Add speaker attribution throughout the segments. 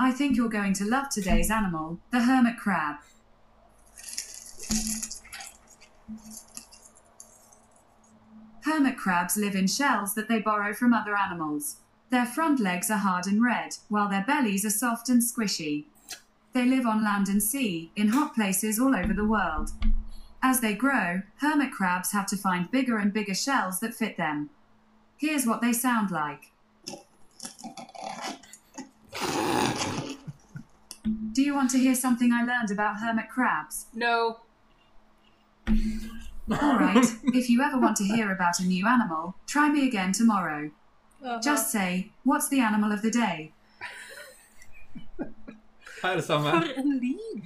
Speaker 1: I think you're going to love today's animal, the hermit crab. Hermit crabs live in shells that they borrow from other animals. Their front legs are hard and red, while their bellies are soft and squishy. They live on land and sea, in hot places all over the world. As they grow, hermit crabs have to find bigger and bigger shells that fit them. Here's what they sound like. Do you want to hear something I learned about hermit crabs?
Speaker 2: No.
Speaker 1: All right, if you ever want to hear about a new animal, try me again tomorrow.
Speaker 2: Uh-huh.
Speaker 1: Just say, what's the animal of the day?
Speaker 3: Hei, alle sammen.
Speaker 2: For en lyd!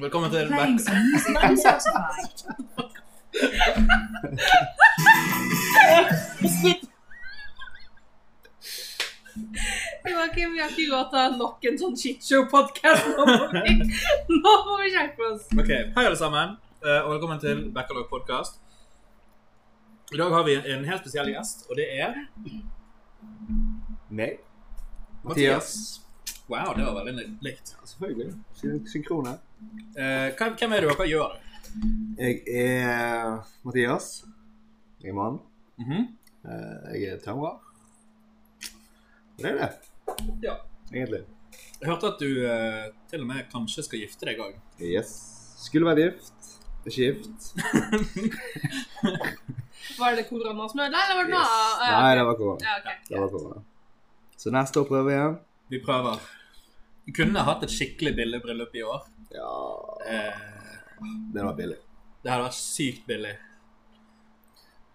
Speaker 3: Velkommen til
Speaker 1: Playing
Speaker 3: back...
Speaker 1: some music on Spotify.
Speaker 2: Joakim, vi har ikke råd til å ha nok en sånn shitshow-podkast. Nå, må vi- nå må vi skjerpe oss.
Speaker 3: Ok, Hei, alle sammen, eh, og velkommen til Backlog podcast. I dag har vi en, en helt spesiell gjest, og det er
Speaker 4: Meg?
Speaker 3: Mathias. Wow, det var veldig likt.
Speaker 4: Ja, selvfølgelig. Syn- Synkron her.
Speaker 3: Eh, hvem- hvem er du, og hva gjør du?
Speaker 4: Jeg er Mathias. Jeg er mann.
Speaker 3: Mhm.
Speaker 4: Eh, Jeg er tømrer. Og det er det.
Speaker 3: Ja.
Speaker 4: Egentlig.
Speaker 3: Jeg hørte at du eh, til og med kanskje skal gifte deg òg.
Speaker 4: Yes. Skulle vært gift. Ikke gift.
Speaker 2: Var det korona som ødela, eller var det noe
Speaker 4: Yes.
Speaker 2: annet?
Speaker 4: Nei, det var korona.
Speaker 2: Ja, ok.
Speaker 4: Det var korona. Så neste år prøver vi igjen.
Speaker 3: Vi prøver. Vi kunne hatt et skikkelig billig bryllup i år.
Speaker 4: Ja
Speaker 3: Eh,
Speaker 4: Den var billig.
Speaker 3: det hadde vært sykt billig.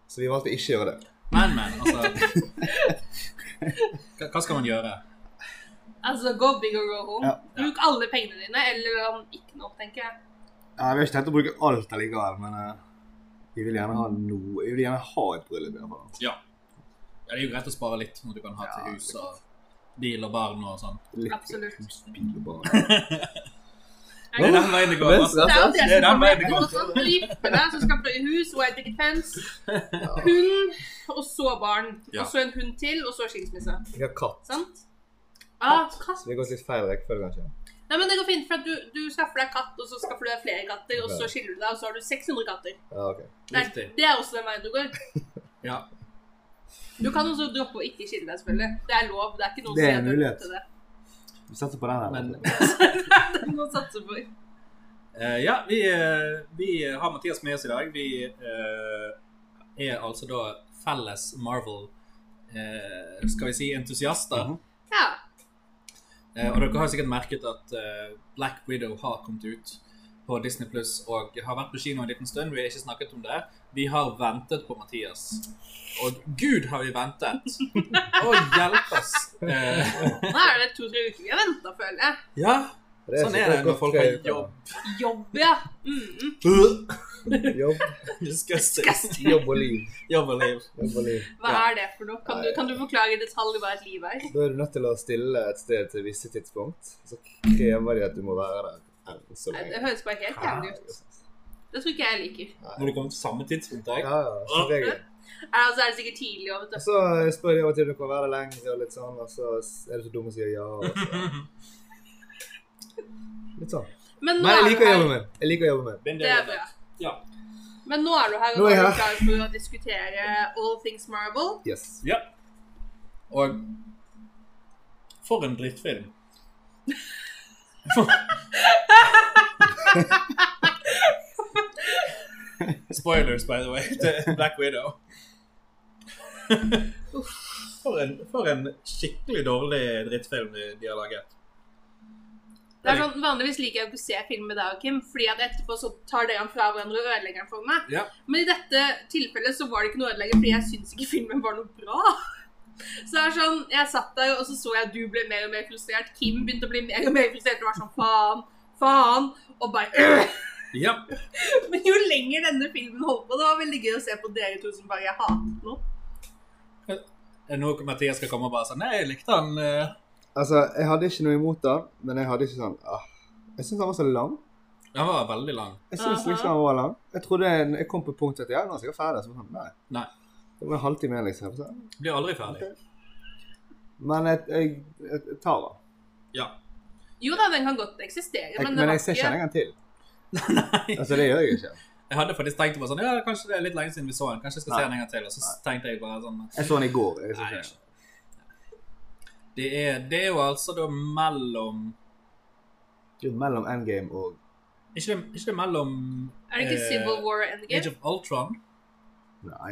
Speaker 4: Så vi valgte ikke å gjøre det.
Speaker 3: Men, men, altså Hva- Hva skal man gjøre?
Speaker 2: Altså, go big or go home.
Speaker 4: Ja.
Speaker 2: Bruk alle pengene dine, eller um, ikke nok, tenker jeg.
Speaker 4: Ja, vi har ikke tenkt å bruke alt allikevel, men eh, vi vil gjerne ha noe Vi vil gjerne ha et bryllup, i hvert fall.
Speaker 3: Ja. ja. Det er jo greit å spare litt når du kan ha
Speaker 4: Ja,
Speaker 3: til hus og bil og barn og sånn.
Speaker 4: Litt
Speaker 2: Absolutt.
Speaker 4: bil og barn.
Speaker 2: Er
Speaker 3: Det er
Speaker 2: det-
Speaker 3: den veien det går. altså.
Speaker 2: Det er jo det
Speaker 3: Det er den
Speaker 2: som
Speaker 3: veien det
Speaker 2: kommer.
Speaker 3: går.
Speaker 2: Og så gifte deg, så skal du i hus, white picket fence, hund, og så barn.
Speaker 3: Ja.
Speaker 2: Og så en hund til, og så skilsmisse.
Speaker 4: Vi har katt.
Speaker 2: Sant? Ah, Ja, katt.
Speaker 4: Så vi har gått litt feil rekkefølge, kanskje.
Speaker 2: Nei, men det går fint, for at du, du skaffer deg katt, og så skaffer du deg flere katter, og så skiller du deg, og så har du 600 katter.
Speaker 4: Ja, ok.
Speaker 2: Det er,
Speaker 3: Riktig.
Speaker 2: det er også den veien du går.
Speaker 3: Ja.
Speaker 2: Du kan også droppe å ikke skille deg, selvfølgelig. Det er lov. Det er ikke noen
Speaker 4: Det er
Speaker 2: som sier
Speaker 4: en
Speaker 2: at du
Speaker 4: mulighet.
Speaker 2: til det.
Speaker 4: Vi satser på den her. Altså.
Speaker 3: Men-
Speaker 2: Det er noe å satse på.
Speaker 3: Eh, ja, vi, eh, vi har Mathias med oss i dag. Vi eh, er altså da felles Marvel eh, skal vi si entusiaster.
Speaker 4: Mhm.
Speaker 2: Ja.
Speaker 3: Eh, og dere har sikkert merket at eh, Black Widow har kommet ut på Disney Pluss og har vært på kino en liten stund. Vi har ikke snakket om det. Vi har ventet på Mathias. Og gud, har vi ventet! Å, hjelp oss! Eh,
Speaker 2: Nå er det to-tre uker vi har venta, føler jeg.
Speaker 3: ja, sånn er det når folk har jobb.
Speaker 2: Jobb, ja. Mm.
Speaker 4: Jobb,
Speaker 3: Disgusting.
Speaker 2: Disgusting.
Speaker 4: jobb og liv.
Speaker 3: Jobb og liv.
Speaker 4: Jobb og liv.
Speaker 2: Hva
Speaker 3: Ja.
Speaker 2: er det for noe? Kan du, kan du forklare i detalj hva et liv er?
Speaker 4: Da er du nødt til å stille et sted til visse tidspunkt. Så krever de at du må være der enn så
Speaker 2: Nei, Det
Speaker 4: lenge.
Speaker 2: høres bare helt jævlig ut. Det tror ikke jeg liker.
Speaker 3: Når det kommer til samme tidspunkt. jeg.
Speaker 4: Ja, ja, som regel.
Speaker 2: Er, altså, er det sikkert tidlig òg,
Speaker 4: Og
Speaker 2: vet du.
Speaker 4: så spør de av og til om du kan være der lenger, og litt sånn, og så er du så dum og sier ja. Og så. Litt sånn.
Speaker 2: Men nå
Speaker 4: Men jeg
Speaker 2: er du
Speaker 4: liker jobben
Speaker 2: her.
Speaker 4: min. Jeg liker jobben min.
Speaker 3: Men
Speaker 2: Det er bra.
Speaker 3: Ja.
Speaker 2: Men nå er du her, og
Speaker 4: Nå
Speaker 2: nå
Speaker 4: er jeg
Speaker 2: er du
Speaker 4: her.
Speaker 2: klar for å diskutere all things Marvel.
Speaker 4: Yes.
Speaker 3: Ja. Og For en drittfilm. Spoilers, by the way, til Black Widow. For en, for en skikkelig dårlig drittfilm de, de har laget.
Speaker 2: Det er sånn, Vanligvis liker jeg ikke å se film med deg og Kim, fordi at etterpå så tar dere den fra hverandre og ødelegger den for meg.
Speaker 3: Ja.
Speaker 2: Men i dette tilfellet så var det ikke noe ødelegger, fordi jeg syns ikke filmen var noe bra. Så det er sånn, Jeg satt der, og så så jeg at du ble mer og mer frustrert. Kim begynte å bli mer og mer frustrert og var sånn faen, faen. Og bare «Øh!»
Speaker 3: Ja.
Speaker 2: Men jo lenger denne filmen holdt på, det var veldig gøy å se på dere to som bare jeg hatet noe.
Speaker 3: Nå kommer Mathias skal komme og bare sånn Nei, jeg likte han eh,
Speaker 4: Altså, jeg hadde ikke noe imot den, men jeg hadde ikke sånn ah. Jeg syns han var så lang.
Speaker 3: Han var veldig lang.
Speaker 4: Jeg syns
Speaker 2: Aha.
Speaker 4: liksom han var lang. Jeg trodde jeg, jeg kom på punktet at ja, nå skal jeg ferdig. Så var jeg sånn, nei.
Speaker 3: Nei.
Speaker 4: Det var en halvtime igjen, liksom. Så,
Speaker 3: Blir aldri ferdig.
Speaker 4: Men jeg, jeg, jeg, jeg tar den.
Speaker 3: Ja.
Speaker 2: Jo da, den kan godt eksistere,
Speaker 4: Jeg,
Speaker 2: men,
Speaker 4: men
Speaker 2: var
Speaker 4: jeg ser ikke den en gang til.
Speaker 3: Nei.
Speaker 4: Altså, det gjør jeg ikke.
Speaker 3: Jeg hadde faktisk tenkt på sånn, ja, kanskje det er litt lenge siden vi så den. Kanskje jeg skal se
Speaker 4: Nei.
Speaker 3: den en gang til. Og så tenkte jeg bare sånn
Speaker 4: Jeg så den i går. Jeg synes
Speaker 3: Nei,
Speaker 4: det.
Speaker 3: det er, det er jo altså da mellom
Speaker 4: Det er jo mellom Endgame og
Speaker 3: Ikke det, ikke det mellom
Speaker 2: Er det ikke
Speaker 3: eh,
Speaker 2: Civil War og
Speaker 3: Age
Speaker 2: Endgame?
Speaker 3: of Ultron?
Speaker 4: Nei.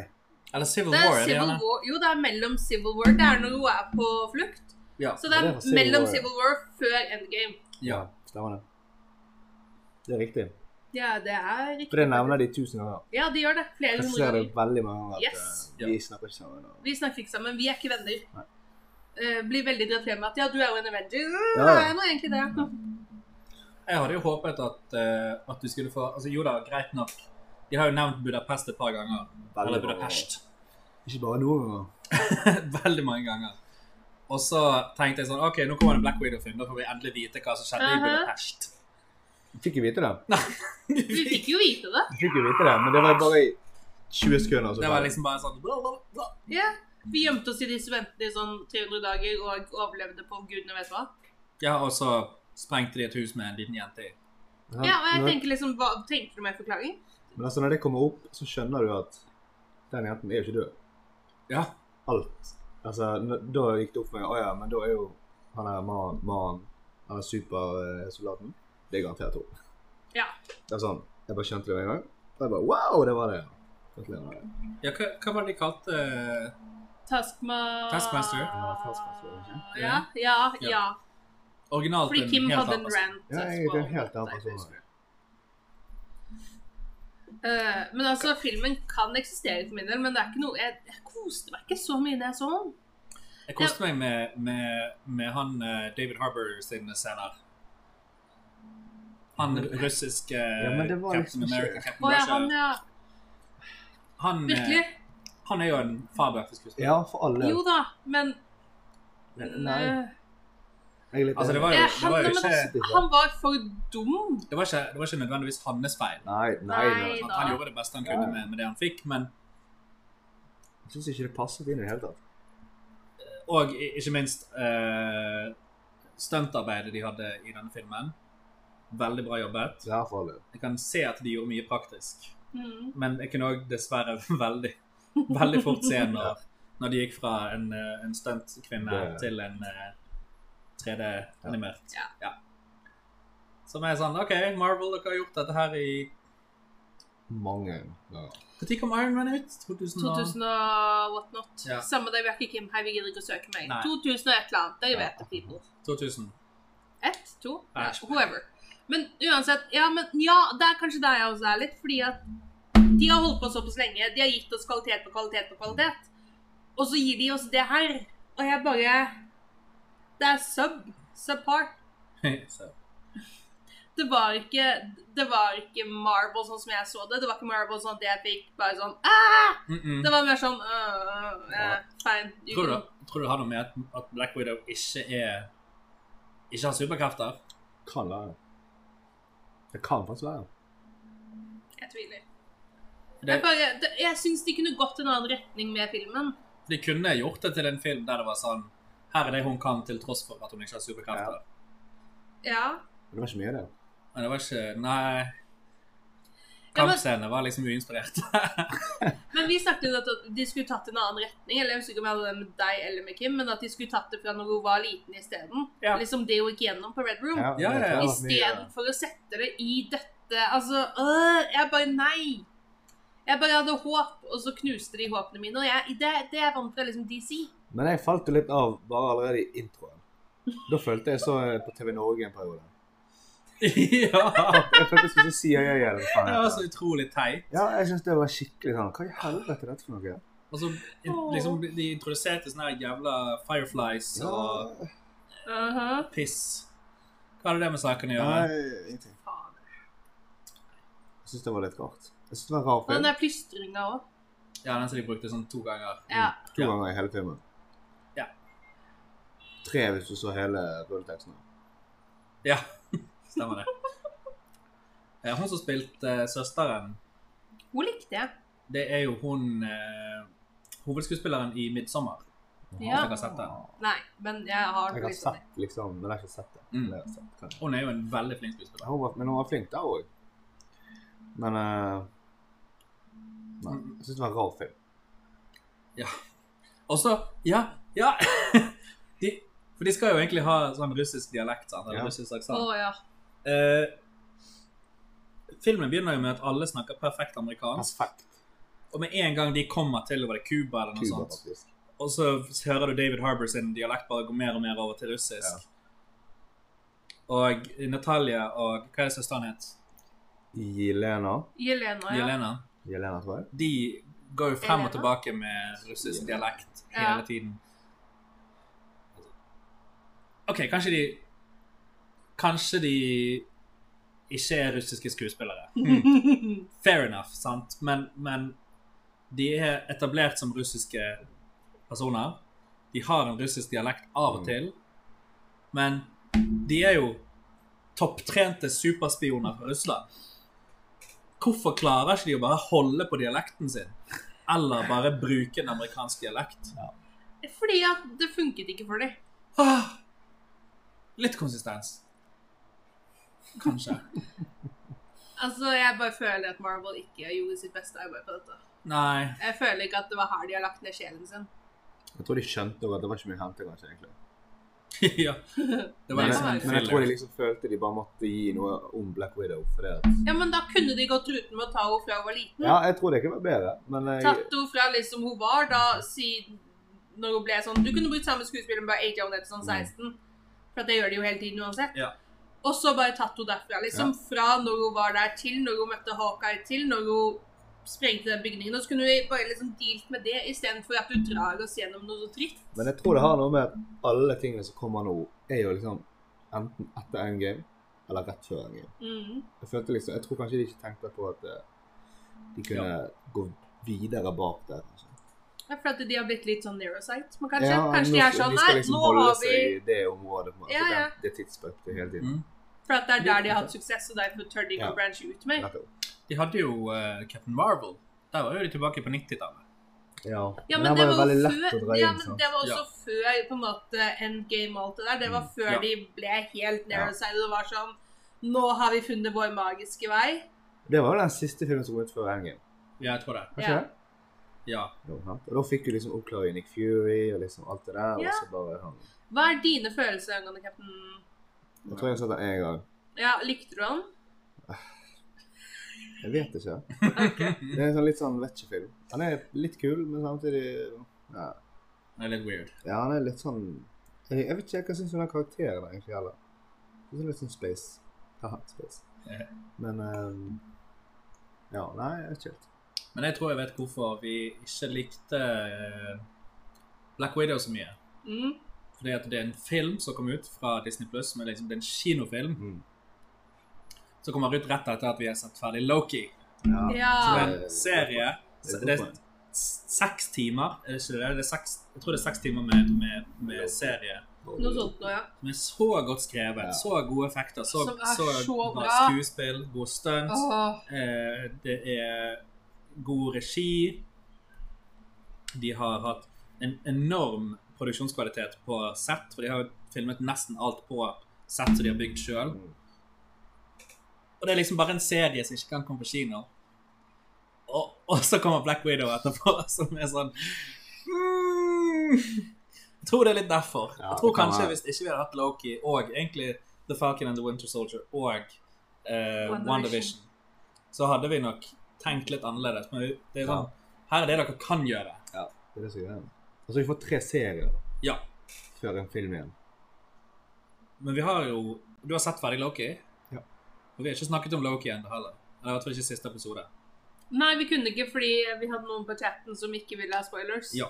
Speaker 3: Eller Civil
Speaker 2: Det
Speaker 3: War?
Speaker 2: er
Speaker 3: er det
Speaker 2: Civil
Speaker 3: gjerne?
Speaker 2: War. Jo, det er mellom Civil War. Det er når hun er på flukt.
Speaker 3: Ja.
Speaker 2: Så det er
Speaker 4: Ja, det var Civil
Speaker 2: mellom
Speaker 4: War.
Speaker 2: Civil War før Endgame.
Speaker 3: ja.
Speaker 4: Stemmer det. Det er riktig.
Speaker 2: Ja, det er
Speaker 4: For det
Speaker 2: riktig.
Speaker 4: nevner de tusen ganger.
Speaker 2: Ja, de gjør det. Flere
Speaker 4: Jeg
Speaker 2: hundre
Speaker 4: ser det
Speaker 2: ganger.
Speaker 4: veldig mange ganger at
Speaker 2: Yes.
Speaker 4: eh, de snakker ikke sammen. Og...
Speaker 2: Vi snakker ikke sammen. Vi er ikke venner.
Speaker 4: Nei.
Speaker 2: Eh, blir veldig dratt frem med at ja, du er jo en Avenger. Mm,
Speaker 4: Ja, ja.
Speaker 2: Er jeg nå egentlig det? Nå.
Speaker 3: Jeg hadde jo håpet at, eh, at du skulle få Altså jo da, greit nok. De har jo nevnt Budapest et par ganger.
Speaker 4: Veldig
Speaker 3: Eller
Speaker 4: mange
Speaker 3: Budapest.
Speaker 4: ganger. Ikke bare noen ganger.
Speaker 3: Veldig mange ganger. Og så tenkte jeg sånn OK, nå kommer det en Black Widow-film. Da får vi endelig vite hva som skjedde i
Speaker 2: Mhm.
Speaker 3: Budapest.
Speaker 4: Fikk jo vite det.
Speaker 2: Du fikk jo vite det.
Speaker 4: Jeg Fikk jo vite det, men det var bare i 20 sekunder. og Så
Speaker 3: Det
Speaker 4: bare-
Speaker 3: var liksom bare sånn bla, bla, bla.
Speaker 2: Ja. Vi gjemte oss i disse ventene i sånn 300 dager og overlevde på gudene vet hva.
Speaker 3: Ja, og så sprengte de et hus med en liten jente i.
Speaker 2: Ja, og jeg
Speaker 4: men,
Speaker 2: tenker liksom, hva tenker du med forklaring?
Speaker 4: men altså, når det kommer opp, så skjønner du at den jenten er jo ikke død.
Speaker 3: Ja.
Speaker 4: Alt. Altså, n- da gikk det opp for meg. Å ja, men da er jo han der mannen, mannen, han er supersoldaten, det er garantert hun.
Speaker 2: Ja.
Speaker 4: Det er sånn, jeg bare skjønte det med en gang. Og jeg bare, wow, det var det. Gratulerer med det.
Speaker 3: ja hva, hva var det de kalte eh,
Speaker 2: Taskma...
Speaker 3: Taskmaster.
Speaker 4: Ja, Taskmaster, ikke?
Speaker 2: Ja, ja, ja.
Speaker 3: originalt
Speaker 2: Fordi
Speaker 3: en
Speaker 2: Kim
Speaker 3: helt
Speaker 2: hadde
Speaker 3: annen
Speaker 2: en
Speaker 3: person?
Speaker 2: rant.
Speaker 4: Ja, jeg er en helt annen person.
Speaker 2: Eh, men altså, filmen kan eksistere for min del, men det er ikke noe... Jeg, jeg koste meg ikke så mye når jeg så den.
Speaker 3: Jeg koste meg med, med, med han eh, David Harbour sine scener. Han russiske eh,
Speaker 4: Ja, men det var liksom
Speaker 3: Captain
Speaker 4: ikke-
Speaker 3: America. Captain
Speaker 2: Å ja,
Speaker 3: Russia.
Speaker 2: han, ja.
Speaker 3: han, eh,
Speaker 2: Virkelig.
Speaker 3: han er jo en fabelaktig skuespiller.
Speaker 4: Ja, for alle.
Speaker 2: Jo da, men...
Speaker 4: Men nei,
Speaker 2: eh,
Speaker 4: jeg er litt
Speaker 3: Altså, det
Speaker 4: enig.
Speaker 3: var jo,
Speaker 2: Eh,
Speaker 3: det
Speaker 2: han-
Speaker 3: var jo ikke,
Speaker 2: men Han var for dum.
Speaker 3: det var ikke, det var ikke nødvendigvis hans feil.
Speaker 4: Nei, nei, nei.
Speaker 2: Nei.
Speaker 3: Han,
Speaker 2: da.
Speaker 3: han gjorde det beste han kunne
Speaker 4: Ja.
Speaker 3: med, med det han fikk, men
Speaker 4: Jeg synes ikke det passet inn i det hele tatt.
Speaker 3: Og i- ikke minst eh, stuntarbeidet de hadde i denne filmen. Veldig bra jobbet.
Speaker 4: Det er for alle.
Speaker 3: Jeg kan se at de gjorde mye praktisk.
Speaker 2: Mm.
Speaker 3: Men jeg kunne òg dessverre veldig, veldig fort se når, når de gikk fra en, eh, en stuntkvinne
Speaker 4: Det-
Speaker 3: til en eh, 3D-animert.
Speaker 2: Ja.
Speaker 3: Som er sånn OK, Marvel, dere har gjort dette her i
Speaker 4: Mange ganger.
Speaker 3: Når kom Iron Man ut? 2000 og-
Speaker 2: 2000 og whatnot.
Speaker 3: Ja.
Speaker 2: Samme det, vi har ikke Kim her, vi gidder ikke å søke mer.
Speaker 3: Nei.
Speaker 2: 2000 og et eller annet, dere
Speaker 4: Ja.
Speaker 2: vet det, people.
Speaker 3: 2000.
Speaker 2: Ett, to,
Speaker 3: Nei.
Speaker 2: whoever. Men uansett, ja, men ja, det er kanskje der jeg også er litt, fordi at de har holdt på såpass lenge, de har gitt oss kvalitet på kvalitet på kvalitet, og så gir de oss det her, og jeg bare, det er sub, subpar.
Speaker 3: Så,
Speaker 2: Det var ikke, det var ikke Marvel sånn som jeg så det, det var ikke Marvel sånn at jeg fikk bare sånn, ah!
Speaker 3: mm -mm.
Speaker 2: Det var mer sånn øh, øh,
Speaker 4: Ja.
Speaker 2: Fine. you
Speaker 3: Tror du,
Speaker 2: can-
Speaker 3: tror du det har noe med at, at Black Widow ikke er Ikke har superkrefter?
Speaker 4: Kan være. Det kan faktisk være.
Speaker 2: Jeg tviler.
Speaker 3: Det,
Speaker 2: Jeg, bare, det, jeg syns de kunne gått en annen retning med filmen.
Speaker 3: de kunne gjort det til en film der det var sånn Her er det hun kan til tross for at hun ikke har superkrefter.
Speaker 2: Ja.
Speaker 4: Men det var ikke mye av det.
Speaker 3: Men det var ikke Nei.
Speaker 2: Ja, men-
Speaker 3: Kampscenene var liksom uinspirert.
Speaker 2: Men vi snakket om at de skulle tatt en annen retning. Eller jeg husker ikke om jeg hadde det med deg eller med Kim, men at de skulle tatt det fra når hun var liten isteden.
Speaker 3: Ja.
Speaker 2: Liksom det hun gikk gjennom på Red Room.
Speaker 3: Ja, ja, ja.
Speaker 4: det var mye av det.
Speaker 2: Istedenfor å sette det i dette. Altså øh, Jeg bare Nei! Jeg bare hadde håp, og så knuste de håpene mine. Og jeg, det, det er jeg vant til liksom DC.
Speaker 4: Men jeg falt jo litt av bare allerede i introen. Da følte jeg så eh, på TV Norge en periode.
Speaker 3: ja.
Speaker 4: Ah, Jeg følte jeg skulle si CIA eller hva faen
Speaker 3: Det
Speaker 4: heter
Speaker 3: var
Speaker 4: det.
Speaker 3: så utrolig teit.
Speaker 4: Ja, jeg synes det var skikkelig sånn Hva i helvete er dette for noe?
Speaker 3: Og så liksom, de introduserte sånne her jævla Fireflies og
Speaker 4: Ja,
Speaker 2: Uh
Speaker 3: piss. Hva hadde det med saken å gjøre?
Speaker 4: nei, ingenting. Jeg synes det var litt rart. Jeg synes det var en rar
Speaker 2: Og den
Speaker 4: film.
Speaker 2: der plystringa òg.
Speaker 3: Ja, Den som de brukte sånn to ganger.
Speaker 2: Ja.
Speaker 4: To
Speaker 3: Ja.
Speaker 4: ganger i hele filmen.
Speaker 3: Ja.
Speaker 4: Tre hvis du så hele rulleteksten.
Speaker 3: Ja, stemmer det. Eh, Hun som spilte eh, søsteren,
Speaker 2: Hun likte jeg.
Speaker 3: det er jo hun eh, hovedskuespilleren i 'Midtsommer'.
Speaker 2: Ja.
Speaker 3: Hvis dere har sett den.
Speaker 2: Nei, men jeg har
Speaker 4: Jeg har sett liksom, men jeg har ikke sett det.
Speaker 3: Mm.
Speaker 4: Men jeg har sett, kanskje.
Speaker 3: Hun er jo en veldig flink skuespiller.
Speaker 4: Hun var, men hun var flink der òg. Men eh, Nei.
Speaker 3: Mm.
Speaker 4: Jeg syns det var en rar film.
Speaker 3: Og så Ja! Ja! de, for de skal jo egentlig ha sånn russisk dialekt, sant? Eller
Speaker 4: Ja.
Speaker 3: russisk
Speaker 2: Å
Speaker 3: aksent.
Speaker 2: ja.
Speaker 3: Eh, filmen begynner jo med at alle snakker perfekt amerikansk.
Speaker 4: Perfekt
Speaker 3: Og med en gang de kommer til var det Cuba eller noe
Speaker 4: Cuba,
Speaker 3: sånt,
Speaker 4: faktisk.
Speaker 3: og så hører du David Harbour sin dialekt bare gå mer og mer over til
Speaker 4: Ja.
Speaker 3: russisk. Og Natalia og Hva er det søsteren het?
Speaker 4: Jelena.
Speaker 2: Jelena, ja.
Speaker 3: Jelena.
Speaker 4: Jelena, tror jeg.
Speaker 3: De går jo frem
Speaker 2: Jelena?
Speaker 3: og tilbake med russisk
Speaker 4: Jelena.
Speaker 3: dialekt
Speaker 2: Ja.
Speaker 3: hele tiden. OK, kanskje de Kanskje de ikke er russiske skuespillere. Fair enough, sant? Men, men de er etablert som russiske personer. De har en russisk dialekt av og
Speaker 4: Mm.
Speaker 3: til. Men de er jo topptrente superspioner fra Russland. Hvorfor klarer ikke de å bare holde på dialekten sin? Eller bare bruke en amerikansk dialekt?
Speaker 2: Fordi at det funket ikke for dem.
Speaker 3: Ah, litt konsistens. Kanskje.
Speaker 2: Altså, jeg bare føler at Marvel ikke gjorde sitt beste arbeid på dette.
Speaker 3: Nei.
Speaker 2: Jeg føler ikke at det var her de har lagt ned sjelen sin.
Speaker 4: Jeg tror de skjønte også at det var ikke mye å hente, kanskje. egentlig.
Speaker 3: ja. Det var
Speaker 4: Men,
Speaker 3: liksom en
Speaker 4: men jeg tror de
Speaker 3: filler.
Speaker 4: liksom følte de bare måtte gi noe om Black Widow. For det at,
Speaker 2: Ja, men da kunne de gått ruten med å ta henne fra hun var liten.
Speaker 4: ja, jeg tror det kunne vært bedre, men jeg,
Speaker 2: Tatt henne fra liksom hun var da, si, når hun ble sånn Du kunne brukt samme skuespiller, men bare age henne etter sånn
Speaker 4: Mm.
Speaker 2: 16. For at det gjør de jo hele tiden uansett.
Speaker 3: Ja.
Speaker 2: Og så bare tatt henne derfra, liksom. Fra når hun var der til, når hun møtte Hawkeye til, når hun sprengte den bygningen. Og så kunne vi bare liksom dealt med det, istedenfor at du drar oss gjennom noe så trist.
Speaker 4: men jeg tror det har noe med at alle tingene som kommer nå, er jo liksom enten etter Endgame eller rett før Endgame.
Speaker 2: Mm.
Speaker 4: Jeg følte liksom, jeg tror kanskje de ikke tenkte på at eh, de kunne gå videre bak der. kanskje.
Speaker 2: Ja, for at de har blitt litt sånn neurosite. Men kanskje,
Speaker 4: Ja,
Speaker 2: kanskje de
Speaker 4: nå-
Speaker 2: er sånn
Speaker 4: de
Speaker 2: Nei,
Speaker 4: skal liksom
Speaker 2: nå
Speaker 4: holde
Speaker 2: har vi
Speaker 4: seg i det området, på en måte,
Speaker 2: Ja, ja.
Speaker 4: Den, det tidspunktet hele tiden.
Speaker 3: Mm.
Speaker 2: For at det er der de har hatt suksess, og derfor tør de ikke
Speaker 4: Ja.
Speaker 2: å branche ut mer.
Speaker 4: Nettopp.
Speaker 3: De hadde jo eh, Captain Marvel. Der var jo de tilbake på 90-tallet.
Speaker 4: Ja.
Speaker 2: Ja, men det
Speaker 4: den
Speaker 2: var,
Speaker 4: veldig
Speaker 2: jo
Speaker 4: lett å
Speaker 2: før,
Speaker 4: dra
Speaker 2: ja,
Speaker 4: inn.
Speaker 2: men
Speaker 4: sant?
Speaker 2: det var også før på en måte endgame og alt det der. Det var
Speaker 4: Mm,
Speaker 2: før
Speaker 3: ja.
Speaker 2: de ble helt
Speaker 4: Ja.
Speaker 2: neuroside. Det var sånn Nå har vi funnet vår magiske vei.
Speaker 4: Det var jo den siste filmen som kom ut før Endgame.
Speaker 3: Ja, jeg tror det.
Speaker 2: Ja.
Speaker 4: Var ikke det?
Speaker 3: Ja.
Speaker 4: Jo, sant? Og da fikk du liksom oppklaring i Nick Fury og liksom alt det der.
Speaker 2: Ja.
Speaker 4: Og så bare sånn
Speaker 2: Hva er dine følelser angående Captain
Speaker 4: Jeg tror jeg har sett den én gang.
Speaker 2: Ja, likte du han?
Speaker 4: Jeg vet ikke. Det er en sånn litt sånn vetchefilm. Han er litt kul, men samtidig Ja,
Speaker 3: Det er litt weird.
Speaker 4: ja han er litt sånn Jeg, jeg vet ikke hva jeg syns om den karakteren egentlig heller. Det er litt sånn space. Haha, space.
Speaker 3: Ja.
Speaker 4: Men ehm, Ja, nei, jeg vet ikke helt.
Speaker 3: Men jeg tror jeg vet hvorfor vi ikke likte eh, Black Widow så mye.
Speaker 2: Mm.
Speaker 3: Fordi at det er en film som kom ut fra Disney Pluss, som er liksom det er en kinofilm
Speaker 4: Mm.
Speaker 3: som kommer ut rett etter at vi har sett ferdig Loki.
Speaker 4: Ja.
Speaker 2: Ja.
Speaker 3: Så det er
Speaker 4: Ja.
Speaker 3: en serie
Speaker 4: Det er et
Speaker 3: Det er
Speaker 4: godt poeng.
Speaker 3: s- seks timer, er det ikke det? det er seks, jeg tror det er seks timer med, med, med serie.
Speaker 2: Noe sånt noe, ja.
Speaker 3: Som er så godt skrevet,
Speaker 4: Ja.
Speaker 3: så gode effekter, så,
Speaker 2: Som er
Speaker 3: så,
Speaker 2: så
Speaker 3: bra
Speaker 2: bra.
Speaker 3: skuespill, gode stunts.
Speaker 2: Åh.
Speaker 3: Eh, det er god regi. De har hatt en enorm produksjonskvalitet på sett, for de har filmet nesten alt på sett som de har bygd sjøl.
Speaker 4: Mm.
Speaker 3: Og det er liksom bare en serie som ikke kan komme på kino. Og, og så kommer Black Widow etterpå, som er sånn mm. Jeg tror det er litt derfor.
Speaker 4: Ja,
Speaker 3: Jeg tror
Speaker 4: det kan
Speaker 3: kanskje
Speaker 4: være.
Speaker 3: hvis ikke vi hadde hatt Loki og egentlig The Falcon and the Winter Soldier og eh,
Speaker 2: WandaVision.
Speaker 3: WandaVision, så hadde vi nok tenkt litt annerledes. Men vi- det er sånn, her er det dere kan gjøre.
Speaker 4: Det er det som er greia. Altså, vi får tre serier da,
Speaker 3: Ja.
Speaker 4: før en film igjen.
Speaker 3: Men vi har jo Du har sett ferdig Loki?
Speaker 4: Ja.
Speaker 3: Og vi har ikke snakket om Loki ennå heller. Eller i hvert fall ikke i siste episode.
Speaker 2: Nei, vi kunne ikke fordi vi hadde noen på chatten som ikke ville ha spoilers.
Speaker 3: Ja.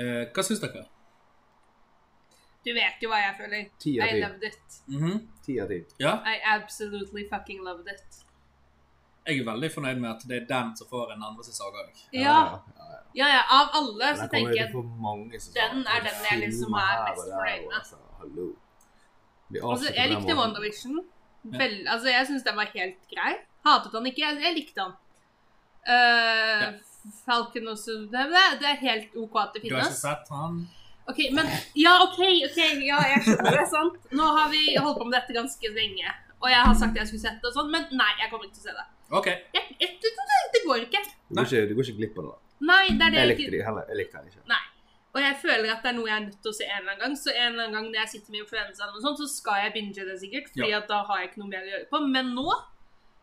Speaker 3: Eh, hva syns dere?
Speaker 2: Du vet jo hva jeg føler.
Speaker 4: Ti av
Speaker 2: I
Speaker 4: ti.
Speaker 2: loved it.
Speaker 3: Mhm.
Speaker 4: Ti av ti.
Speaker 3: Ja?
Speaker 2: I absolutely fucking loved it.
Speaker 3: Jeg er veldig fornøyd med at det er den som får en andre sesong òg.
Speaker 2: Ja.
Speaker 4: ja, ja.
Speaker 2: Ja, ja. Av alle så
Speaker 4: Den kommer
Speaker 2: tenker
Speaker 4: jo
Speaker 2: jeg
Speaker 4: til å få mange sesonger.
Speaker 2: den er den jeg liksom er
Speaker 4: Filmer her og
Speaker 2: mest
Speaker 4: der,
Speaker 2: fornøyd med.
Speaker 4: og Altså, hallo. Vi
Speaker 2: Altså,
Speaker 4: avslutter
Speaker 2: jeg
Speaker 4: på den
Speaker 2: likte
Speaker 4: måten.
Speaker 2: WandaVision. Vel, altså, jeg syns den var helt grei. Hatet han ikke. Jeg, jeg likte han. Eh,
Speaker 3: Ja.
Speaker 2: Falcon og så det, det- det er helt OK at det
Speaker 3: Du har ikke
Speaker 2: finnes.
Speaker 3: sett han?
Speaker 2: Ok, men Ja, OK, ok, ja, jeg skjønner det, sant? Nå har vi holdt på med dette ganske lenge. Og jeg har sagt jeg skulle sett det og sånn, men nei, jeg kommer ikke til å se det.
Speaker 3: OK.
Speaker 2: Jeg, jeg, det, det, det går ikke.
Speaker 4: Du går ikke, du går ikke glipp av noe.
Speaker 2: Nei, det er det
Speaker 4: Jeg
Speaker 2: ikke-
Speaker 4: likte de heller. Jeg likte han ikke.
Speaker 2: Og jeg føler at det er noe jeg er nødt til å se en eller annen gang. Så en eller annen gang når jeg sitter med influensa, eller noe sånt, så skal jeg binge det sikkert. Fordi at da har jeg ikke noe mer å gjøre på. Men nå,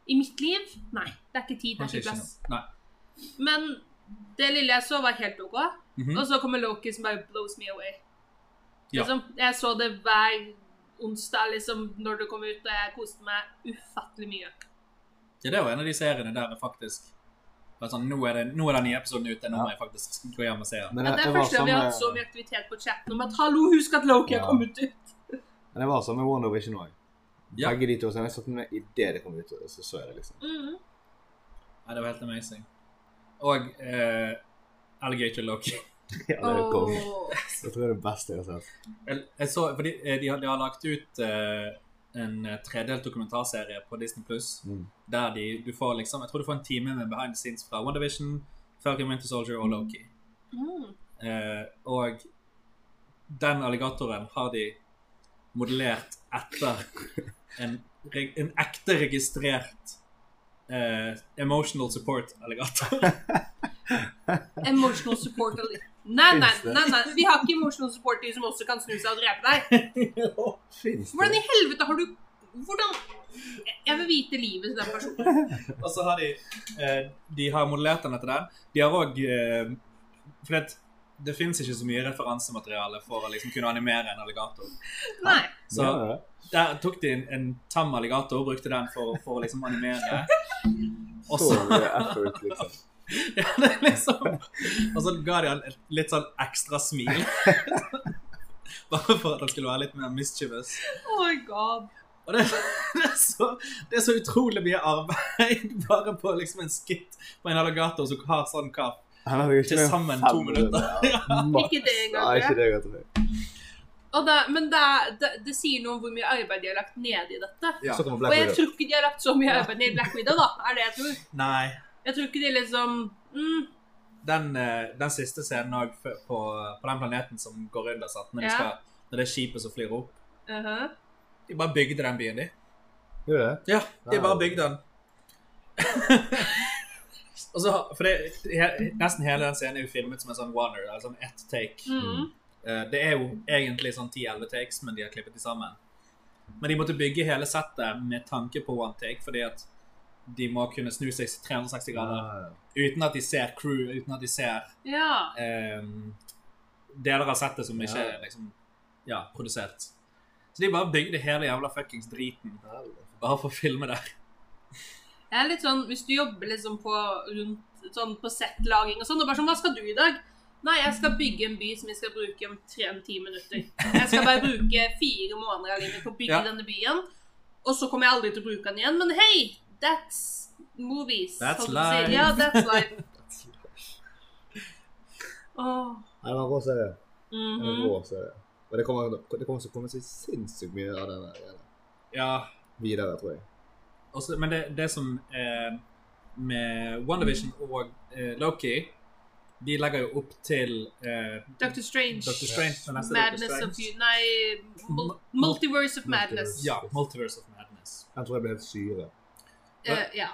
Speaker 2: i mitt liv, nei. Det er ikke tid, det er
Speaker 3: Kanskje
Speaker 2: ikke
Speaker 3: ikke
Speaker 2: plass.
Speaker 3: noe. Nei.
Speaker 2: Men det lille jeg så, var helt OK.
Speaker 3: Mhm.
Speaker 2: Og så kommer Loki som bare blows me away.
Speaker 3: Ja.
Speaker 2: Liksom, jeg så det hver onsdag liksom, når det kom ut, og jeg koste meg ufattelig mye.
Speaker 3: Ja, det var en av de seriene der jeg faktisk var sånn, nå er, det, nå er den nye episoden ute, nå må jeg faktisk gå hjem og se den.
Speaker 4: Men
Speaker 2: Ja,
Speaker 4: jeg-
Speaker 2: det er
Speaker 4: jeg var eh,
Speaker 2: første gang vi har hatt så
Speaker 4: sammen-
Speaker 2: mye aktivitet på chatten om at 'hallo, husk at Loki har
Speaker 4: Ja.
Speaker 2: kommet ut'.
Speaker 4: Men jeg var sammen med Wonder Vision òg.
Speaker 3: Ja.
Speaker 4: Begge de to. Så jeg satt med i det det kom ut, og så så jeg det, liksom.
Speaker 2: Mhm.
Speaker 3: Ja, det var helt amazing. Og eh, Alligator Loki.
Speaker 4: Ja, det er kong.
Speaker 2: Åh.
Speaker 4: Jeg tror det er det beste jeg har sett.
Speaker 3: Jeg, jeg så, fordi eh, de har, de har lagt ut eh, en eh, tredelt dokumentarserie på Disney+, Plus,
Speaker 4: Mm.
Speaker 3: der de, du får liksom, jeg tror du får en time med behind the scenes fra WandaVision, Falcon Winter Soldier og Loki.
Speaker 2: Mm.
Speaker 3: Eh, og den alligatoren har de modellert etter en, reg- en ekte registrert eh, emotional support-alligator.
Speaker 2: Emotional support eller Nei, nei,
Speaker 4: Finnes det?
Speaker 2: nei, nei, vi har ikke emotional support de som også kan snu seg og drepe deg.
Speaker 4: Fins
Speaker 2: Hvordan
Speaker 4: det?
Speaker 2: i helvete har du Hvordan Jeg vil vite livet til den personen.
Speaker 3: og så har de eh, De har modellert den etter den. De har òg eh, For det, det fins ikke så mye referansemateriale for å liksom kunne animere en alligator.
Speaker 2: Nei.
Speaker 3: Så
Speaker 4: Ja, ja.
Speaker 3: der tok de en, en tam alligator og brukte den for, for å liksom animere.
Speaker 4: Så
Speaker 3: Og så
Speaker 4: mye effort, liksom.
Speaker 3: Ja, det er liksom Og så ga de han et litt sånn ekstra smil. Bare for at han skulle være litt mer mischievous.
Speaker 2: Oh my god.
Speaker 3: Og det, det, er så, det er så utrolig mye arbeid bare på liksom en skitt på en alligator som har sånn kapp.
Speaker 4: Han hadde ikke
Speaker 3: Til
Speaker 4: mer
Speaker 3: sammen
Speaker 4: fem
Speaker 3: to minutter.
Speaker 4: Ja, maks.
Speaker 2: Ikke det engang,
Speaker 4: Nei,
Speaker 2: tror jeg.
Speaker 4: ikke det engang. tror jeg.
Speaker 2: Og det, men det, er- det, det sier noe om hvor mye arbeid de har lagt ned i dette.
Speaker 3: Ja.
Speaker 4: Så kommer
Speaker 2: Og
Speaker 4: Black
Speaker 2: jeg
Speaker 4: Widow.
Speaker 2: tror ikke de har lagt så mye arbeid ned i Black Widow, da. Er det jeg tror.
Speaker 3: Nei.
Speaker 2: Jeg tror ikke de liksom mm,
Speaker 3: Den, eh, den siste scenen òg på, på den planeten som går under, sant? Når, de
Speaker 2: Ja.
Speaker 3: skal, når det er skipet som flyr opp.
Speaker 2: uh -huh.
Speaker 3: De bare bygde den byen, de.
Speaker 4: Gjør det?
Speaker 3: Ja, de
Speaker 4: Wow.
Speaker 3: bare bygde den. Og så, har- for det, he- Nesten hele den scenen er jo filmet som en sånn one eller sånn ett take.
Speaker 2: mm.
Speaker 3: Eh, Det er jo egentlig sånn 10-11 takes, men de har klippet de sammen. Men de måtte bygge hele settet med tanke på one take, fordi at de må kunne snu seg 360 grader
Speaker 4: Ja, ja.
Speaker 3: uten at de ser crew, uten at de ser
Speaker 2: Ja.
Speaker 3: eh, deler av settet som ikke
Speaker 4: Ja.
Speaker 3: er liksom, ja, produsert. Så de bare bygde hele jævla fuckings driten
Speaker 4: Helvete.
Speaker 3: bare for å filme det.
Speaker 2: Jeg er litt sånn, Hvis du jobber liksom på, rundt, sånn på settlaging og sånn, og bare sånn Hva skal du i dag? Nei, jeg skal bygge en by som jeg skal bruke om tre- om ti minutter. Jeg skal bare bruke fire måneder av livet mitt på å bygge
Speaker 3: Ja.
Speaker 2: denne byen. Og så kommer jeg aldri til å bruke den igjen. Men hei, that's movies.
Speaker 3: That's
Speaker 2: holdt jeg på å si.
Speaker 3: life.
Speaker 2: Ja, that's life. Åh,
Speaker 4: Nei, det var en rå serie. Det var en
Speaker 2: mhm.
Speaker 4: rå serie. Og det kommer det kommer til å komme så sinnssykt mye av den der greiene
Speaker 3: Ja,
Speaker 4: videre, tror jeg.
Speaker 3: Og så- men det, det som eh, med WandaVision
Speaker 2: Mm.
Speaker 3: og eh, Loki De legger jo opp til eh,
Speaker 2: Dr. Strange.
Speaker 3: Dr. Strange. den neste
Speaker 2: Madness
Speaker 3: Dr.
Speaker 2: of
Speaker 3: Strange.
Speaker 2: you. Nei, mul Multiverse of Madness.
Speaker 3: Ja. Multiverse of Madness.
Speaker 4: Jeg tror jeg blir helt syre.
Speaker 2: Eh, ja.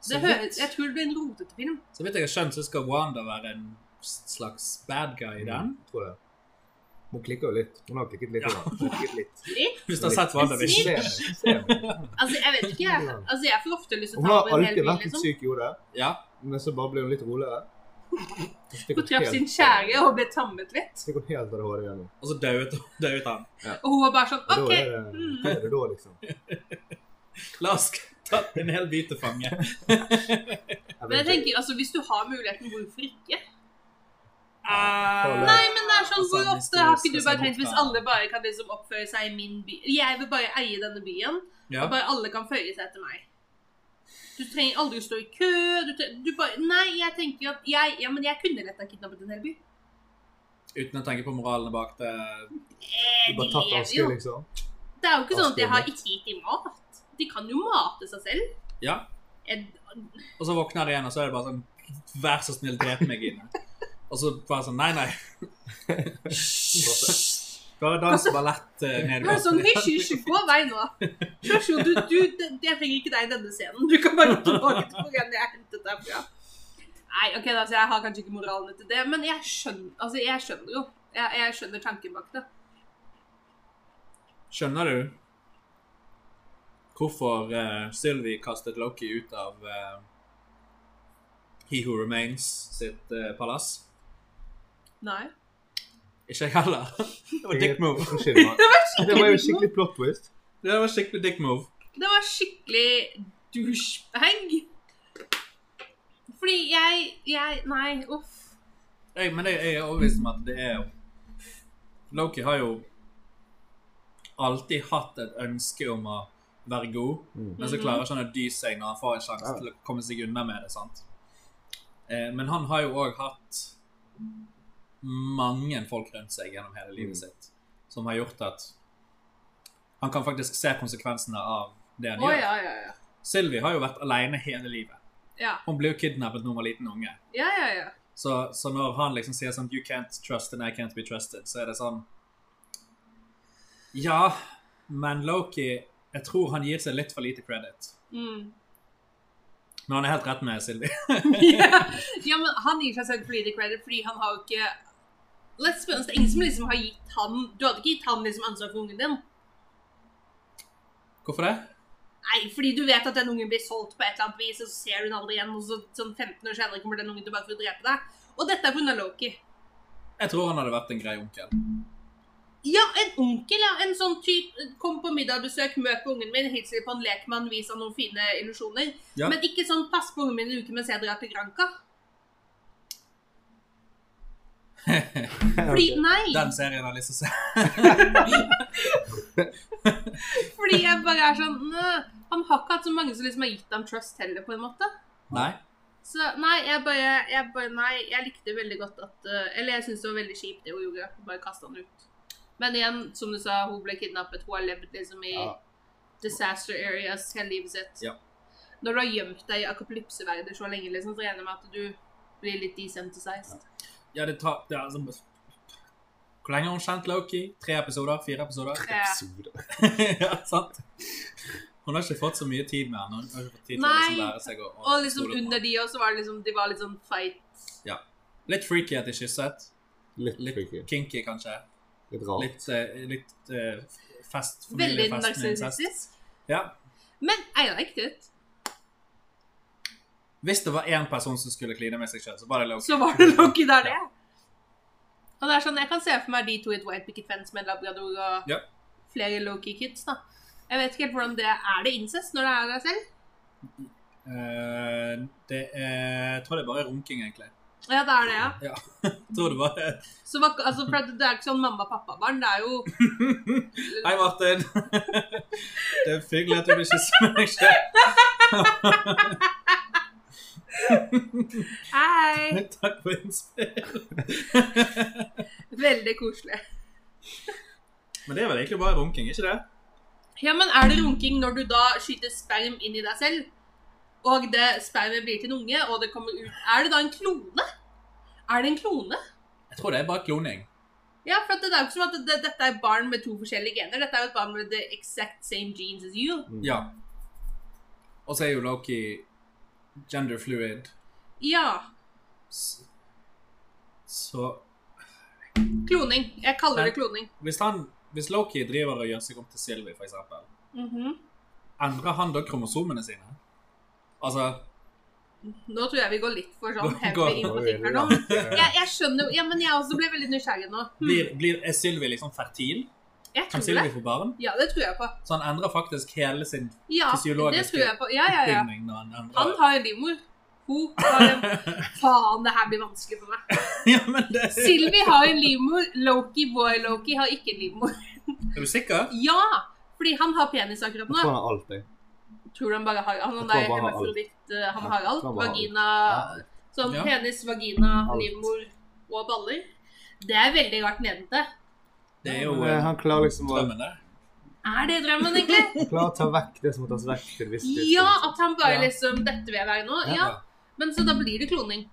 Speaker 3: Så
Speaker 2: Det
Speaker 3: vidt,
Speaker 2: høres, jeg tror det blir en rotete film.
Speaker 3: så vidt jeg har skjønt, så skal Wanda være en slags bad guy i den.
Speaker 4: Mm, Tror jeg. Hun klikker jo litt. Hun har klikket litt.
Speaker 3: Ja.
Speaker 4: Ja. Hun har klikket litt.
Speaker 3: Hvis du har sett WandaVision.
Speaker 4: Se meg, se meg.
Speaker 2: Altså, jeg vet ikke. Jeg, altså, jeg får ofte lyst til å
Speaker 4: Hun
Speaker 2: ta
Speaker 4: har
Speaker 2: over en hel
Speaker 4: alltid
Speaker 2: bil,
Speaker 4: vært litt
Speaker 2: liksom.
Speaker 4: syk i hodet,
Speaker 3: Ja.
Speaker 4: men så bare blir hun litt roligere. Så stikker
Speaker 2: Hun traff
Speaker 4: helt-
Speaker 2: sin kjære og ble tammet litt.
Speaker 4: Stikker hun helt av det håret igjennom.
Speaker 3: Og så dauet dauet han.
Speaker 2: Og hun var bare sånn
Speaker 4: Og
Speaker 2: OK.
Speaker 4: da er det, hva er det da, liksom?
Speaker 3: La oss ta en hel bit til fange.
Speaker 4: Jeg
Speaker 2: Men jeg
Speaker 4: vet ikke.
Speaker 2: tenker, altså, hvis du har muligheten, hvorfor ikke?
Speaker 3: Eh,
Speaker 2: Ah. Nei, men det er sånn,
Speaker 3: Altså,
Speaker 2: Hvor
Speaker 3: hvis du
Speaker 2: ofte har ikke du
Speaker 3: skal
Speaker 2: bare
Speaker 3: se
Speaker 2: tenkt
Speaker 3: bort
Speaker 2: hvis
Speaker 3: fra-
Speaker 2: alle bare kan liksom oppføre seg i min by Jeg vil bare eie denne byen,
Speaker 3: ja.
Speaker 2: og bare alle kan føye seg etter meg. Du trenger aldri å stå i kø. Du, tre- du bare Nei, jeg tenker at jeg Ja, men jeg kunne lett ha kidnappet en hel by.
Speaker 3: Uten å tenke på moralene bak det.
Speaker 2: Eh,
Speaker 4: Du
Speaker 2: de
Speaker 4: bare tatt
Speaker 2: lever
Speaker 4: aske,
Speaker 2: jo.
Speaker 4: liksom.
Speaker 2: Det er jo ikke sånn at de har
Speaker 4: Aske.
Speaker 2: ikke gitt dem mat. De kan jo mate seg selv.
Speaker 3: Ja.
Speaker 2: Jeg,
Speaker 3: Og så våkner de igjen, og så er det bare sånn Vær så snill, drep meg, Gina. Og så bare sånn Nei, nei. Bare dans ballett eh, ned i
Speaker 2: Men sånn,
Speaker 3: gaten.
Speaker 2: hysj, hysj, gå av vei nå. Shoshu, du, du, det- jeg trenger ikke deg i denne scenen. Du kan bare gå tilbake til programmet jeg hentet deg fra. Nei, ok, da, så jeg har kanskje ikke moralen til det, men jeg skjønner, altså, jeg skjønner jo. Jeg, jeg skjønner tanken bak det.
Speaker 3: Skjønner du hvorfor eh, Sylvie kastet Loki ut av eh, He Who Remains sitt eh, palass?
Speaker 2: Nei.
Speaker 3: Ikke jeg heller. Det var dick move.
Speaker 4: Unnskyld meg. Det var jo skikkelig plot twist.
Speaker 3: Det var skikkelig dick move.
Speaker 2: Det var skikkelig douchebag. Fordi jeg, jeg, nei, uff.
Speaker 3: Jeg, men jeg, jeg er overbevist om at det er jo Loki har jo alltid hatt et ønske om å være god,
Speaker 4: Mm.
Speaker 3: men så klarer ikke han å dy seg når han får en sjanse
Speaker 4: Ja.
Speaker 3: til å komme seg unna med det. sant? Eh, men han har jo òg hatt mange folk rundt seg gjennom hele livet
Speaker 4: Mm.
Speaker 3: sitt som har gjort at han kan faktisk se konsekvensene av det han
Speaker 2: Å,
Speaker 3: gjør.
Speaker 2: ja, ja, ja.
Speaker 3: Sylvi har jo vært aleine hele livet.
Speaker 2: Ja,
Speaker 3: Hun ble jo kidnappet da hun var liten unge.
Speaker 2: ja, ja, ja.
Speaker 3: Så, så når han liksom sier sånn You can't trust and I can't be trusted, så er det sånn Ja, men Loki Jeg tror han gir seg litt for lite credit.
Speaker 2: Mm.
Speaker 3: Men han er helt rett med Sylvi.
Speaker 2: ja, men han gir seg selv for lite credit, fordi han har jo ikke Let's be honest, det er ingen som liksom har gitt han Du hadde ikke gitt han liksom ansvar for ungen din.
Speaker 3: Hvorfor det?
Speaker 2: Nei, fordi du vet at den ungen blir solgt på et eller annet vis, og så ser du den aldri igjen, og så sånn 15 år senere kommer den ungen tilbake for å drepe deg. Og dette er pga. Loki.
Speaker 3: Jeg tror han hadde vært en grei onkel.
Speaker 2: Ja, en onkel, ja. En sånn type Kom på middagsbesøk, møt på ungen min, hils litt på en lekmann, vis han noen fine illusjoner.
Speaker 3: Ja.
Speaker 2: Men ikke sånn pass på ungen min en uke mens jeg drar til Granca. Fordi, nei.
Speaker 3: Den serien har jeg lyst til å se.
Speaker 2: Fordi jeg bare er sånn «Nå, Han har ikke hatt så mange som liksom har gitt ham trust heller, på en måte.
Speaker 3: Nei?
Speaker 2: Så nei, jeg bare, jeg bare Nei, jeg likte veldig godt at eh, Eller jeg syns det var veldig kjipt det hun gjorde. Hun Bare kasta han ut. Men igjen, som du sa, hun ble kidnappet. Hun har levd liksom i
Speaker 4: Ja.
Speaker 2: disaster areas hele livet sitt.
Speaker 3: Ja.
Speaker 2: Når du har gjemt deg i akapolypseverder så lenge, liksom, så regner jeg med at du blir litt desensitized.
Speaker 3: Ja, det tar det er altså, Hvor lenge har hun kjent Loki? Tre episoder? Fire episoder?
Speaker 2: Ja.
Speaker 4: Episode.
Speaker 3: ja, sant? Hun har ikke fått så mye tid med han. Hun har ikke fått tid til å
Speaker 2: Nei,
Speaker 3: liksom lære seg å, å
Speaker 2: Og liksom
Speaker 3: stole på han.
Speaker 2: under de også var det liksom De var litt sånn fight
Speaker 3: Litt freaky at de kysset.
Speaker 4: Litt
Speaker 3: Litt
Speaker 4: freaky.
Speaker 3: kinky, kanskje.
Speaker 4: Litt rart.
Speaker 3: Litt, eh, litt eh, fest,
Speaker 2: Veldig
Speaker 3: familiefest med incest.
Speaker 2: narsissistisk.
Speaker 3: Ja.
Speaker 2: Men I liked it.
Speaker 3: Hvis det var én person som skulle kline med seg sjøl, så var det Loki.
Speaker 2: Så var det Loki der, det. Og det er sånn, Jeg kan se for meg de to i et White Picket Fence med labrador og
Speaker 3: Ja.
Speaker 2: flere Loki-kids. da. Jeg vet ikke helt hvordan det er. Er det incest når det er deg selv?
Speaker 3: Eh, det er, jeg tror det er bare runking, egentlig.
Speaker 2: Ja, det er det, ja.
Speaker 3: Ja. Jeg tror det bare
Speaker 2: Så var, ikke- altså, for at Det er ikke sånn mamma-pappa-barn. Det er jo
Speaker 3: Hei, Martin. det er hyggelig at du vil kysse meg sjøl.
Speaker 2: Hei!
Speaker 3: Takk for innspill.
Speaker 2: Veldig koselig.
Speaker 3: Men det er vel egentlig bare runking, ikke det?
Speaker 2: Ja, men er det runking når du da skyter sperm inn i deg selv, og det spermet blir til en unge, og det kommer ut Er det da en klone? Er det en klone?
Speaker 3: Jeg tror det er bare kloning.
Speaker 2: Ja, for at det er jo ikke som at det, dette er barn med to forskjellige gener. Dette er jo et barn med the exact same genes as you.
Speaker 4: Mm.
Speaker 3: Ja. Og så er jo Loki gender fluid,
Speaker 2: Ja.
Speaker 3: S- så
Speaker 2: Kloning. Jeg kaller det kloning.
Speaker 3: hvis, han, hvis Loki driver og gjør seg om til Sylvie, for eksempel,
Speaker 2: Mhm.
Speaker 3: endrer han da kromosomene sine? Altså,
Speaker 2: Nå tror jeg vi går litt for sånn
Speaker 3: Gå- gå-
Speaker 2: heavy inn på ting her nå. Jeg, jeg skjønner jo Ja, men jeg også ble veldig nysgjerrig nå. Hm.
Speaker 3: blir, blir, er Sylvie liksom fertil?
Speaker 2: Jeg
Speaker 3: Kan
Speaker 2: tror
Speaker 3: Sylvie
Speaker 2: det.
Speaker 3: få barn?
Speaker 2: Ja, det tror jeg på.
Speaker 3: Så han endrer faktisk hele sin
Speaker 2: Ja, det
Speaker 3: Fysiologisk
Speaker 2: tror jeg på. Ja, ja, ja.
Speaker 3: oppbygning når han endrer
Speaker 2: Han har en livmor. Hun har en Faen, det her blir vanskelig for meg.
Speaker 3: ja, men det...
Speaker 2: Sylvi har en livmor. Loki, boy Loki, har ikke en livmor.
Speaker 3: Er du sikker?
Speaker 2: Ja! Fordi han har penis akkurat
Speaker 4: Jeg
Speaker 2: nå.
Speaker 4: tror han har alt, jeg.
Speaker 2: Tror han bare har Han, han
Speaker 4: Jeg tror
Speaker 2: er
Speaker 4: han bare har
Speaker 2: hemofroditt, eh, han
Speaker 4: Ja,
Speaker 2: har alt.
Speaker 4: tror han bare har
Speaker 2: Vagina Sånn
Speaker 3: Ja.
Speaker 2: penis, vagina,
Speaker 4: Alt.
Speaker 2: livmor og baller. Det er veldig rart nedentil.
Speaker 3: Det er jo
Speaker 4: Men, eh,
Speaker 3: eh,
Speaker 4: Han klarer liksom å
Speaker 3: drømmen der.
Speaker 2: Er det drømmen, egentlig?
Speaker 4: klarer å ta vekk det som må tas vekk til et visst tidspunkt.
Speaker 2: Ja, at han bare
Speaker 3: Ja.
Speaker 2: liksom Dette vil jeg være nå. Ja. Men så da blir det kloning.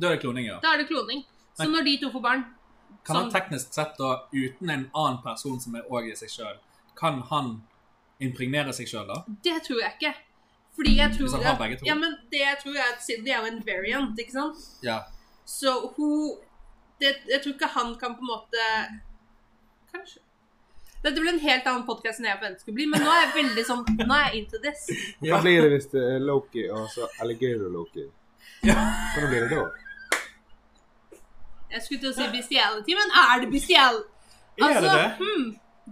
Speaker 3: Da er det kloning, ja.
Speaker 2: Da er det kloning. Så
Speaker 3: Men-
Speaker 2: når de to får barn
Speaker 3: Kan han
Speaker 2: sånn-
Speaker 3: teknisk sett da, uten en annen person som er òg i seg sjøl, kan han impregnere seg sjøl da?
Speaker 2: Det tror jeg ikke. Fordi jeg tror
Speaker 3: Hvis han har begge to.
Speaker 2: Ja, men det jeg tror er at siden de er jo en variant, ikke sant?
Speaker 3: Ja.
Speaker 2: Så hun det, Jeg tror ikke han kan på en måte Kanskje. Dette blir en helt annen podkast enn jeg forventet skulle bli, men nå er jeg veldig sånn Nå er jeg into this.
Speaker 4: Hva blir det hvis det er Loki og så Alligator Loki?
Speaker 3: Ja.
Speaker 4: Hvordan blir det da?
Speaker 2: Jeg skulle til å si bestiality, men er det bestial?
Speaker 3: Er det det?
Speaker 2: Hmm,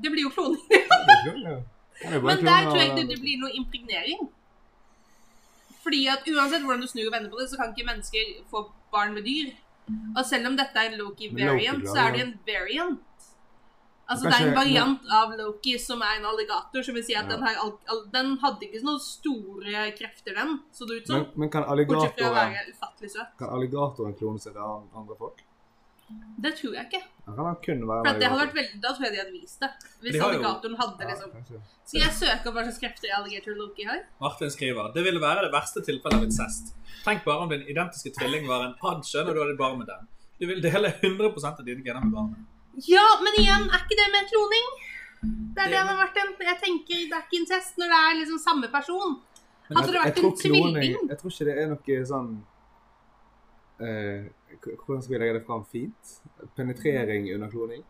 Speaker 2: det blir jo kloning.
Speaker 4: Det er kloning, ja. Det er bare
Speaker 2: Men der
Speaker 4: kloning
Speaker 2: tror jeg
Speaker 4: av-
Speaker 2: ikke det blir noe impregnering. Fordi at uansett hvordan du snur og vender på det, så kan ikke mennesker få barn med dyr. Og selv om dette er en Loki
Speaker 4: Men Loki
Speaker 2: variant, så
Speaker 4: klarer
Speaker 2: er det
Speaker 4: det.
Speaker 2: en variant. Altså
Speaker 4: Men
Speaker 2: det er en
Speaker 4: kanskje-
Speaker 2: variant av Loki som er en alligator, som vil si at
Speaker 4: Ja.
Speaker 2: den, har, al- al- den hadde ikke noen store krefter, den. Så det ut som.
Speaker 4: Men, men kan
Speaker 2: sånn Bortsett fra å
Speaker 4: alligatoren,
Speaker 2: være ufattelig søt.
Speaker 4: kan alligatoren klone seg til an- andre folk?
Speaker 2: Det tror jeg ikke.
Speaker 4: Da kan han kun være
Speaker 2: For at det hadde vært
Speaker 4: alligator.
Speaker 2: veldig, Da tror jeg de hadde vist det.
Speaker 3: de
Speaker 2: Hvis
Speaker 3: har jo-
Speaker 2: alligatoren hadde liksom
Speaker 4: Ja, kanskje.
Speaker 2: Skal jeg søke opp hva slags krefter alligator Loki har?
Speaker 3: Martin skriver det ville være det verste tilfellet av incest. Tenk bare om din identiske tvilling var en annen kjønn, og du hadde barn med den. Du vil dele 100 av dine gener med barnet.
Speaker 2: Ja, men igjen, er ikke det mer kloning? Det er det, det Martin. Jeg tenker det er ikke incest når det er liksom samme person.
Speaker 3: Men
Speaker 2: Hadde det
Speaker 4: Jeg- jeg
Speaker 2: vært
Speaker 4: tror
Speaker 2: en tvilling
Speaker 4: kloning- Jeg tror ikke det er noe sånn eh, k- Hvordan skal vi legge det fram fint? Penetrering under kloning?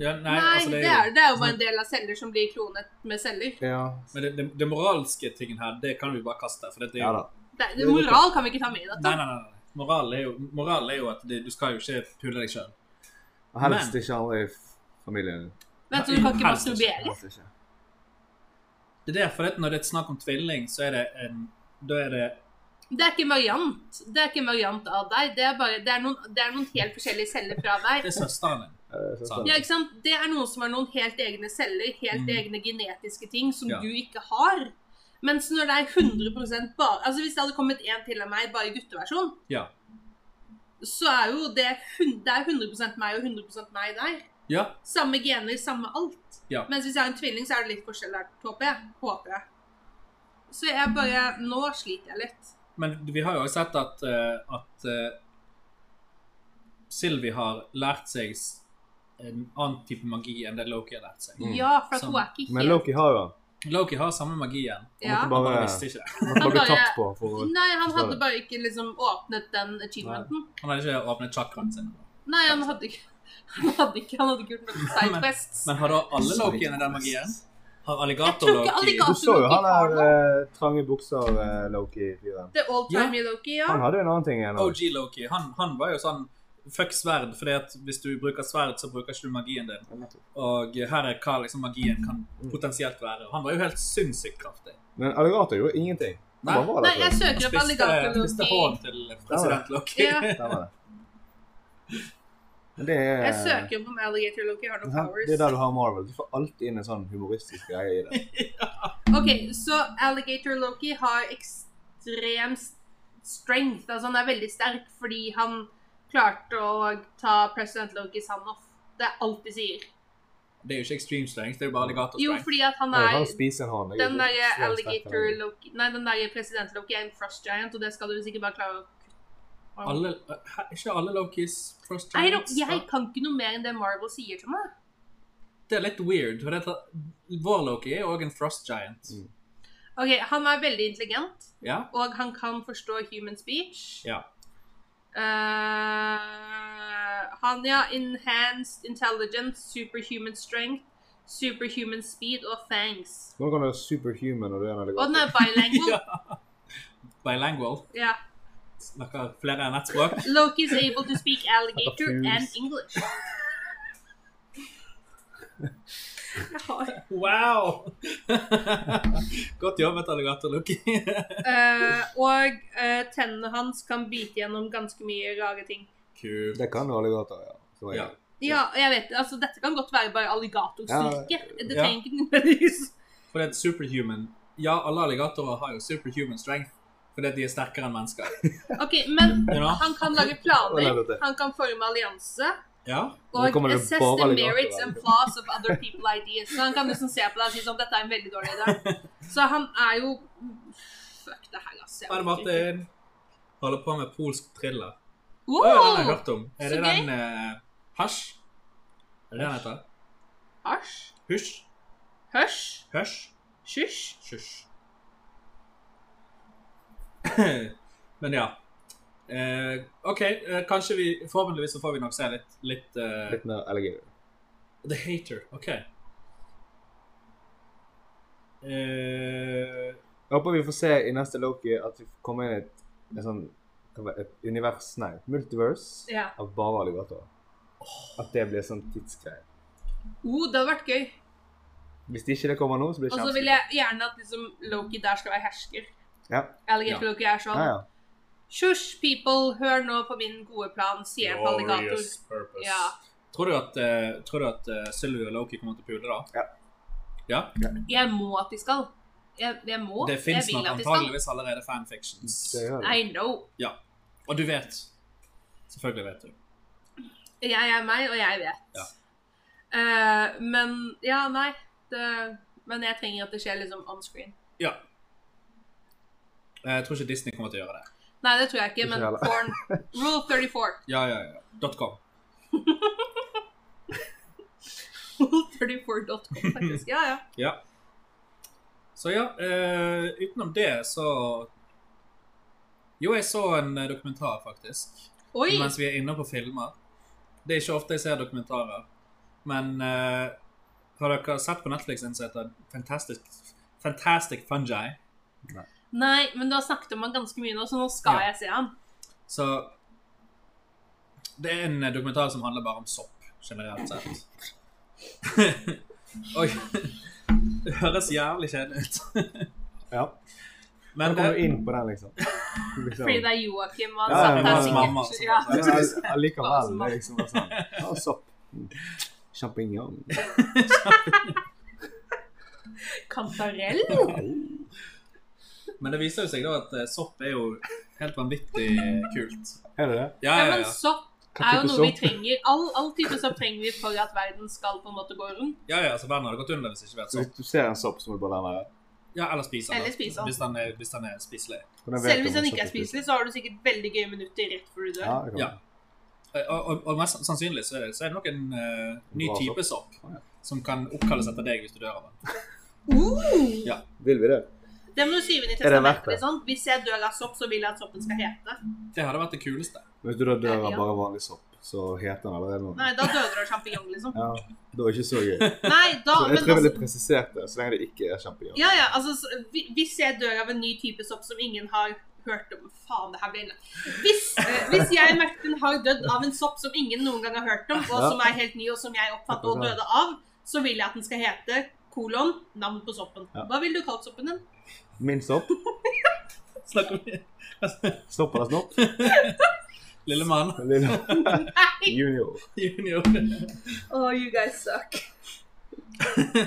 Speaker 3: Ja, nei,
Speaker 2: Nei,
Speaker 3: altså,
Speaker 2: det, er, det er jo bare en del av celler som blir klonet med celler.
Speaker 4: Ja.
Speaker 3: Men det, det, det moralske tingen her, det kan vi bare kaste. For det, det er
Speaker 4: ja
Speaker 3: jo
Speaker 4: da.
Speaker 2: Det, er- moral kan vi ikke ta med i
Speaker 3: Nei,
Speaker 2: dette.
Speaker 3: nei, nei. nei. Moral er jo, moral er jo at det, du skal jo ikke pule deg sjøl.
Speaker 4: Og helst ikke alle i f- familien.
Speaker 2: Vet du, du kan ikke
Speaker 3: Helst
Speaker 2: masturbere.
Speaker 4: Helst ikke.
Speaker 3: Det er derfor at når det er snakk om tvilling, så er det en Da er det
Speaker 2: Det er ikke en variant. Det er ikke en variant av deg. Det er, bare, det er, noen, det er noen helt forskjellige celler fra deg.
Speaker 3: Det er søsteren din.
Speaker 4: Eh, så-
Speaker 3: Sant.
Speaker 2: Ja, ikke sant? Det er noen som har noen helt egne celler, helt
Speaker 3: Mm.
Speaker 2: egne genetiske ting som
Speaker 3: Ja.
Speaker 2: du ikke har. Mens når det er 100 bare Altså Hvis det hadde kommet en til av meg bare i gutteversjon,
Speaker 3: Ja.
Speaker 2: så er jo det, hun- det er 100 meg og 100 meg der.
Speaker 3: Ja.
Speaker 2: Samme gener, samme alt.
Speaker 3: Ja.
Speaker 2: Mens hvis jeg har en tvilling, så er det litt forskjell der, håper jeg. Håper jeg. Så jeg bare Nå sliter jeg litt.
Speaker 3: Men vi har jo også sett at, eh, at eh, Sylvi har lært seg s- en annen type magi enn det Loki har lært seg.
Speaker 4: Mm.
Speaker 2: Ja, for at
Speaker 3: Samme.
Speaker 2: hun er ikke helt
Speaker 4: Men Loki har jo han.
Speaker 3: Loki har samme magien.
Speaker 2: ja.
Speaker 3: Han bare
Speaker 4: Bare-
Speaker 3: visste ikke det.
Speaker 4: Han
Speaker 2: Han
Speaker 4: ble
Speaker 2: bare-
Speaker 4: tatt på for å
Speaker 2: Nei, han
Speaker 4: Forstår
Speaker 2: hadde
Speaker 4: det.
Speaker 2: bare ikke liksom åpnet den achievementen.
Speaker 3: Han hadde ikke åpnet chakraen sin.
Speaker 2: Nei, han hadde ikke Han hadde ikke, han hadde ikke gjort noen side quests.
Speaker 3: Men har da alle Lokiene den magien? Har
Speaker 2: Jeg tror ikke
Speaker 3: alligator-Loki
Speaker 2: alligator-
Speaker 4: Du så jo han
Speaker 2: Loki
Speaker 4: der
Speaker 2: har
Speaker 4: eh, trange bukser-Loki-fyren.
Speaker 2: The old time Loki, ja.
Speaker 4: Han hadde jo en annen ting igjen. også.
Speaker 3: OG Loki, han, han var jo sånn Fuck sverd, fordi at hvis du bruker sverd, så bruker ikke du magien din. Og her er hva liksom magien kan
Speaker 2: Mm.
Speaker 3: potensielt være. Og Han var jo helt sinnssykt kraftig.
Speaker 4: Men alligator gjorde ingenting.
Speaker 3: Nei.
Speaker 4: Han bare var
Speaker 2: Nei,
Speaker 4: der.
Speaker 2: jeg
Speaker 4: for.
Speaker 2: søker
Speaker 3: Han
Speaker 2: opp alligator
Speaker 3: spiste, spiste hånden
Speaker 2: Loki.
Speaker 3: til president Loki.
Speaker 2: Ja.
Speaker 4: Der var det. Men det er
Speaker 2: Jeg søker opp om alligator Loki har noen
Speaker 4: Det er der
Speaker 2: powers.
Speaker 4: du har Marvel. Du får alltid inn en sånn humoristisk greie i det.
Speaker 2: OK, så alligator Loki har ekstrem s- strength. Altså han er veldig sterk fordi han klarte å ta president Lokis hand off. Det er alt de sier.
Speaker 3: Det er jo ikke extreme strength, det er jo bare alligator
Speaker 2: Jo,
Speaker 3: strength.
Speaker 2: fordi at han
Speaker 4: Jeg
Speaker 2: er
Speaker 4: kan spise en hånd. Jeg er
Speaker 2: Den
Speaker 4: ikke
Speaker 2: derre
Speaker 4: så sterk
Speaker 2: alligator
Speaker 4: for det.
Speaker 2: Loki Nei, den derre president Loki er en frost giant, og det skal du sikkert bare klare å kutte.
Speaker 3: Alle, hæ, ikke alle Lokis frost
Speaker 2: Nei, da,
Speaker 3: giants?
Speaker 2: jeg kan ikke noe mer enn det Marvel sier til meg.
Speaker 3: Det er litt weird, for det er, vår Loki er jo også en frost giant.
Speaker 4: Mm.
Speaker 2: Ok, Han er veldig intelligent,
Speaker 3: Ja?
Speaker 2: og han kan forstå human speech.
Speaker 3: Ja.
Speaker 2: Eh, han, ja. Enhanced intelligence, superhuman strength, superhuman speed og fangs.
Speaker 4: Hvordan kan du være superhuman når du er en
Speaker 2: Og den
Speaker 4: alligator?
Speaker 2: er bilingual.
Speaker 3: ja. Bilingual.
Speaker 2: ja.
Speaker 3: Snakker flere enn ett språk.
Speaker 2: Loki is able to speak alligator and English. Jeg har
Speaker 3: Wow! Godt jobbet, alligator Loki.
Speaker 2: Eh, og eh, tennene hans kan bite gjennom ganske mye rare ting.
Speaker 3: Kult.
Speaker 4: Det kan du alligator, ja. Så er
Speaker 3: Ja.
Speaker 4: det.
Speaker 2: Ja, og jeg vet, altså Dette kan godt være bare alligatorstyrke. det
Speaker 3: ja.
Speaker 2: trenger ikke nødvendigvis
Speaker 3: For det er et superhuman. Ja, alle alligatorer har jo superhuman strength. Fordi at de er sterkere enn mennesker.
Speaker 2: Ok, Men
Speaker 3: Ja.
Speaker 2: han kan lage
Speaker 4: Hva er
Speaker 2: planer,
Speaker 4: dette?
Speaker 2: han kan forme allianse.
Speaker 3: Ja.
Speaker 4: Nå
Speaker 2: Og
Speaker 4: kommer det
Speaker 2: assess
Speaker 4: bare
Speaker 2: the
Speaker 4: alligatorer.
Speaker 2: merits and flaws of other people ideas. Så han kan liksom se på deg og si sånn Dette er en veldig dårlig idé. Så han er jo Fuck det her, altså.
Speaker 3: Ha det, Martin. holder på med polsk thriller.
Speaker 2: Wow!
Speaker 3: Å, ja, den har jeg hørt om. Er
Speaker 2: så
Speaker 3: det
Speaker 2: gøy.
Speaker 3: den eh, Hasj? Er det den heter?
Speaker 2: Hasj.
Speaker 3: Husj?
Speaker 2: Høsj.
Speaker 3: Høsj?
Speaker 2: Sjusj.
Speaker 3: Hysj. Men ja. Eh, OK, eh, kanskje vi Forhåpentligvis så får vi nok se litt, litt eh,
Speaker 4: Litt mer alligator.
Speaker 3: The Hater. OK. Eh,
Speaker 4: Jeg håper vi får se i neste Loki at vi kommer inn i et, et sånn hva var det, et univers, nei, multiverse
Speaker 2: Ja.
Speaker 4: av bare alligatorer. At det blir sånn tidsgreie.
Speaker 2: Oh, det hadde vært gøy.
Speaker 4: Hvis det ikke det kommer nå, så blir
Speaker 2: Og
Speaker 4: det
Speaker 2: så vil
Speaker 4: kjempeskummelt.
Speaker 2: jeg gjerne at liksom, Loki der skal være hersker.
Speaker 4: Ja.
Speaker 2: Alligator Loki er
Speaker 4: Ja,
Speaker 2: sånn
Speaker 4: ja.
Speaker 2: Sjusj, people, hør nå på min gode plan, sier en alligator.
Speaker 3: glorious purpose.
Speaker 2: Ja.
Speaker 3: Tror du at, eh, tror du at eh, Sylvie og Loki kommer til å pule, da?
Speaker 4: Ja.
Speaker 3: Ja?
Speaker 2: Jeg må at de skal. Jeg, jeg må.
Speaker 3: Det
Speaker 2: jeg
Speaker 3: fins
Speaker 2: vil
Speaker 3: nok
Speaker 2: at de skal.
Speaker 3: antageligvis allerede fanfictions.
Speaker 4: Det gjør det.
Speaker 2: I know.
Speaker 3: Ja. Og du vet. Selvfølgelig vet du.
Speaker 2: Jeg er meg, og jeg vet.
Speaker 3: Ja.
Speaker 2: Eh, men Ja, nei. Det, men jeg trenger at det skjer liksom on screen.
Speaker 3: Ja. Eh, Jeg tror ikke Disney kommer til å gjøre det.
Speaker 2: Nei, det tror jeg ikke,
Speaker 4: Ikke
Speaker 2: men
Speaker 4: heller.
Speaker 2: porn. Rule 34.
Speaker 3: Ja, ja, ja. .com.
Speaker 2: Rule34.com, faktisk. Ja, ja.
Speaker 3: Ja. Så ja, eh, utenom det så Jo, jeg så en eh, dokumentar, faktisk.
Speaker 2: Oi!
Speaker 3: Mens vi er inne på filmer. Det er ikke ofte jeg ser dokumentarer. Men eh, har dere sett på Netflix en som heter Fantastic, Fantastic Fungi?
Speaker 2: Nei, men du har snakket om han ganske mye nå, så nå skal
Speaker 3: Ja.
Speaker 2: jeg se han.
Speaker 3: Så Det er en eh, dokumentar som handler bare om sopp, generelt sett. Oi. Det høres jævlig kjedelig ut.
Speaker 4: Ja.
Speaker 3: Men eh,
Speaker 4: Han kommer
Speaker 3: det-
Speaker 4: jo inn på den, liksom. liksom.
Speaker 2: Fordi det er Joakim og han
Speaker 4: Ja, ja,
Speaker 2: satt der
Speaker 4: hans
Speaker 3: mamma
Speaker 2: sikkert.
Speaker 3: også.
Speaker 2: Ja.
Speaker 4: Men all- Allikevel, det er liksom bare sånn. Ja, sopp. Mm. Sjampinjong.
Speaker 2: Kantarell?
Speaker 3: Men det viser jo seg da at eh, sopp er jo helt vanvittig kult.
Speaker 4: Er det det?
Speaker 3: Ja,
Speaker 2: Ja,
Speaker 3: ja,
Speaker 2: men
Speaker 3: ja.
Speaker 2: sopp
Speaker 4: Hva
Speaker 2: er jo
Speaker 4: type
Speaker 2: noe vi
Speaker 4: sopp?
Speaker 2: trenger. All, all type sopp trenger vi for at verden skal på en måte gå rundt.
Speaker 3: ja, ja så verden hadde gått under hvis det ikke vært
Speaker 4: Så
Speaker 3: sopp.
Speaker 4: hvis du ser en sopp, så må du bare la den være.
Speaker 3: Ja, eller spise den.
Speaker 2: Eller spise den.
Speaker 3: Hvis den er, hvis den er spiselig.
Speaker 4: Hvordan vet
Speaker 2: Selv
Speaker 4: du
Speaker 2: hvis
Speaker 4: om
Speaker 2: den
Speaker 4: en
Speaker 2: ikke er
Speaker 4: sopp
Speaker 2: spiselig, så har du sikkert veldig gøye minutter rett før du
Speaker 4: Ja,
Speaker 2: dør.
Speaker 4: det
Speaker 3: Ja.
Speaker 4: kan
Speaker 3: Eh, Og, og, og mest sannsynlig så er det, så er det nok en eh, ny
Speaker 4: Bra
Speaker 3: type sopp
Speaker 4: Ja.
Speaker 3: som kan oppkalles etter deg hvis du dør av den.
Speaker 2: Uh!
Speaker 3: Ja.
Speaker 4: Vil vi det?
Speaker 2: Det må du skrive inn i
Speaker 4: Er det verdt
Speaker 2: testamentet.
Speaker 4: det?
Speaker 2: Sånn. Hvis jeg dør av sopp, så vil jeg at soppen skal hete.
Speaker 3: Det hadde vært det kuleste.
Speaker 4: Hvis du da dør av
Speaker 2: Ja.
Speaker 4: bare vanlig sopp, så heter den allerede noe.
Speaker 2: Nei, da døde du av sjampinjong, liksom.
Speaker 4: Ja, det var ikke så gøy. Så
Speaker 2: Nei, da, men
Speaker 4: jeg tror jeg
Speaker 2: altså,
Speaker 4: ville presisert det, så lenge det ikke er sjampinjong.
Speaker 2: ja, ja, altså, så- hvi- hvis jeg dør av en ny type sopp som ingen har hørt om Faen, det her blir hvis, eh, hvis jeg, Martin, har dødd av en sopp som ingen noen gang har hørt om, og
Speaker 4: Ja.
Speaker 2: som er helt ny, og som jeg oppfattet og døde av, så vil jeg at den skal hete kolon, navn på soppen.
Speaker 4: Ja.
Speaker 2: Hva ville du kalt soppen din?
Speaker 4: Min sopp.
Speaker 3: Snakk om det.
Speaker 4: Snopp eller snopp?
Speaker 3: Lille mann.
Speaker 4: Lille
Speaker 2: Nei!
Speaker 4: junior.
Speaker 3: Junior.
Speaker 2: Oh, you guys suck.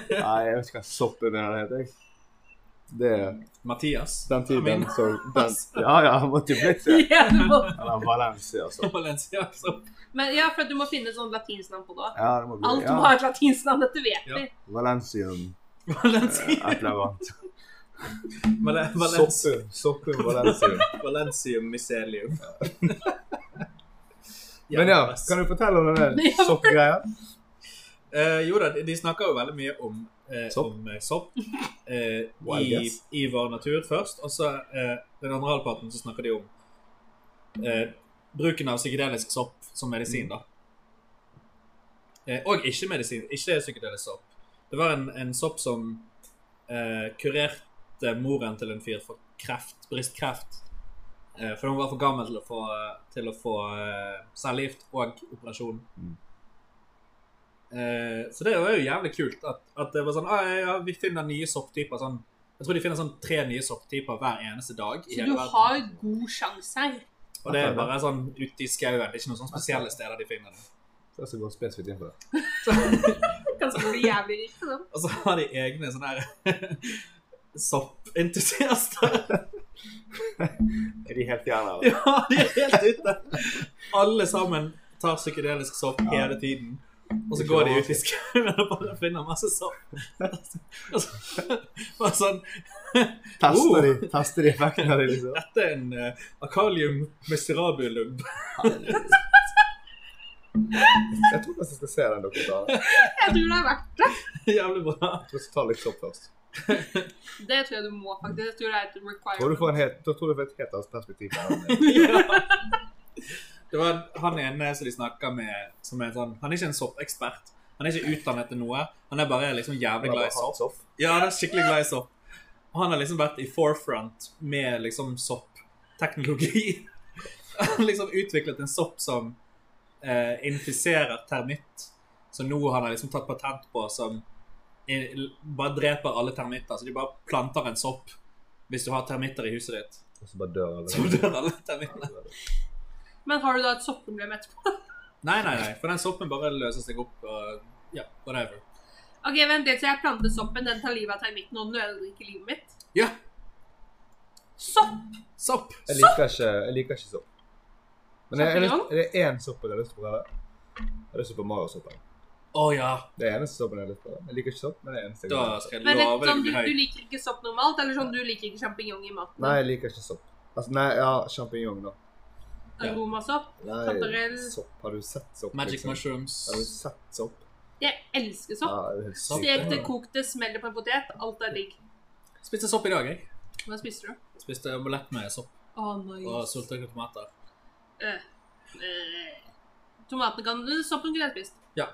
Speaker 4: Nei, jeg vet ikke hva sopp er det her heter. jeg. Det er
Speaker 3: Mathias.
Speaker 4: den tiden
Speaker 3: Min.
Speaker 4: så den, Ja, ja, han måtte jo blitt det.
Speaker 2: Ja, du må,
Speaker 4: Eller Valencia, altså.
Speaker 3: Valencia. sopp.
Speaker 2: men ja, for at du må finne et sånt latinsk navn på det. også.
Speaker 4: Ja, det må bli
Speaker 2: Alt
Speaker 4: ja.
Speaker 2: må ha et latinsk navn, dette vet
Speaker 3: Ja.
Speaker 2: vi.
Speaker 4: Valencium. eh,
Speaker 3: Valencia.
Speaker 4: Et eller annet.
Speaker 3: Valen- Valencia.
Speaker 4: Soppum. Soppum Valencium.
Speaker 3: Valencium mycelium.
Speaker 4: Men ja, kan du fortelle om denne
Speaker 2: Ja.
Speaker 4: soppgreia?
Speaker 3: Eh, jo da, de- de snakker jo veldig mye om eh,
Speaker 4: Sopp.
Speaker 3: om, eh, sopp eh,
Speaker 4: Wild
Speaker 3: i,
Speaker 4: guess.
Speaker 3: i vår natur først. Og så eh, den andre halvparten så snakker de om eh, bruken av psykedelisk sopp som
Speaker 4: Mm.
Speaker 3: medisin, da. Eh, og ikke medisin, ikke psykedelisk sopp. Det var en, en sopp som eh, kurerte moren til en fyr for kreft, brystkreft. Eh, for hun var for gammel til å få, til å få eh, cellegift og operasjon.
Speaker 4: Mm.
Speaker 3: Eh, så det var jo jævlig kult at, at det var sånn ah, ja, ja, vi finner nye sopptyper sånn Jeg tror de finner sånn tre nye sopptyper hver eneste dag. i
Speaker 2: Så
Speaker 3: hele
Speaker 2: du
Speaker 3: verden.
Speaker 2: har god sjanse her.
Speaker 3: Og det er bare sånn ute i skauen. Det er ikke noen sånne spesielle steder de finner det.
Speaker 4: Jeg skal gå spesifikt inn på det.
Speaker 2: Kanskje blir jævlig rik på den.
Speaker 3: Og så har de egne sånne her soppentusiaster.
Speaker 4: Er de helt fjerne? eller?
Speaker 3: Ja, de er helt ute. Alle sammen tar psykedelisk sopp hele tiden. Og så går de ut i skauen og bare finner masse sopp. Og så- Bare sånn
Speaker 4: Tester
Speaker 3: Oh.
Speaker 4: de, tester de effekten av det, liksom.
Speaker 3: Dette er en uh, akalium miserabulum.
Speaker 4: Jeg tror kanskje jeg skal se den dokumentaren.
Speaker 2: Jeg tror det er verdt det.
Speaker 3: Jævlig bra.
Speaker 4: Jeg tror jeg skal ta litt sopp først.
Speaker 2: Det tror jeg du må, faktisk. Jeg tror det er et
Speaker 4: Tror du
Speaker 2: requirement.
Speaker 4: får en helt, da tror du får et helt annet perspektiv.
Speaker 3: Ja. Det var han ene som de snakker med, som er sånn Han er ikke en soppekspert. Han er ikke utdannet til noe. Han er bare liksom jævlig glad i sopp.
Speaker 4: sopp.
Speaker 3: Ja, han er skikkelig glad i sopp. Og han har liksom vært i forefront med liksom soppteknologi. Han har liksom utviklet en sopp som eh, infiserer termitt. Så nå han har liksom tatt patent på som i- bare dreper alle termitter. Så de bare planter en sopp hvis du har termitter i huset ditt.
Speaker 4: Og så bare dør
Speaker 3: Så
Speaker 4: alle.
Speaker 3: dør alle termittene.
Speaker 2: Men har du da et soppproblem etterpå?
Speaker 3: Nei, nei, nei. For den soppen bare løser seg opp og ja, whatever.
Speaker 2: Ok, vent litt til jeg planter soppen. Den tar livet av termitten, og den ødelegger livet mitt.
Speaker 3: Ja,
Speaker 2: Sopp!
Speaker 3: sopp!
Speaker 4: Jeg liker ikke, jeg liker ikke sopp. Men er, er, det,
Speaker 2: Champignon?
Speaker 4: er det én sopp jeg har lyst til å prøve? Det er Super Mario-soppen.
Speaker 3: Å ja.
Speaker 4: Det er eneste soppen jeg har lyst til å prøve. Jeg liker ikke sopp, men det er eneste jeg
Speaker 3: Da
Speaker 4: har lyst til.
Speaker 3: skal jeg
Speaker 2: Men det,
Speaker 3: love deg å
Speaker 2: sånn, du,
Speaker 3: bli høy.
Speaker 2: du liker ikke sopp normalt, eller sånn du liker ikke sjampinjong i maten?
Speaker 4: Nei, jeg liker ikke sopp. Altså, nei, ja, sjampinjong, da.
Speaker 3: ja.
Speaker 2: Aromasopp?
Speaker 4: Nei,
Speaker 2: Kantarell?
Speaker 4: sopp. Har du sett sopp?
Speaker 2: sånn-
Speaker 3: Magic
Speaker 4: liksom?
Speaker 3: mushrooms.
Speaker 4: Har du sett sopp?
Speaker 2: Jeg elsker sopp.
Speaker 4: Ja, det er helt
Speaker 3: Sopp.
Speaker 4: sykt.
Speaker 2: Stekte, kokte, smeller på en potet. Alt er digg.
Speaker 3: Spiste sopp i dag, jeg.
Speaker 2: Hva spiser du?
Speaker 3: Spiste omelett med sopp
Speaker 2: Å, nice.
Speaker 3: og syltetøyde tomater.
Speaker 2: Eh, Tomatene kan du Soppen kunne jeg spist.
Speaker 3: Ja.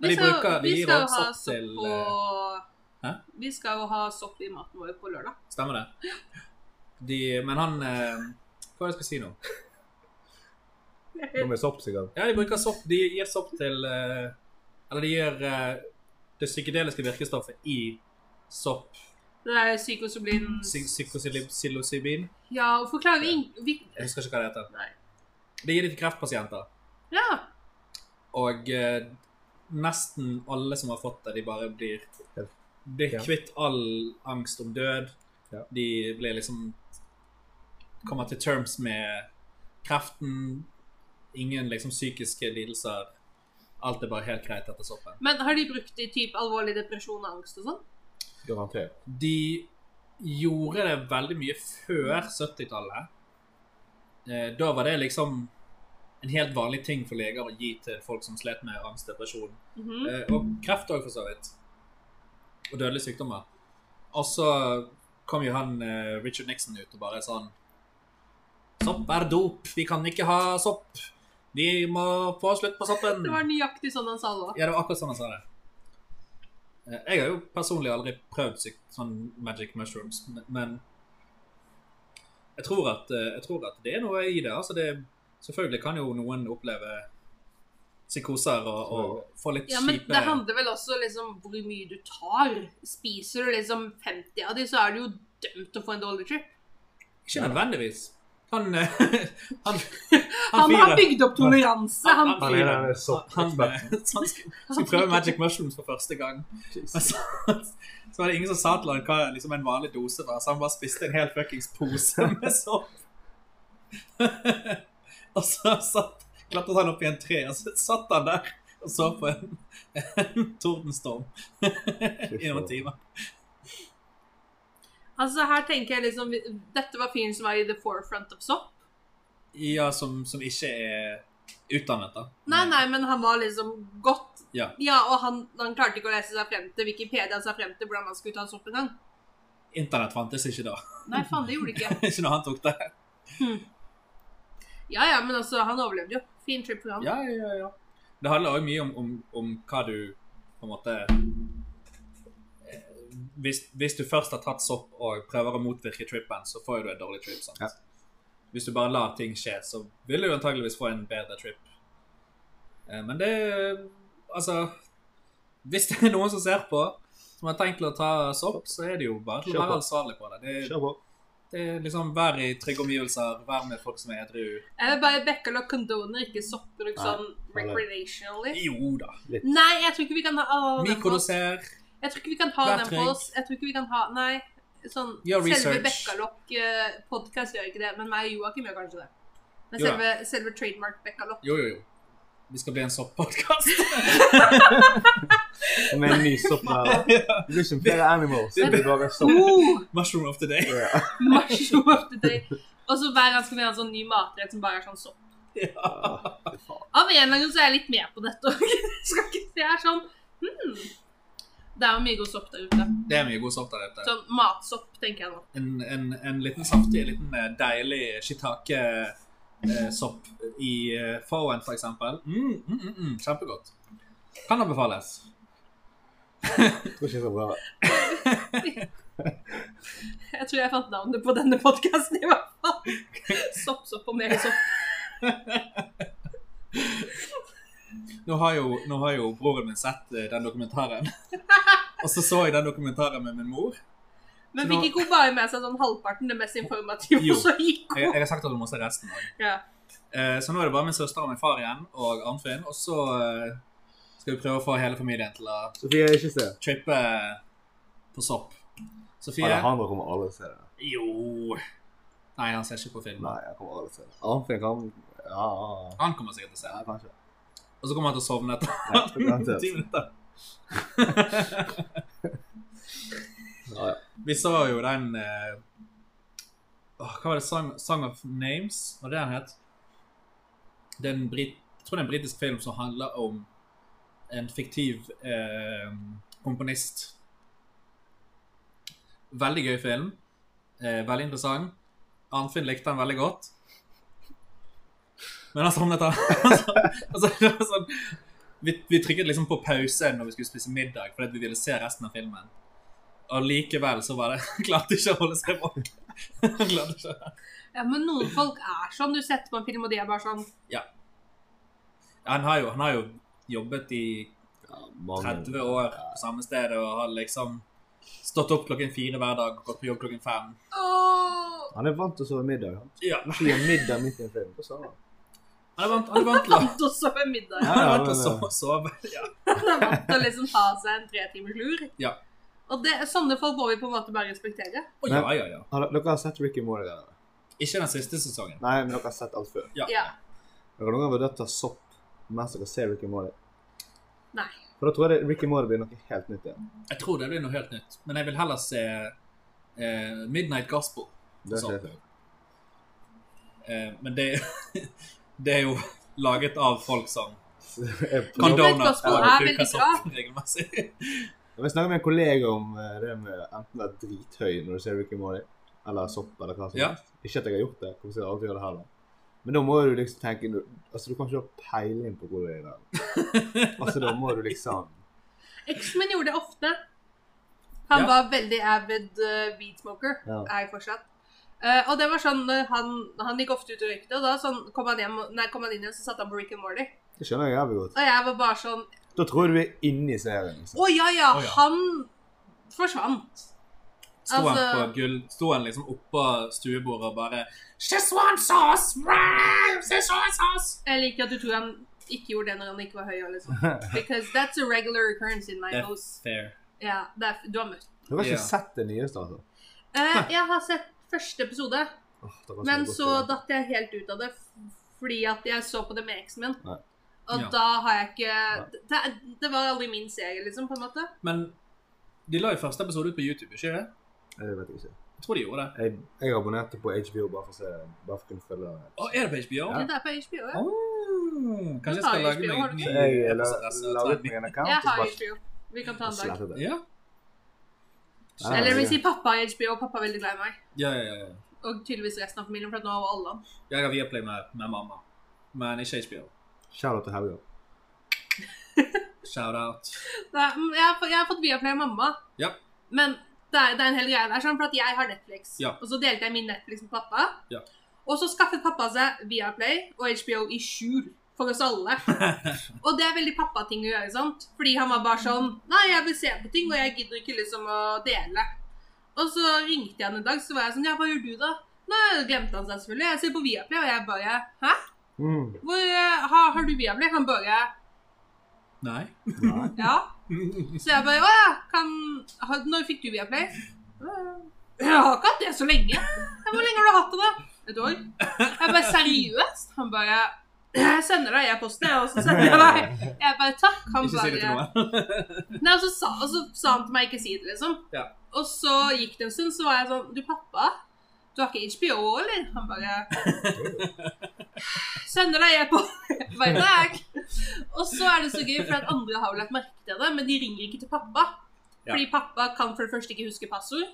Speaker 2: Vi
Speaker 3: Men de
Speaker 2: skal,
Speaker 3: bruker-
Speaker 2: vi
Speaker 3: de gir
Speaker 2: skal
Speaker 3: også
Speaker 2: ha
Speaker 3: sopp
Speaker 2: sopp
Speaker 3: til, eh,
Speaker 2: på
Speaker 3: hæ?
Speaker 2: Vi skal jo ha sopp i maten vår på lørdag.
Speaker 3: Stemmer det? De, men han eh, Hva er det jeg skal si nå?
Speaker 4: Noe med sopp, sikkert.
Speaker 3: Ja, de bruker sopp. De gir sopp til eh, Eller de gir eh, det psykedeliske virkestoffet i sopp.
Speaker 2: Det der psykosoblin
Speaker 3: Psy- Psykosilocybin.
Speaker 2: Ja, hvorfor klarer vi ing... Vi...
Speaker 3: Jeg husker ikke hva det heter.
Speaker 2: Nei.
Speaker 3: Det gir de til kreftpasienter.
Speaker 2: Ja.
Speaker 3: Og eh, nesten alle som har fått det, de bare blir blir
Speaker 4: Ja.
Speaker 3: kvitt all angst om død.
Speaker 4: Ja.
Speaker 3: De blir liksom Kommer til terms med kreften. Ingen liksom psykiske lidelser. Alt er bare helt greit etter soppen.
Speaker 2: Men har de brukt det i typ alvorlig depresjon og angst og sånn?
Speaker 4: Garantert.
Speaker 3: De gjorde det veldig mye før 70-tallet. Eh, Da var det liksom en helt vanlig ting for leger å gi til folk som slet med angst, depresjon
Speaker 2: Mhm.
Speaker 3: Eh, Og kreft òg, for så vidt. Og dødelige sykdommer. Og så kom jo han eh, Richard Nixon ut og bare sånn Sopp er dop. Vi kan ikke ha sopp. Vi må få slutt på soppen.
Speaker 2: Det var nøyaktig sånn han sa det òg.
Speaker 3: Ja, det var akkurat sånn han sa det. Eh, Jeg har jo personlig aldri prøvd syk- sånn magic mushrooms, men- men jeg tror, at, eh, jeg tror at det er noe i det. Altså det selvfølgelig kan jo noen oppleve psykoser og, og få litt
Speaker 2: Ja, men
Speaker 3: kjipe
Speaker 2: det handler vel også liksom hvor mye du tar. Spiser du liksom 50 av de, så er du jo dømt til å få en dårlig trip.
Speaker 3: Ikke nødvendigvis. Han eh, Han,
Speaker 2: Han har
Speaker 3: fyren-
Speaker 2: bygd opp toleranse. Han,
Speaker 3: han,
Speaker 4: Han er den
Speaker 3: fyren- han,
Speaker 4: soppekspert.
Speaker 3: eh, så han skulle skulle prøve magic mushrooms for første gang. Men Så, så var det ingen som sa til han hva liksom en vanlig dose var, så han bare spiste en hel fuckings pose med sopp. og så satt, klatret han opp i en tre, og så satt han der og så på en, en tordenstorm i noen timer.
Speaker 2: altså her tenker jeg liksom Dette var fyren som var i the forefront of sopp.
Speaker 3: Ja, som, som ikke er utdannet, da.
Speaker 2: Nei, nei, men han var liksom godt
Speaker 3: Ja.
Speaker 2: og han, han klarte ikke å lese seg frem til Wikipedia sa frem til hvordan han skulle ta sopp engang.
Speaker 3: Internett fantes ikke da.
Speaker 2: Nei, faen, det gjorde det ikke.
Speaker 3: ikke når han tok det.
Speaker 2: Ja ja, men altså, han overlevde jo. Fin trip for han.
Speaker 3: Ja, ja, ja. Det handler òg mye om, om, om hva du på en måte eh, hvis, hvis du først har tatt sopp og prøver å motvirke trippen, så får jo du en dårlig trip. sant?
Speaker 4: Ja.
Speaker 3: Hvis du bare lar ting skje, så vil du antageligvis få en bedre trip. Eh, Men det Altså Hvis det er noen som ser på, som har tenkt til å ta sopp, så er det jo bare til å
Speaker 4: Kjør på.
Speaker 3: være ansvarlig på det. Det,
Speaker 4: Kjør på.
Speaker 3: det er liksom Vær i trygge omgivelser, vær med folk som er edru.
Speaker 2: Jeg vil bare Beckel og condoner, ikke soppbruk
Speaker 4: Nei,
Speaker 2: sånn
Speaker 4: nei.
Speaker 2: recreationally.
Speaker 3: Jo da.
Speaker 2: Nei, jeg tror ikke vi kan ha alle den på oss.
Speaker 3: Mikrodoser.
Speaker 2: Jeg tror ikke vi kan ha
Speaker 3: Vær
Speaker 2: den på
Speaker 3: trygg.
Speaker 2: oss. Jeg tror ikke vi kan ha Nei. Sånn,
Speaker 3: Gjør
Speaker 2: selve eh,
Speaker 3: research.
Speaker 2: Bekkalopp-podkast gjør ikke det, men meg og Joakim gjør kanskje det. Men
Speaker 3: Jo da.
Speaker 2: selve, selve trademark Bekkalopp
Speaker 3: Jo, jo, jo. Vi skal bli en sopp-podkast.
Speaker 4: Med en ny sopp her. Det blir ikke flere animals. Det blir bare sopp.
Speaker 2: Oh,
Speaker 3: Mushroom of the day.
Speaker 4: Ja.
Speaker 2: mushroom of the day. Og så hver gang skal vi ha en sånn ny matrett som bare er sånn sopp. Av en eller annen grunn så er jeg litt med på dette òg. Skal ikke Det er sånn hmm. Det er jo mye god sopp der ute.
Speaker 3: Det er mye god sopp der ute.
Speaker 2: Sånn matsopp, tenker jeg nå.
Speaker 3: En, en, en liten saftig, en liten eh, deilig shiitake-sopp i eh, Fowen, for eksempel. Mm, mm, mm, mm, kjempegodt. Kan anbefales.
Speaker 4: Jeg tror ikke jeg skal prøve.
Speaker 2: Jeg tror jeg fant navnet på denne podkasten i hvert fall. Sopp, sopp og mer sopp.
Speaker 3: Nå har jo, nå har jo broren min sett eh, den dokumentaren. Og så så jeg den dokumentaren med min mor.
Speaker 2: Men
Speaker 3: Så nå-
Speaker 2: fikk ikke hun bare med seg sånn halvparten, det mest informative,
Speaker 3: Jo.
Speaker 2: og så gikk
Speaker 3: Jeg,
Speaker 2: hun?
Speaker 3: jeg har sagt at hun må se resten òg.
Speaker 2: Ja.
Speaker 3: Eh, Så nå er det bare min søster og min far igjen og Arnfinn. Og så eh, skal vi prøve å få hele familien til å
Speaker 4: Sofie, ikke se.
Speaker 3: trippe på sopp. Sofie?
Speaker 4: Alejandro kommer aldri til å se det.
Speaker 3: Jo Nei, han ser ikke på film.
Speaker 4: Nei, jeg kommer aldri til å se det. Arnfinn kan Ja, ja.
Speaker 3: Han kommer sikkert til å se
Speaker 4: ja,
Speaker 3: det.
Speaker 4: kanskje.
Speaker 3: Og så kommer han til å sovne
Speaker 4: Ja,
Speaker 3: etter
Speaker 4: garantert.
Speaker 3: ti minutter.
Speaker 4: Ja, ja.
Speaker 3: Vi så jo den eh, åh, Hva var det? Song, Song of Names? Var det den het? Det er en brit, jeg tror det er en britisk film som handler om en fiktiv eh, komponist. Veldig gøy film. Eh, veldig interessant. Arnfinn likte den veldig godt. Men han sovnet av. altså, det var sånn, vi, vi trykket liksom på pause når vi skulle spise middag, fordi at vi ville se resten av filmen. Og likevel så bare klarte ikke å holde seg våken. Klarte ikke.
Speaker 2: ja, men noen folk er sånn. Du setter på en film, og de er bare sånn
Speaker 3: Han har jo, han har jo jobbet i
Speaker 4: ja mange.
Speaker 3: 30 år på samme sted og har liksom stått opp klokken fire hver dag og gått på jobb klokken fem.
Speaker 2: Åh!
Speaker 4: Han er vant til å sove middag. Han
Speaker 3: Ja,
Speaker 4: Må ikke gjøre middag midt i en film. Hva sa han?
Speaker 3: Han er vant, han er vant til å
Speaker 2: Vant til å sove middag.
Speaker 3: han er vant til å
Speaker 4: Ja,
Speaker 3: sove.
Speaker 4: ja,
Speaker 3: sove. Ja.
Speaker 2: Han er vant til å liksom ha seg en tretimers lur.
Speaker 3: Ja.
Speaker 2: Og det, sånne folk må vi på en måte bare respektere.
Speaker 3: Å, ja, ja, ja.
Speaker 4: Har Dere dere har sett Ricky Morty? eller?
Speaker 3: Ikke den siste sesongen.
Speaker 4: Nei, men dere har sett alt før.
Speaker 3: Ja.
Speaker 2: Ja.
Speaker 4: Dere har noen gang vurdert å ta sopp mens dere ser Ricky Morty?
Speaker 2: Nei.
Speaker 4: For da tror jeg det- Ricky Morty blir noe helt nytt igjen.
Speaker 3: Jeg tror det blir noe helt nytt. Men jeg vil heller se eh, Midnight Gospel.
Speaker 4: Det
Speaker 3: Sånn.
Speaker 4: skjer ikke.
Speaker 3: Eh, men det, det er jo laget av folk som
Speaker 4: Så jeg prøver-
Speaker 2: Midnight
Speaker 3: kondoner
Speaker 2: Gospel
Speaker 3: og
Speaker 2: er
Speaker 3: bruker
Speaker 2: veldig
Speaker 3: sopp regelmessig.
Speaker 4: Jeg snakket med en kollega om eh, det med enten det er drithøy når du ser Ricky Morty, eller sopp eller hva som
Speaker 3: Ja.
Speaker 4: helst. Ikke at jeg har gjort det. Kommer sikkert alltid gjøre det heller. Men da må du liksom tenke du- Altså, du kan ikke ha peiling på hvor du er i verden. Altså, da må du liksom
Speaker 2: Eksen min gjorde det ofte. Han
Speaker 3: Ja.
Speaker 2: var veldig avid uh, weedsmoker.
Speaker 4: Ja.
Speaker 2: Er jeg fortsatt. Eh, og det var sånn, eh, han, han gikk ofte ut og røykte, og da sånn, kom, han hjem, nei, kom han inn igjen, så satt han på Rick and Morty.
Speaker 4: Det skjønner jeg jævlig godt.
Speaker 2: Og jeg var bare sånn
Speaker 4: Da tror jeg du er inne i serien.
Speaker 2: Å
Speaker 4: Liksom.
Speaker 2: ja, ja,
Speaker 3: Å, ja.
Speaker 2: han forsvant.
Speaker 3: Sto han
Speaker 2: Altså-
Speaker 3: på gull, sto han liksom oppå stuebordet og bare Just one sauce! Wow, Just one sauce!
Speaker 2: Jeg liker at du tror han ikke gjorde det når han ikke var høy. og Liksom. Because that's a regular occurrence in my
Speaker 3: Det er
Speaker 2: house.
Speaker 3: fair.
Speaker 2: Ja, det er, du har møtt.
Speaker 4: Dere har ikke
Speaker 3: Ja.
Speaker 4: sett det nyeste, altså?
Speaker 2: Eh, jeg har sett første episode,
Speaker 4: Åh, dere har
Speaker 2: men
Speaker 4: godt
Speaker 2: så
Speaker 4: gjort.
Speaker 2: datt jeg helt ut av det f- fordi at jeg så på det med eksen min.
Speaker 4: Nei.
Speaker 2: Og
Speaker 3: Ja.
Speaker 2: da har jeg ikke det, det var aldri min serie, liksom, på en måte.
Speaker 3: Men de la jo første episode ut på YouTube, ikke det?
Speaker 4: Jeg vet ikke.
Speaker 3: Jeg tror de gjorde det.
Speaker 4: Jeg, jeg abonnerte på HBO bare for å se bare for å kunne følge det.
Speaker 3: Å, er det på HBO?
Speaker 2: Det er på HBO. Ja.
Speaker 3: Åh, Oh, kanskje jeg
Speaker 2: har
Speaker 3: skal lage
Speaker 2: HBO, har
Speaker 3: meg
Speaker 2: du
Speaker 3: en ny
Speaker 2: ikke?
Speaker 4: Jeg la,
Speaker 3: episode, så
Speaker 4: laget
Speaker 3: tar
Speaker 4: meg en
Speaker 2: Jeg
Speaker 4: account og
Speaker 2: har
Speaker 4: bare
Speaker 2: HBO. Vi kan ta en dag.
Speaker 4: slettet det.
Speaker 3: Ja.
Speaker 4: Ja, ja,
Speaker 2: Eller vi
Speaker 4: ja.
Speaker 2: sier pappa i HBO. Pappa er veldig glad i meg.
Speaker 3: Ja, ja, ja, ja.
Speaker 2: Og tydeligvis resten av familien, for at nå har jo alle han.
Speaker 3: Jeg har Viaplay med, med mamma, men ikke HBO.
Speaker 4: Shout-out til Helga.
Speaker 3: Shout out.
Speaker 2: Nei, men mm, Jeg har, fått- jeg har fått Viaplay av mamma.
Speaker 3: Ja.
Speaker 2: Men det er, det er en hel greie der, sånn, for at jeg har Netflix.
Speaker 3: Ja.
Speaker 2: Og så delte jeg min Netflix med pappa.
Speaker 3: Ja.
Speaker 2: Og så skaffet pappa seg Viaplay og HBO i skjul for oss alle. og det er veldig pappating å gjøre, sant? Fordi han var bare sånn Nei, jeg vil se på ting, og jeg gidder ikke liksom å dele. Og så ringte jeg han en dag, så var jeg sånn Ja, hva gjør du, da? Nei, glemte han seg selvfølgelig. Jeg ser på Viaplay, og jeg bare Hæ?
Speaker 4: Mm.
Speaker 2: Hvor, eh, har, har du Viaplay? Han bare
Speaker 3: Nei.
Speaker 4: Nei.
Speaker 2: Ja. Så jeg bare Å ja, kan ha, Når fikk du Viaplay? Jeg har ikke hatt det så lenge. Ja, Hvor lenge har du hatt det, da? Et år. Jeg bare Seriøst? Han bare Jeg sender deg jeg posten, jeg, og så sender jeg deg. Jeg bare takk. Han
Speaker 3: Ikke si det til
Speaker 2: bare
Speaker 3: noen.
Speaker 2: Nei, og så sa, og så sa han til meg ikke si det, liksom.
Speaker 3: Ja.
Speaker 2: Og så gikk det en stund, så var jeg sånn Du, pappa, du har ikke HBO, eller? Han bare Sender deg jeg på Jeg bare, takk. Og så er det så gøy, for at andre har jo lagt merke til det, men de ringer ikke til pappa.
Speaker 3: Ja.
Speaker 2: Fordi pappa kan for det første ikke huske passord,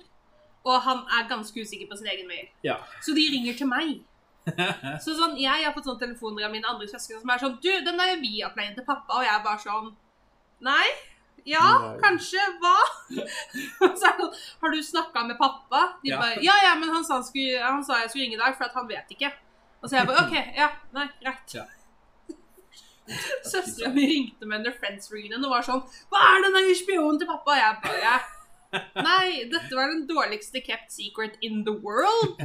Speaker 2: og han er ganske usikker på sin egen mail.
Speaker 3: Ja.
Speaker 2: Så de ringer til meg. Så sånn, Jeg har fått sånn telefoner av mine andre søsken som er sånn Du, den der Viaplayen til pappa, og jeg er bare sånn Nei? Ja,
Speaker 4: Nei.
Speaker 2: kanskje? Hva? Og så er det sånn Har du snakka med pappa? De
Speaker 3: Ja.
Speaker 2: bare Ja, ja, men han sa, han, skulle, han sa jeg skulle ringe i dag, for at han vet ikke. Og så jeg bare OK, ja, nei, greit.
Speaker 3: Ja.
Speaker 2: Søstera mi ringte med under Friends-ringen og var sånn Hva er den der spionen til pappa? Og jeg bare Nei, dette var den dårligste kept secret in the world.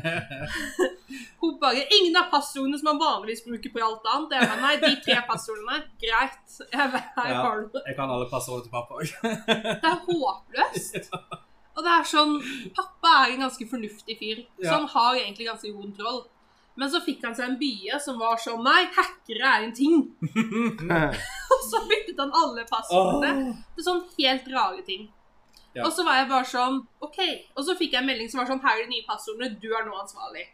Speaker 2: Hun bare Ingen av passordene som man vanligvis bruker på alt annet. Jeg bare, nei, de tre passordene. Greit. Jeg bare, her
Speaker 3: Ja.
Speaker 2: har du det.
Speaker 3: Jeg kan alle passordene til pappa òg.
Speaker 2: Det er håpløst. Og det er sånn Pappa er en ganske fornuftig fyr, så
Speaker 3: Ja.
Speaker 2: han har egentlig ganske god kontroll. Men så fikk han seg en bie som var sånn Nei, hackere er en ting. Og så byttet han alle passordene til sånn helt rare ting.
Speaker 3: Ja.
Speaker 2: Og så var jeg bare sånn OK. Og så fikk jeg en melding som var sånn Her er de nye passordene. Du er nå ansvarlig.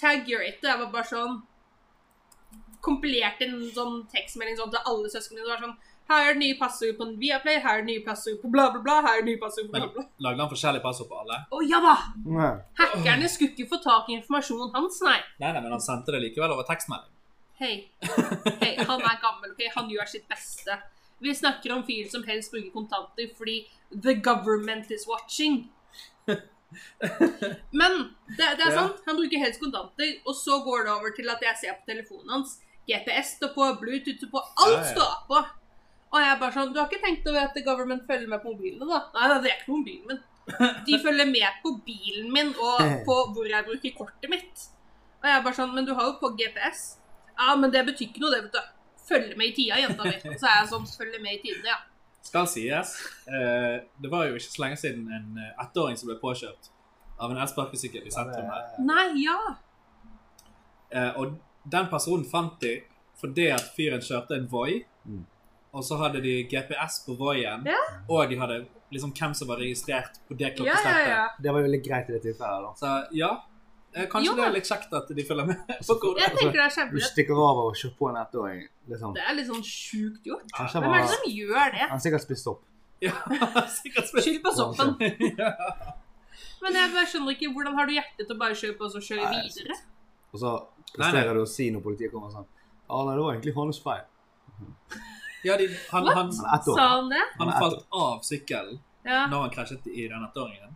Speaker 2: Tag your it. Og jeg var bare sånn Kompilerte en sånn tekstmelding sånn til alle søsknene mine. Det var sånn Her er det nye passord på Viaplay. Her er det nye passord på bla, bla, bla. Her er det nye passord på bla, bla.
Speaker 3: Lagde han forskjellige passord på alle?
Speaker 2: Å ja da!
Speaker 4: Nei.
Speaker 2: Hackerne skulle ikke få tak i informasjonen hans, nei.
Speaker 3: Nei, nei, men han sendte det likevel over tekstmelding.
Speaker 2: Hei. Hei, han er gammel, ok? Han gjør sitt beste. Vi snakker om fyr som helst bruker kontanter fordi the government is watching. Men det, det er
Speaker 3: Ja.
Speaker 2: sant, han bruker helst kontanter, og så går det over til at jeg ser på telefonen hans. GPS står på, Bluetooth står på, alt
Speaker 3: Ja, ja.
Speaker 2: står på. Og jeg er bare sånn Du har ikke tenkt over at the government følger med på mobilene, da? Nei, nei, det er ikke på mobilen min. De følger med på bilen min og på hvor jeg bruker kortet mitt. Og jeg er bare sånn Men du har jo på GPS. Ja, men det betyr ikke noe, det, vet du. Følge med i tida, jenta mi. Og Så er jeg sånn Følge med i tidene, ja.
Speaker 3: Skal sies. eh, Det var jo ikke så lenge siden en eh, ettåring som ble påkjørt av en elsparkesykkel i sentrum her.
Speaker 2: Nei, ja.
Speaker 3: Eh, Og den personen fant de fordi at fyren kjørte en Voi,
Speaker 4: Mm.
Speaker 3: og så hadde de GPS på Voien,
Speaker 2: Ja.
Speaker 3: og de hadde liksom hvem som var registrert på det
Speaker 2: Ja, ja,
Speaker 3: klokkeslettet.
Speaker 2: ja.
Speaker 4: Det var jo litt greit i det tilfellet, da.
Speaker 3: Så ja, eh, kanskje
Speaker 2: Jo,
Speaker 3: det
Speaker 2: men-
Speaker 3: er litt kjekt at de følger med på hvor
Speaker 2: Jeg tenker det er
Speaker 4: Altså, Du
Speaker 2: kjempelett.
Speaker 4: stikker over og kjører på en ettåring. Liksom.
Speaker 2: Det er litt sånn sjukt gjort.
Speaker 4: Kanskje
Speaker 2: Hvem
Speaker 4: han
Speaker 2: er det
Speaker 4: var
Speaker 2: som gjør det?
Speaker 4: Han har sikkert spist opp.
Speaker 3: Ja, sikkert
Speaker 2: Skyld på soppen.
Speaker 3: Ja.
Speaker 2: Men jeg bare skjønner ikke hvordan har du hjerte til å bare kjøre på og så kjøre
Speaker 4: Nei,
Speaker 2: videre?
Speaker 4: Og så
Speaker 3: Nei, nei.
Speaker 4: presterer du å si når politiet kommer sånn Ja, nei, det var egentlig hans feil.
Speaker 3: Ja, de, han,
Speaker 2: What?
Speaker 3: han,
Speaker 4: Han er ett år.
Speaker 2: Sa han det?
Speaker 3: han falt av sykkelen
Speaker 2: Ja.
Speaker 3: når han krasjet i den ettåringen.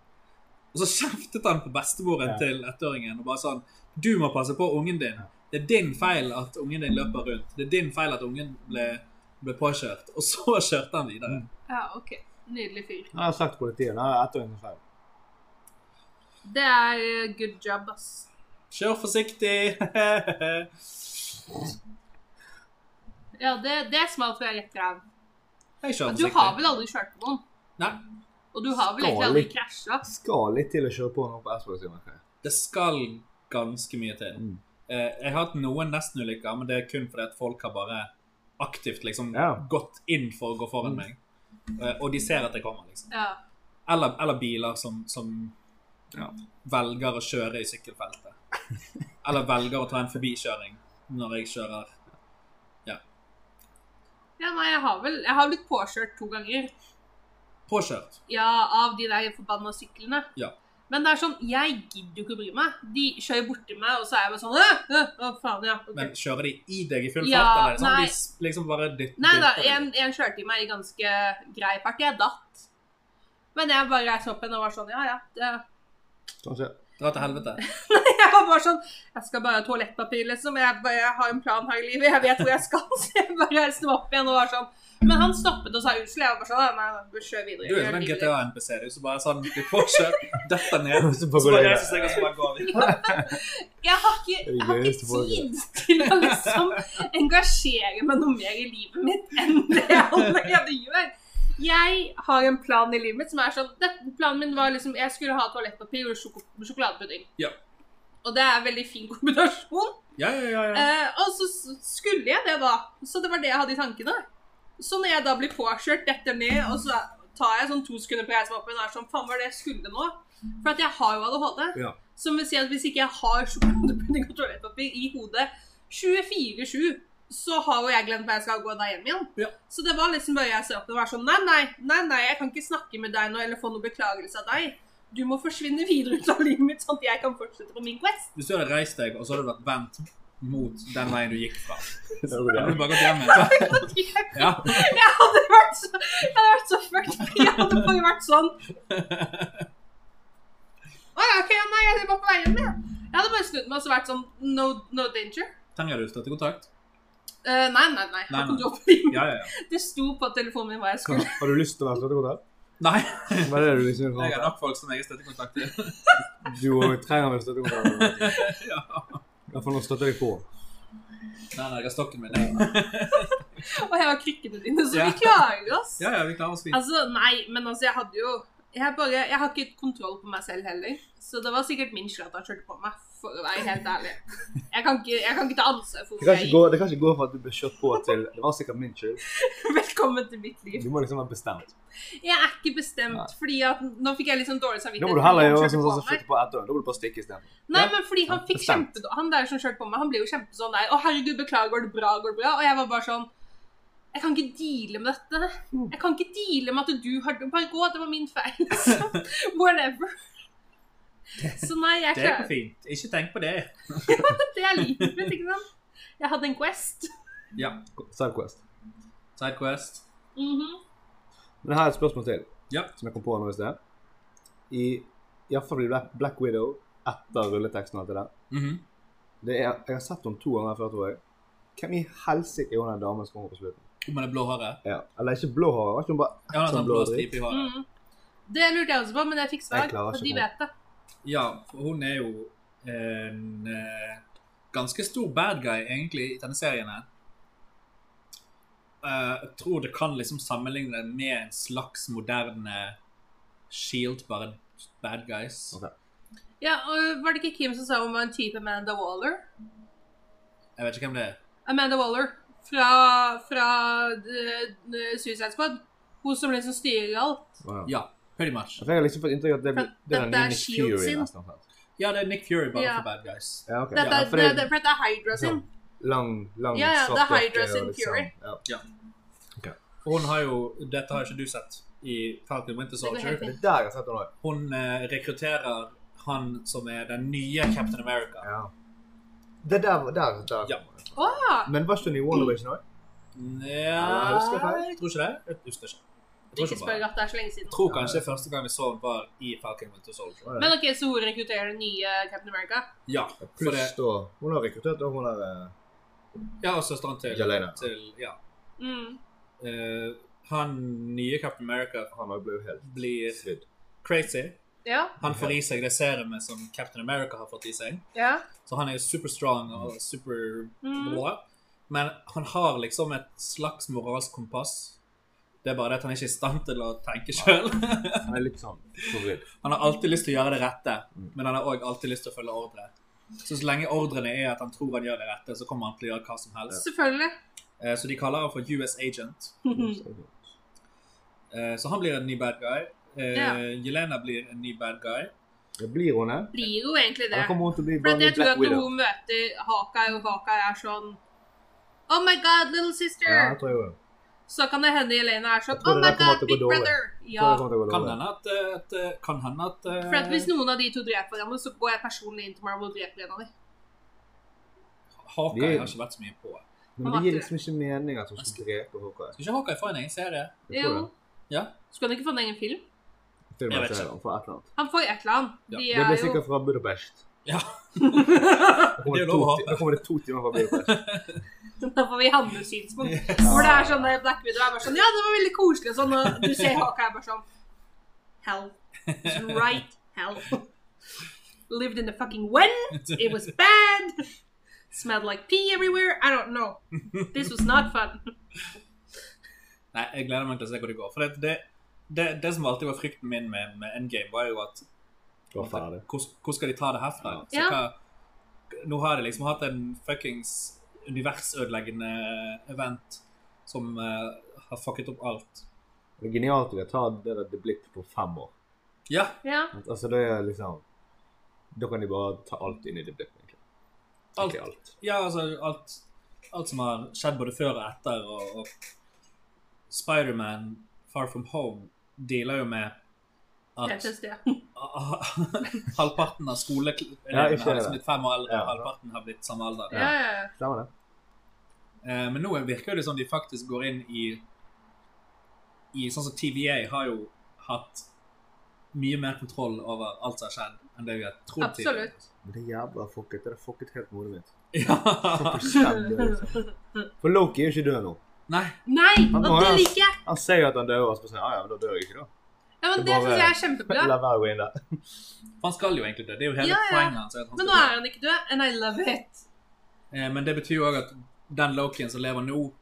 Speaker 3: Og så kjeftet han på bestemoren
Speaker 4: Ja.
Speaker 3: til ettåringen og bare sånn Du må passe på ungen din. Det er din feil at ungen din løper rundt. Det er din feil at ungen ble, ble påkjørt. Og så kjørte han videre.
Speaker 2: ja, OK. Nydelig fyr.
Speaker 4: Han har sagt til politiet nei, det er ettåringens feil.
Speaker 2: Det er eh, good job, ass.
Speaker 3: Kjør forsiktig!
Speaker 2: Ja, det, det smalt fra rett ræv.
Speaker 3: Jeg kjører
Speaker 2: Du har
Speaker 3: forsiktig.
Speaker 2: vel aldri kjørt på noen?
Speaker 3: Nei,
Speaker 2: Og du har vel egentlig
Speaker 4: Skal
Speaker 2: aldri
Speaker 4: litt.
Speaker 2: krasja?
Speaker 4: Skal litt til å kjøre på nå på Esposito.
Speaker 3: det skal ganske mye til.
Speaker 4: Mm.
Speaker 3: Eh, jeg har hatt noen nestenulykker, men det er kun fordi at folk har bare aktivt liksom
Speaker 4: Ja.
Speaker 3: gått inn for å gå foran
Speaker 4: Mm.
Speaker 3: meg. Eh, og de ser at jeg kommer, liksom.
Speaker 2: Ja.
Speaker 3: Eller, eller biler som, som
Speaker 4: Ja.
Speaker 3: velger å kjøre i sykkelfeltet. eller velger å ta en forbikjøring når jeg kjører.
Speaker 2: Ja, nei, jeg har vel Jeg har blitt påkjørt to ganger.
Speaker 3: Påkjørt.
Speaker 2: Ja, av de der forbanna syklene.
Speaker 3: Ja.
Speaker 2: Men det er sånn, jeg gidder jo ikke å bry meg. De kjører borti meg, og så er jeg bare sånn øh, øh, Å, faen, ja. ok.
Speaker 3: Men kjører de i deg i full
Speaker 2: Ja,
Speaker 3: fart, eller er det sånn
Speaker 2: nei.
Speaker 3: de s- liksom bare dytter
Speaker 2: Nei da,
Speaker 3: dytter deg?
Speaker 2: en, en kjørte i meg i ganske grei fart. Jeg datt. Men jeg bare reiste opp igjen og var sånn Ja, ja. Det.
Speaker 4: Kanskje.
Speaker 3: Dra til helvete.
Speaker 2: Jeg var bare sånn Jeg skal bare ha toalettpapir, liksom. Jeg, bare, jeg har en plan her i livet. Jeg vet hvor jeg skal. Så jeg bare reiste meg opp igjen og var sånn. Men han stoppet og sa unnskyld. Jeg var bare sånn «Nei, Nei, nei, kjør videre.
Speaker 3: Du er
Speaker 2: gjør
Speaker 3: som en
Speaker 2: livet ditt».
Speaker 3: GTA-NPC. Du som bare sånn blir påkjørt, detter ned,
Speaker 4: Og så
Speaker 3: så
Speaker 4: bare går
Speaker 3: bare
Speaker 4: du-
Speaker 3: reiser seg og så bare går vi.
Speaker 2: Jeg har ikke,
Speaker 4: Det er det
Speaker 2: jeg har
Speaker 4: gøyeste
Speaker 2: ikke
Speaker 4: folket.
Speaker 2: tid til å liksom engasjere meg noe mer i livet mitt enn det jeg allerede gjør. Jeg har en plan i livet mitt som er sånn dette, Planen min var liksom Jeg skulle ha toalettpapir og sjoko- sjokoladepudding.
Speaker 3: Ja.
Speaker 2: Og det er en veldig fin kombinasjon.
Speaker 3: Ja, ja, ja. ja.
Speaker 2: Eh, og så s- skulle jeg det, da. Så det var det jeg hadde i tankene. Så når jeg da blir påkjørt, detter ned, og så tar jeg sånn to sekunder på å reise meg opp igjen og er sånn Faen, hva var det jeg skulle nå? For at jeg har jo ADHD.
Speaker 4: Ja.
Speaker 2: Som vil si at hvis ikke jeg har sjokoladepudding og toalettpapir i hodet 24-7, så har jo jeg glemt hva jeg skal gå da hjem igjen.
Speaker 3: Ja.
Speaker 2: Så det var liksom bare jeg sa opp og var sånn Nei, nei, nei, nei, jeg kan ikke snakke med deg nå eller få noen beklagelse av deg. Du må forsvinne videre ut av livet mitt, sånn at jeg kan fortsette på min quest.
Speaker 3: Hvis du hadde reist deg, og så hadde du vært vendt mot den veien du gikk fra,
Speaker 4: Det går
Speaker 3: hadde
Speaker 4: bra.
Speaker 3: du bare gått hjem igjen.
Speaker 2: Sånn
Speaker 3: Ja.
Speaker 2: Jeg hadde vært så, jeg hadde vært så fucked. Jeg hadde bare vært sånn Å ja, ok, nei, jeg var på vei hjem, jeg. Jeg hadde bare snudd meg og så vært sånn No, no danger.
Speaker 3: Trenger du å til kontakt?
Speaker 2: Eh, nei, nei, nei.
Speaker 3: Nei, nei.
Speaker 2: Du opp i-
Speaker 3: Ja, ja, ja.
Speaker 2: Det sto på telefonen min hva jeg skulle.
Speaker 4: Har du lyst til å være støttekontakt?
Speaker 3: Nei,
Speaker 4: Hva er det du liksom
Speaker 3: jeg har nok folk som jeg er støttekontakt til.
Speaker 4: Du òg trenger vel støttekontakt?
Speaker 3: Ja.
Speaker 4: Iallfall noen støtter deg på.
Speaker 3: Nei, nei, jeg har stokken min. jeg.
Speaker 2: Og jeg har krykkene dine, så
Speaker 3: Ja.
Speaker 2: vi klarer oss.
Speaker 3: Ja, ja, vi klarer oss fint.
Speaker 2: Altså, nei, men altså, jeg hadde jo Jeg, bare, jeg har ikke kontroll på meg selv heller. Så det var sikkert min skyld at han kjørte på meg, for å være helt ærlig. Jeg kan ikke, jeg kan ikke ta ansvar for
Speaker 4: Det
Speaker 2: hvor
Speaker 4: kan
Speaker 2: jeg
Speaker 4: ikke gå, det kan ikke gå for at du ble kjørt på til Det var sikkert min skyld.
Speaker 2: gikk. Velkommen til mitt liv.
Speaker 4: Du må liksom være bestemt.
Speaker 2: Jeg er ikke bestemt, fordi at nå fikk jeg litt sånn dårlig samvittighet.
Speaker 4: Da må du
Speaker 2: fordi
Speaker 4: heller
Speaker 2: han
Speaker 4: gjøre
Speaker 2: kjørte
Speaker 4: sånn
Speaker 2: på
Speaker 4: som
Speaker 2: meg.
Speaker 4: flytter på ett år. Da må du bare stikke istedenfor.
Speaker 2: Nei,
Speaker 3: Ja.
Speaker 2: men fordi han fikk
Speaker 4: Bestemt.
Speaker 2: kjempe... Han der som kjørte på meg, han ble jo kjempesånn der. Å, herregud, beklager, går det bra, går det bra? Og jeg var bare sånn Jeg kan ikke deale med dette.
Speaker 4: Mm.
Speaker 2: Jeg kan ikke deale med at du har Bare gå, det var min feil. Så, Whatever. Så nei, jeg
Speaker 3: Det går
Speaker 2: klarer
Speaker 3: fint. Ikke tenk på det.
Speaker 2: det. er livet mitt, ikke sant? Jeg hadde en quest.
Speaker 3: Ja.
Speaker 4: Sidequest.
Speaker 3: Sidequest.
Speaker 2: Mhm.
Speaker 4: Men jeg har et spørsmål til,
Speaker 3: Ja.
Speaker 4: som jeg kom på nå i sted. I Iallfall blir Black, Black Widow etter rulleteksten og alt det der.
Speaker 3: Mhm.
Speaker 4: Det er, jeg har sett henne to ganger før, tror jeg. Hvem i helsike er hun den damen som kommer på slutten?
Speaker 3: Hun med det blå håret.
Speaker 4: Ja. Eller ikke blå hår, var ikke hun bare
Speaker 3: Ja, hun har
Speaker 4: Sånn
Speaker 3: sånn
Speaker 4: blå
Speaker 3: blå
Speaker 4: dritt.
Speaker 3: stripe i håret.
Speaker 2: Mhm. Det lurte jeg også på, men jeg fikk
Speaker 4: Jeg
Speaker 2: svar.
Speaker 4: klarer
Speaker 2: Og
Speaker 4: ikke
Speaker 2: de
Speaker 4: på-
Speaker 2: vet det.
Speaker 3: Ja, for hun er jo en eh, ganske stor bad guy, egentlig, i denne serien her. Eh, jeg tror det kan liksom sammenligne det med en slags moderne Shield, bare bad guys.
Speaker 4: Ok.
Speaker 2: Ja, og Var det ikke Kim som sa hun var en type Amanda Waller?
Speaker 3: Jeg vet ikke hvem det er.
Speaker 2: Amanda Waller fra, fra eh, eh, Suicide Squad. Hun som liksom styrer alt.
Speaker 4: Å, ja.
Speaker 3: Ja, pretty much.
Speaker 4: Jeg har liksom fått inntrykk av at det, blir- det er den
Speaker 2: Dette
Speaker 4: nye
Speaker 2: er
Speaker 4: Nick
Speaker 2: Shield
Speaker 4: Fury.
Speaker 2: sin.
Speaker 4: nesten. sant?
Speaker 3: Ja, det er Nick Fury, bare
Speaker 2: Ja.
Speaker 3: for bad guys.
Speaker 4: Ja, ok.
Speaker 2: Dette,
Speaker 4: Ja,
Speaker 2: er-
Speaker 4: for det
Speaker 2: det,
Speaker 4: er
Speaker 2: for dette er Hydra sin.
Speaker 4: sånn lang, lang
Speaker 2: Ja, ja, det er
Speaker 4: svart
Speaker 2: Hydra
Speaker 4: jakke
Speaker 2: sin
Speaker 4: og litt
Speaker 2: Fury.
Speaker 4: sånn, Ja.
Speaker 3: Og hun har jo Dette har ikke du sett i Falcon Winter
Speaker 2: helt
Speaker 3: Soldier.
Speaker 4: Det er der jeg har sett henne òg.
Speaker 3: Hun eh, rekrutterer han som er den nye Captain America.
Speaker 4: Ja. Det der, der, der.
Speaker 3: Ja. Mm.
Speaker 2: Å ja!
Speaker 4: Men var ikke hun i WandaVision òg?
Speaker 3: Nja
Speaker 4: husker jeg feil?
Speaker 3: Jeg tror ikke det. Jeg husker ikke. Jeg tror,
Speaker 2: Ikke
Speaker 3: ikke
Speaker 2: spør
Speaker 3: bare.
Speaker 2: at det er så lenge
Speaker 3: jeg
Speaker 2: siden.
Speaker 3: tror kanskje første gang vi så den var i Falcon Winter Soldier.
Speaker 2: Men ok, Så hun rekrutterer den nye Captain America?
Speaker 3: Ja, for det,
Speaker 4: Pluss da Hun har rekruttert og hun er eh,
Speaker 3: ja og søsteren til,
Speaker 4: Jelena.
Speaker 3: til ja.
Speaker 2: Mm.
Speaker 3: Eh, han nye Captain America
Speaker 4: Han òg ble jo helt
Speaker 3: blir
Speaker 4: svidd.
Speaker 3: crazy.
Speaker 2: Ja.
Speaker 3: Han får i seg det serumet som Captain America har fått i seg.
Speaker 2: ja.
Speaker 3: Så han er jo super strong og super
Speaker 2: Mm.
Speaker 3: bra. Men han har liksom et slags moralsk kompass. Det er bare det at han ikke er i stand til å tenke sjøl.
Speaker 4: Han er litt sånn forvridd.
Speaker 3: Han har alltid lyst til å gjøre det rette,
Speaker 4: Mm.
Speaker 3: men han har òg alltid lyst til å følge ordre. Så så lenge ordrene er at han tror han gjør det rette, så kommer han til å gjøre hva som helst.
Speaker 2: Selvfølgelig.
Speaker 3: Eh, Så de kaller han for US Agent. Eh, Så han blir en ny bad guy. Eh,
Speaker 2: Ja.
Speaker 3: Jelena blir en ny bad guy.
Speaker 4: Ja, blir hun det?
Speaker 2: Blir jo egentlig det.
Speaker 4: Eller kommer hun til å bli
Speaker 2: For
Speaker 4: bare
Speaker 2: at
Speaker 4: en ny
Speaker 2: jeg tror
Speaker 4: Black
Speaker 2: at når
Speaker 4: Widow?
Speaker 2: hun møter Hawkeye, og Hawkeye er sånn Oh my god, little sister!
Speaker 4: Ja, jeg tror jeg også.
Speaker 2: Så kan det hende Elena er sånn
Speaker 4: Jeg tror
Speaker 2: Oh
Speaker 4: det
Speaker 2: my
Speaker 4: der kommer
Speaker 2: god,
Speaker 4: til å gå
Speaker 2: big
Speaker 4: dårlig.
Speaker 2: brother!
Speaker 4: Jeg tror
Speaker 2: Ja.
Speaker 4: det kommer til å gå
Speaker 3: Kan
Speaker 4: dårlig.
Speaker 3: hende at, eh, at, eh, kan hende at eh,
Speaker 2: For at hvis noen av de to dreper hverandre, så går jeg personlig inn til Marvel og dreper en av dem.
Speaker 3: Hawkeye har ikke vært så mye på.
Speaker 4: Men det gir liksom ikke mening at hun skal drepe Hawkeye.
Speaker 3: Skal ikke Hawkeye få en egen serie?
Speaker 4: Jeg
Speaker 2: Jo.
Speaker 4: tror det.
Speaker 3: Ja.
Speaker 2: Skulle han ikke få en egen film?
Speaker 4: Filmen
Speaker 3: Jeg vet
Speaker 4: sier
Speaker 3: ikke.
Speaker 4: han får et eller annet.
Speaker 2: Han får et eller annet.
Speaker 3: Ja,
Speaker 2: De
Speaker 4: Det
Speaker 2: er
Speaker 4: blir
Speaker 2: jo
Speaker 4: sikkert fra Budapest.
Speaker 3: Ja.
Speaker 4: Da
Speaker 3: Det
Speaker 4: kommer
Speaker 3: er
Speaker 4: det
Speaker 3: lov å
Speaker 4: to,
Speaker 3: håpe.
Speaker 4: da kommer det to timer fra Budapest.
Speaker 2: Da får vi handlesynspunkt. Hvor det er sånn der Black Widow er bare sånn Ja, det var veldig koselig og sånn, og du ser Hawkeye bare sånn Hell. It's right hell. Lived in the fucking went. It was bad. Smelled like pee everywhere. I don't know. This was not fun.
Speaker 3: Nei, jeg gleder meg til å se hvor det går. For det, det, det, det som alltid var frykten min med, med Endgame, var jo at
Speaker 4: Det var ferdig.
Speaker 3: Hvor, hvor skal de ta det herfra? Så
Speaker 2: Ja.
Speaker 3: hva, Nå har de liksom hatt en fuckings universødeleggende event som eh, har fucket opp alt.
Speaker 4: Det er genialt at de har tatt det der The Blip på fem år.
Speaker 3: Ja,
Speaker 2: Ja.
Speaker 4: At- Altså, det er liksom Da kan de bare ta alt inn i The Blip, egentlig.
Speaker 3: alt,
Speaker 4: Ikke alt.
Speaker 3: ja altså alt, alt som har skjedd både før og etter, og, og Spiderman Far From Home dealer jo med at
Speaker 2: PTSD.
Speaker 3: halvparten av
Speaker 4: Ja,
Speaker 3: skoleelevene
Speaker 4: ikke
Speaker 3: har
Speaker 4: det.
Speaker 3: liksom blitt fem år eldre,
Speaker 4: Ja.
Speaker 3: og halvparten har blitt samme alder.
Speaker 2: Ja, ja, ja.
Speaker 4: Stemmer det?
Speaker 3: Eh, men nå virker det som de faktisk går inn i, i Sånn som TVA har jo hatt mye mer kontroll over alt som har skjedd, enn det vi har trodd tidligere.
Speaker 2: Absolutt.
Speaker 4: Men det er jævla fucket. Det er fucket helt modet mitt.
Speaker 3: Ja.
Speaker 4: Skjedd, liksom. For Loki er jo ikke død nå.
Speaker 3: Nei.
Speaker 2: Nei,
Speaker 4: Han
Speaker 2: og
Speaker 4: må
Speaker 2: det
Speaker 4: ha-
Speaker 2: liker jeg!
Speaker 4: Han ser jo at han dør, og så sier han "Ah, ja, ja, men da dør jeg ikke, da.
Speaker 2: Ja, men
Speaker 4: Det
Speaker 2: Det
Speaker 4: bare-
Speaker 2: syns jeg er kjempebra.
Speaker 4: La være å gå inn der.
Speaker 3: Han skal jo egentlig dø. Det er jo hele
Speaker 2: Ja, ja.
Speaker 3: poenget hans. er at han
Speaker 2: Men nå
Speaker 3: skal
Speaker 2: er han ikke død, and I love it.
Speaker 3: dø. Eh, men det betyr jo òg at den Lokien som lever nå,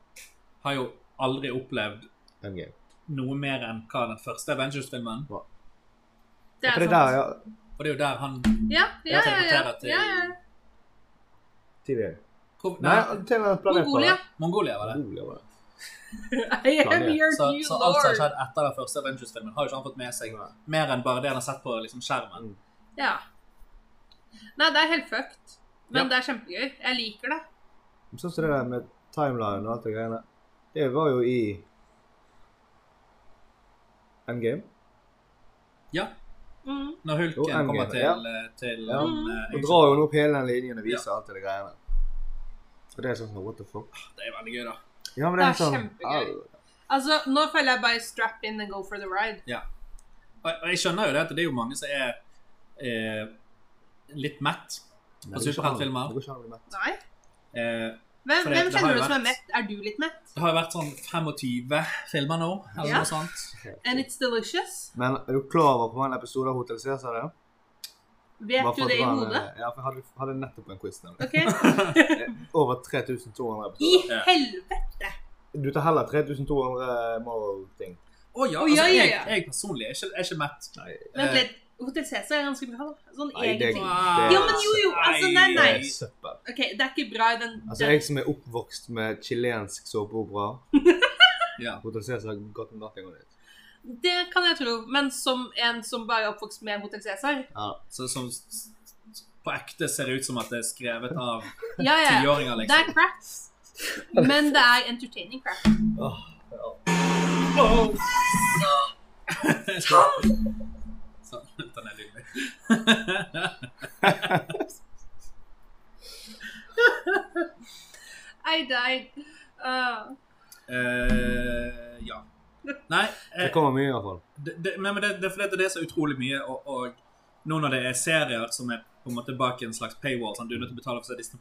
Speaker 3: har jo aldri opplevd
Speaker 4: Endgame.
Speaker 3: noe mer enn hva den første Avengers-filmen
Speaker 2: Det
Speaker 4: For
Speaker 2: er
Speaker 4: det der,
Speaker 2: sant.
Speaker 4: ja.
Speaker 3: Og det er jo der han
Speaker 2: Ja, ja, ja. ja,
Speaker 3: teleporterer til
Speaker 2: ja, ja.
Speaker 4: TVA.
Speaker 3: Hvor-
Speaker 4: Nei,
Speaker 3: Nei,
Speaker 4: TV er planet på
Speaker 2: Mongolia.
Speaker 4: det.
Speaker 3: Mongolia var det.
Speaker 4: Mongolia var det.
Speaker 2: I am your
Speaker 3: Så,
Speaker 2: new
Speaker 3: så alt som har
Speaker 2: lord.
Speaker 3: skjedd etter den første Avengers-filmen, har jo ikke han fått med seg. Mer enn bare det han har sett på liksom, skjermen.
Speaker 2: Ja. Nei, det er helt fucked. Men
Speaker 3: Ja.
Speaker 2: det er kjempegøy. Jeg liker det.
Speaker 4: Men Sånn som det der med timeline og alt det greiene. Det var jo i Endgame.
Speaker 3: Ja,
Speaker 2: Mm.
Speaker 3: Når
Speaker 4: Jo,
Speaker 3: Hulken
Speaker 4: Endgame,
Speaker 3: kommer til,
Speaker 4: ja.
Speaker 3: eh, til
Speaker 4: Ja.
Speaker 3: um,
Speaker 4: Og
Speaker 3: eh,
Speaker 4: drar jo nå opp hele den linjen og viser alt det der greiene. Og det er sånn sånn what the fuck.
Speaker 3: Det er veldig gøy, da.
Speaker 4: Ja, men
Speaker 2: Det er
Speaker 4: det er sånn
Speaker 2: kjempegøy. Altså, Nå føler jeg bare strap in and go for the ride.
Speaker 3: Og, og jeg skjønner jo det at det er jo mange som er eh, litt mett. Og superheltfilmer.
Speaker 4: sånn- Det går ikke an å bli mett.
Speaker 2: Nei?
Speaker 3: Eh,
Speaker 2: Hvem,
Speaker 3: For det-
Speaker 2: hvem
Speaker 3: det har
Speaker 2: kjenner
Speaker 3: jo
Speaker 2: du som er
Speaker 3: vært-
Speaker 2: mett? Er du litt mett?
Speaker 3: det har jo vært sånn 25 filmer nå, eller
Speaker 2: Ja.
Speaker 3: noe sånt.
Speaker 2: And it's delicious?
Speaker 4: Men er du klar over hvor mange episoder av Hotel Cæsar det er?
Speaker 2: Vet
Speaker 4: Bare
Speaker 2: du
Speaker 4: for at
Speaker 2: det i
Speaker 4: var en-
Speaker 2: hodet?
Speaker 4: Ja, for jeg hadde, hadde nettopp en quiz. nemlig.
Speaker 2: Ok?
Speaker 4: Over
Speaker 2: I
Speaker 4: 3200 episoder.
Speaker 3: Ja.
Speaker 2: helvete!
Speaker 4: Du tar heller 3200 Marvel-ting.
Speaker 3: Å ja,
Speaker 2: Å,
Speaker 3: altså,
Speaker 2: ja, ja,
Speaker 3: jeg,
Speaker 2: ja.
Speaker 3: jeg personlig er ikke, er ikke mett.
Speaker 4: Nei,
Speaker 2: Vent
Speaker 3: Eh,
Speaker 2: litt. Hotel Cæsar er ganske bra, da. Sånn
Speaker 4: Nei, det er
Speaker 2: egentlig.
Speaker 3: Wow.
Speaker 2: Jo, men jo, jo, altså, nei,
Speaker 4: det
Speaker 2: nei.
Speaker 4: er søppel.
Speaker 2: Ok, det er ikke bra i den,
Speaker 4: Altså,
Speaker 2: den
Speaker 4: jeg som er oppvokst med chilensk såpeopera
Speaker 3: Ja.
Speaker 4: Hotel Cæsar har gått med nothing on it.
Speaker 2: Det kan jeg tro, men som en som bare er oppvokst med Hotel Cæsar
Speaker 4: Ja.
Speaker 3: Eh, Så, som s- s- på ekte ser det ut som at det er skrevet av
Speaker 2: Ja, ja.
Speaker 3: tiåringer,
Speaker 2: Det er
Speaker 3: liksom.
Speaker 2: crap. Men det er entertaining crap.
Speaker 4: Åh, ja.
Speaker 3: Sånn, den er lydelig.
Speaker 2: I died. Uh,
Speaker 3: Eh, ja. Nei, eh,
Speaker 4: Det kommer mye, i hvert fall.
Speaker 3: det, det, nei, men det, det, er fordi at det er så utrolig mye, og, og nå når det er serier som er på en måte bak i en slags paywall, sånn, du er nødt til å betale for å se Disney+,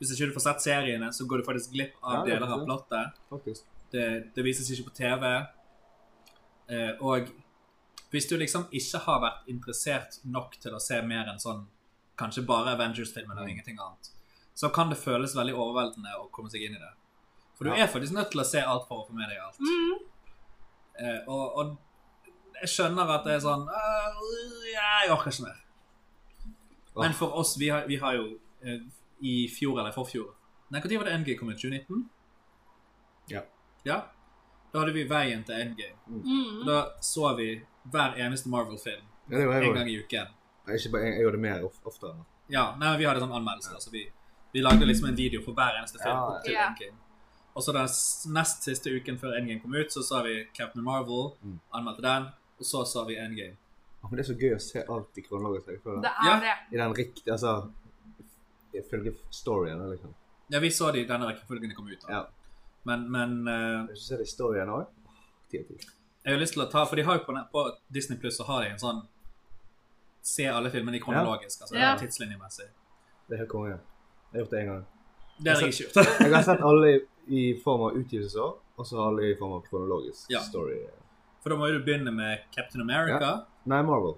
Speaker 3: hvis ikke du får sett seriene, så går du faktisk glipp av
Speaker 4: Ja, det er
Speaker 3: deler av
Speaker 4: sant.
Speaker 3: plottet.
Speaker 4: Faktisk.
Speaker 3: Det, det vises ikke på TV. Eh, og hvis du liksom ikke har vært interessert nok til å se mer enn sånn, kanskje bare Avengers-filmen eller ingenting annet, så kan det føles veldig overveldende å komme seg inn i det. For du er
Speaker 4: Ja.
Speaker 3: faktisk nødt til å se alt for å få med deg alt.
Speaker 2: mm,
Speaker 3: Eh, og, og jeg skjønner at det er sånn «Øh, ja, Jeg orker ikke mer.
Speaker 4: Åh.
Speaker 3: Men for oss, vi har, vi har jo eh, i fjor eller forfjor Nei, når var det NG kom ut? 2019?
Speaker 4: Ja.
Speaker 3: Ja? Da hadde vi Veien til NG. Og
Speaker 2: mm.
Speaker 3: da så vi hver eneste Marvel-film
Speaker 4: Ja, det var jeg
Speaker 3: en
Speaker 4: også.
Speaker 3: gang i uken.
Speaker 4: Jeg, er ikke bare, jeg, jeg gjør det mer of, oftere. nå.
Speaker 3: Ja, nei, men vi hadde sånn anmeldelser. Altså, vi, vi lagde liksom en video for hver eneste film
Speaker 4: Ja, ja.
Speaker 3: til
Speaker 2: Ja.
Speaker 3: Endgame. Og så den s- nest siste uken før Endgame kom ut, så sa vi Captain Marvel,
Speaker 4: Mm.
Speaker 3: anmeldte den, og så sa vi Endgame.
Speaker 4: Åh, Men det er så gøy å se alt i kronologisk rekkefølge.
Speaker 2: Det er
Speaker 3: Ja.
Speaker 2: det.
Speaker 4: I den riktige Altså ifølge storyen, liksom.
Speaker 3: Ja, vi så de i denne rekkefølgen de kom ut av.
Speaker 4: Ja.
Speaker 3: Men, men eh,
Speaker 4: Hvis du ser det i storyen òg Ti av ti.
Speaker 3: jeg har lyst til å ta For de har jo på, net- på Disney Pluss så har de en sånn Se alle filmene i kronologisk, altså
Speaker 2: Ja.
Speaker 3: tidslinjemessig.
Speaker 4: Det er helt konge. Jeg har gjort det én gang.
Speaker 3: Det har jeg ikke gjort.
Speaker 4: Jeg har sett alle i, i form av utgivelsesår, og så alle i form av kronologisk
Speaker 3: Ja.
Speaker 4: story.
Speaker 3: For da må jo du begynne med Captain America.
Speaker 4: Nei, Marvel.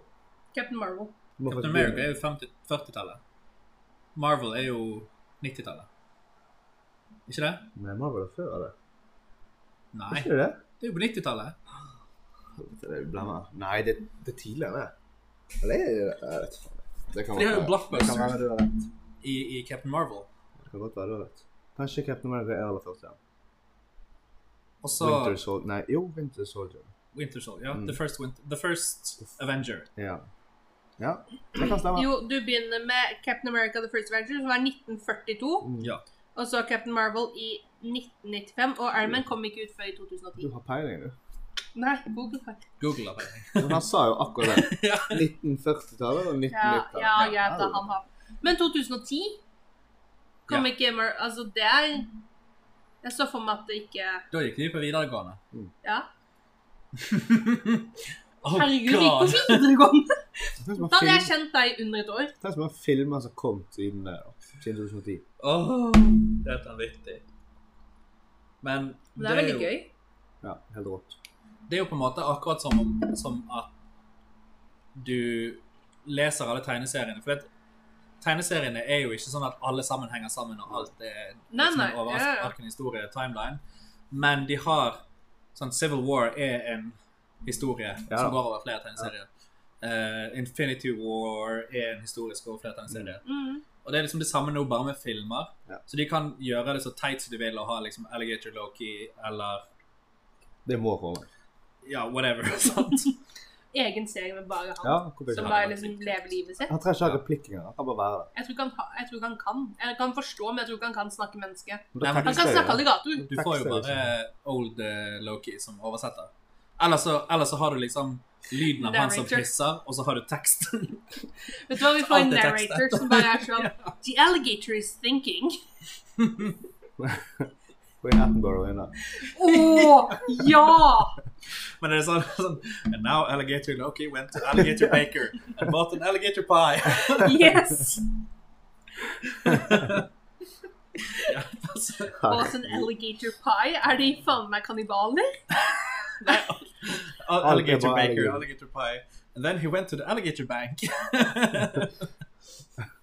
Speaker 2: Captain Marvel.
Speaker 4: Du må
Speaker 3: Captain
Speaker 4: faktisk
Speaker 3: America er
Speaker 4: begynne.
Speaker 3: jo 50 40-tallet. Marvel er jo 90-tallet. Ikke det?
Speaker 4: Nei, Marvel er før det.
Speaker 3: Nei,
Speaker 4: Er ikke det det?
Speaker 3: det er jo på 90-tallet.
Speaker 4: Helvete, det er jo blemmer. Nei, det, det er tidligere. Eller er det det? Jeg vet faen. Det kan
Speaker 3: For de har jo
Speaker 4: være- det kan
Speaker 3: blockbusters.
Speaker 4: være du har rett.
Speaker 3: i, i Captain Marvel.
Speaker 4: Det kan godt være det, vet du. Kanskje Captain America er aller først, ja.
Speaker 3: Og så
Speaker 4: Winter Soldier Nei, jo, Winter Soldier.
Speaker 3: Winter Soldier. Ja.
Speaker 4: Mm.
Speaker 3: The, first winter, the First Avenger.
Speaker 4: Ja. ja. Det kan stemme.
Speaker 2: Jo, du begynner med Captain America The First Avenger, som er 1942.
Speaker 4: Mm.
Speaker 3: Ja.
Speaker 2: Og så Captain Marvel i 1995. Og Iron Man kom ikke ut før i
Speaker 4: Du
Speaker 2: 2010.
Speaker 4: har peiling, du.
Speaker 2: Nei, Google feil.
Speaker 3: Google av det.
Speaker 4: Men han sa jo akkurat det.
Speaker 3: Ja.
Speaker 4: 1940-tallet og
Speaker 2: Ja,
Speaker 4: 1990-tallet.
Speaker 2: ja, greit, da. Han har Men 2010 kom
Speaker 3: Ja.
Speaker 2: ikke Mar Altså, det er Jeg så for meg at det ikke
Speaker 3: Da gikk de på videregående.
Speaker 2: Ja.
Speaker 3: oh,
Speaker 2: Herregud, gikk på
Speaker 3: God.
Speaker 2: videregående!
Speaker 4: Tenk som
Speaker 2: Da hadde
Speaker 4: en
Speaker 2: jeg
Speaker 4: film-
Speaker 2: kjent deg under et år.
Speaker 4: tenk som en film som kom siden det, da. Siden 2010.
Speaker 3: Åh, det er vanvittig. Men
Speaker 2: Men det er veldig
Speaker 3: jo,
Speaker 2: gøy.
Speaker 4: Ja, helt rått.
Speaker 3: det er jo på en måte akkurat som, om- som at du leser alle tegneseriene. For at tegneseriene er jo ikke sånn at alle sammen henger sammen, og alt er
Speaker 2: Nei,
Speaker 3: liksom
Speaker 2: nei,
Speaker 3: en
Speaker 2: ja, ja.
Speaker 3: overraskende historie, timeline. Men de har sånn Civil War er en historie
Speaker 4: Ja.
Speaker 3: som går over flere tegneserier. Eh, Infinity War er en historisk over flere tegneserier.
Speaker 2: Mm.
Speaker 3: Og det er liksom det samme nå, bare med filmer.
Speaker 4: Ja.
Speaker 3: Så de kan gjøre det så teit som de vil, og ha liksom Alligator Loki eller
Speaker 4: Det må komme.
Speaker 3: ja, whatever. sant?
Speaker 2: Egen serie med bare han.
Speaker 4: Ja, hvorfor
Speaker 2: som
Speaker 4: ikke?
Speaker 2: bare liksom lever livet sitt.
Speaker 4: Han trenger ikke ha replikker engang. Han kan bare være der.
Speaker 2: Jeg tror ikke han, ha- jeg tror ikke han kan. Jeg kan forstå, men jeg tror ikke han kan snakke menneske.
Speaker 4: Men
Speaker 3: Nei,
Speaker 4: da
Speaker 3: men
Speaker 2: Han
Speaker 4: tekster
Speaker 2: kan
Speaker 4: jeg
Speaker 2: snakke
Speaker 4: det.
Speaker 2: alligator.
Speaker 3: Du får jo bare old eh, Loki som oversetter. Eller så, eller så har du liksom lyden av han som
Speaker 2: Narrator.
Speaker 3: pisser, og så har du tekst.
Speaker 2: Vet du hva, vi får en
Speaker 3: Alt er tekst,
Speaker 2: narrator som bare er sånn The alligator is thinking.
Speaker 4: Wayne Attenborough er inne.
Speaker 2: Å, ja!
Speaker 3: Men det er sånn, sånn And now Alligator Loki went to Alligator Baker and bought an alligator pie.
Speaker 2: Yes!
Speaker 3: ja, altså,
Speaker 2: Was an alligator pie? Er de faen meg kannibaler?
Speaker 3: al-
Speaker 4: Alt er
Speaker 3: alligator
Speaker 4: bare
Speaker 3: Baker,
Speaker 4: alligator.
Speaker 3: alligator pie. And then he went to the alligator bank.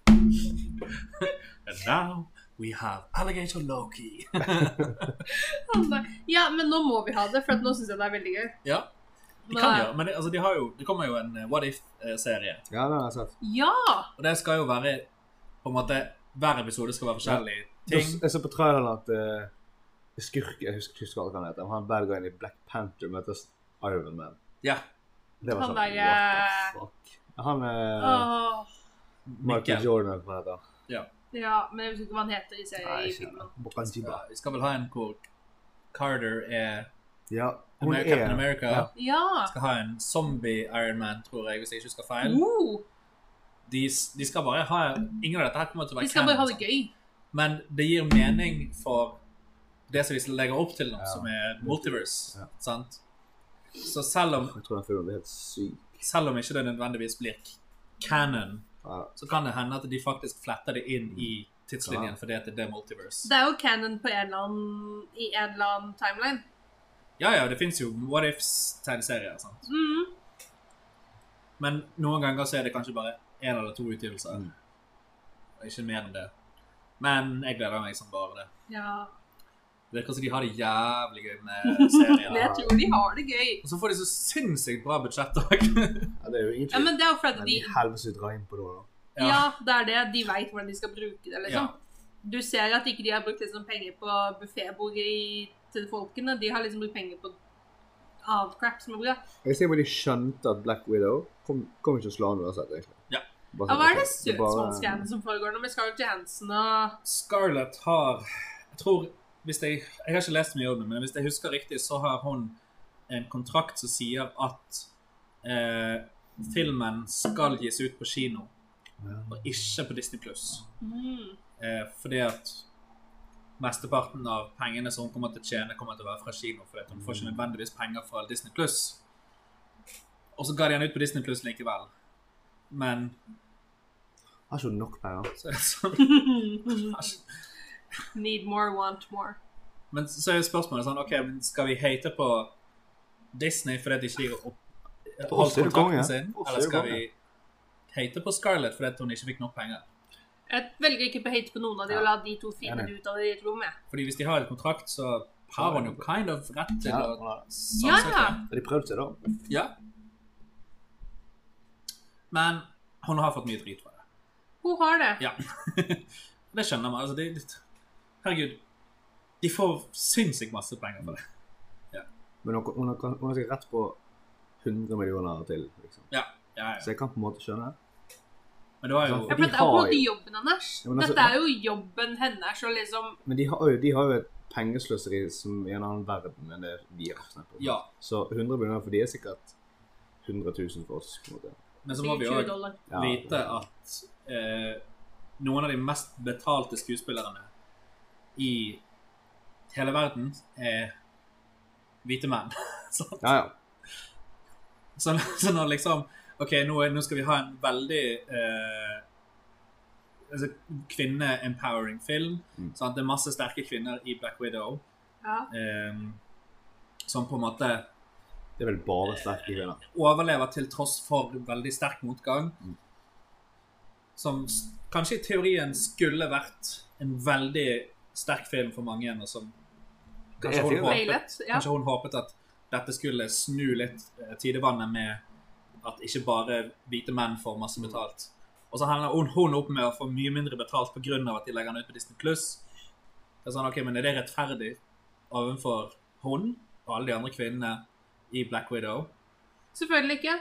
Speaker 3: and now we have alligator Loki.
Speaker 2: Han bare, Ja, men nå må vi ha det, for at nå syns jeg det er veldig gøy.
Speaker 3: ja, de
Speaker 2: Nå
Speaker 3: kan
Speaker 2: er-
Speaker 3: gjøre, men det, altså, de har jo, det kommer jo en eh, What If-serie.
Speaker 4: Ja, det har jeg sett.
Speaker 2: Ja!
Speaker 3: Og det skal jo være på en måte Hver episode skal være forskjellige
Speaker 4: Jeg
Speaker 3: ting.
Speaker 4: s- Jeg så på traileren at eh, skurk Jeg husker ikke hva han heter. men Han velger inn i Black Panther møter Iron Man.
Speaker 3: Ja.
Speaker 4: Det var
Speaker 2: Han
Speaker 4: sånn
Speaker 2: bare-
Speaker 4: What the fuck? Han er
Speaker 2: Åh,
Speaker 4: Michael
Speaker 3: Mikkel.
Speaker 4: Jordan, hva han heter.
Speaker 2: ja, men jeg husker ikke hva han heter i serien.
Speaker 4: Nei,
Speaker 2: i
Speaker 4: ikke
Speaker 2: filmen.
Speaker 4: det. Bokanjiba.
Speaker 3: Ja, Vi skal vel ha en hvor Carter er
Speaker 4: Ja, hun
Speaker 3: Amer- Captain
Speaker 4: er
Speaker 3: America.
Speaker 4: Ja.
Speaker 2: Ja!
Speaker 3: Skal ha en zombie-Ironman, tror jeg, hvis jeg ikke husker feil.
Speaker 2: Oh,
Speaker 3: De, s- de skal bare ha Ingen av dette her kommer til å
Speaker 2: vi
Speaker 3: være
Speaker 2: skal bare ha det
Speaker 3: sant?
Speaker 2: gøy.
Speaker 3: Men det gir mening for det som de legger opp til nå,
Speaker 4: Ja.
Speaker 3: som er multiverse.
Speaker 4: Ja.
Speaker 3: Sant? Så selv om,
Speaker 4: Jeg tror den filmen blir helt syk.
Speaker 3: selv om ikke det nødvendigvis blir canon,
Speaker 4: Ja.
Speaker 3: så kan det hende at de faktisk fletter det inn i tidslinjen
Speaker 4: Ja.
Speaker 3: fordi at det er multiverse.
Speaker 2: Det er jo canon på en eller annen, i en eller annen timeline.
Speaker 3: Ja, ja, det fins jo What Ifs-tegneserier. sant?
Speaker 2: Mm.
Speaker 3: Men noen ganger så er det kanskje bare én eller to utgivelser.
Speaker 4: Mm.
Speaker 3: Og Ikke mer enn det. Men jeg gleder meg som bare det.
Speaker 2: Ja.
Speaker 3: Det virker som de har det jævlig gøy med serien.
Speaker 2: Men jeg tror de har det gøy.
Speaker 3: Og så får de så sinnssykt bra budsjett òg.
Speaker 4: Ja, det er jo
Speaker 2: Ja,
Speaker 4: egentlig
Speaker 2: men det er jo fordi
Speaker 4: Men
Speaker 2: de
Speaker 4: i helvete dra inn på det, da.
Speaker 2: Ja, det er det. De veit hvordan de skal bruke det, liksom.
Speaker 3: Ja.
Speaker 2: Du ser at ikke de har brukt liksom penger på buffébordet i- til folkene. De har liksom brukt penger på annet crap som er bra.
Speaker 4: Jeg ser hvor de skjønte at Black Widow kom, kom ikke til å slå han uansett, egentlig.
Speaker 3: Ja.
Speaker 4: Bare
Speaker 2: Ja,
Speaker 4: sånn,
Speaker 2: hva er det
Speaker 4: ok, er bare-
Speaker 2: søksmålsgreiene som foregår nå med Scarlett Johansen og
Speaker 3: Scarlett har Jeg tror hvis jeg, jeg har ikke lest mye om det, men hvis jeg husker riktig, så har hun en kontrakt som sier at eh, filmen skal gis ut på kino, og ikke på Disney pluss.
Speaker 2: mm.
Speaker 3: Eh, fordi at mesteparten av pengene som hun kommer til å tjene, kommer til å være fra kino. For hun får ikke nødvendigvis penger fra Disney pluss. Og så ga de den ut på Disney pluss likevel. Men
Speaker 4: Har ikke hun nok penger?
Speaker 3: så er det sånn
Speaker 2: Need more, want more.
Speaker 3: Men så er jo spørsmålet sånn OK, men skal vi hate på Disney fordi at de ikke gir opp
Speaker 4: oss er
Speaker 3: holdt
Speaker 4: det konge.
Speaker 3: kontrakten sin?
Speaker 4: På oss er
Speaker 3: Eller
Speaker 4: det
Speaker 3: skal vi
Speaker 4: konge.
Speaker 3: hate på Scarlett fordi at hun ikke fikk nok penger?
Speaker 2: Jeg velger ikke på hate på noen av de og la de to fine
Speaker 4: Enig.
Speaker 2: ut av det i et rom. jeg.
Speaker 3: Fordi hvis de har et kontrakt, så har hun jo kind of rett til
Speaker 4: Ja,
Speaker 3: å
Speaker 4: hun har det.
Speaker 3: saksøke.
Speaker 2: Ja.
Speaker 4: Men de prøvde seg, da.
Speaker 3: ja. Men hun har fått mye drit for det.
Speaker 2: Hun har det.
Speaker 3: Ja. det skjønner man. Altså, det, det, herregud. De får sinnssykt masse penger for det.
Speaker 4: Men hun, hun, har- hun har sikkert rett på 100 millioner til, liksom.
Speaker 3: Ja, ja,
Speaker 4: Så
Speaker 3: ja.
Speaker 4: jeg kan på en måte skjønne det.
Speaker 3: Men det var
Speaker 2: Ja,
Speaker 3: jo
Speaker 2: for
Speaker 4: de
Speaker 2: dette er på en
Speaker 4: har
Speaker 2: måte
Speaker 4: jo-
Speaker 2: jobben hennes.
Speaker 4: Ja, men altså-
Speaker 2: Dette er jo jobben hennes og liksom
Speaker 4: Men de har jo, de har jo et pengesløseri som i en annen verden enn det vi har. for eksempel.
Speaker 3: Ja.
Speaker 4: Så 100 millioner for de er sikkert 100 000 for oss. på en måte.
Speaker 3: Men så må vi
Speaker 2: 20
Speaker 3: òg
Speaker 2: dollar.
Speaker 4: Ja.
Speaker 3: vite at eh, noen av de mest betalte skuespillerne i hele verden er hvite menn. sant?
Speaker 4: Ja, ja.
Speaker 3: Så, så når liksom OK, nå, er- nå skal vi ha en veldig eh, altså, kvinne-empowering film.
Speaker 4: Mm.
Speaker 3: Sant? Det er masse sterke kvinner i Black Widow
Speaker 2: Ja.
Speaker 3: eh, som på en måte
Speaker 4: Det er vel bare sterke kvinner.
Speaker 3: overlever til tross for veldig sterk motgang.
Speaker 4: Mm.
Speaker 3: Som s- kanskje i teorien skulle vært en veldig sterk film for mange, og som
Speaker 4: Det
Speaker 3: kanskje
Speaker 4: er
Speaker 3: hun,
Speaker 4: sikkert
Speaker 3: håpet,
Speaker 2: Feilet, ja.
Speaker 3: kanskje hun håpet at dette skulle snu litt eh, tidevannet med at ikke bare hvite menn får masse betalt. Og så handler hun, hun opp med å få mye mindre betalt pga. at de legger henne ut på Disney Pluss. Det er sånn, ok, men er det rettferdig overfor hun og alle de andre kvinnene i Black Widow?
Speaker 2: Selvfølgelig ikke.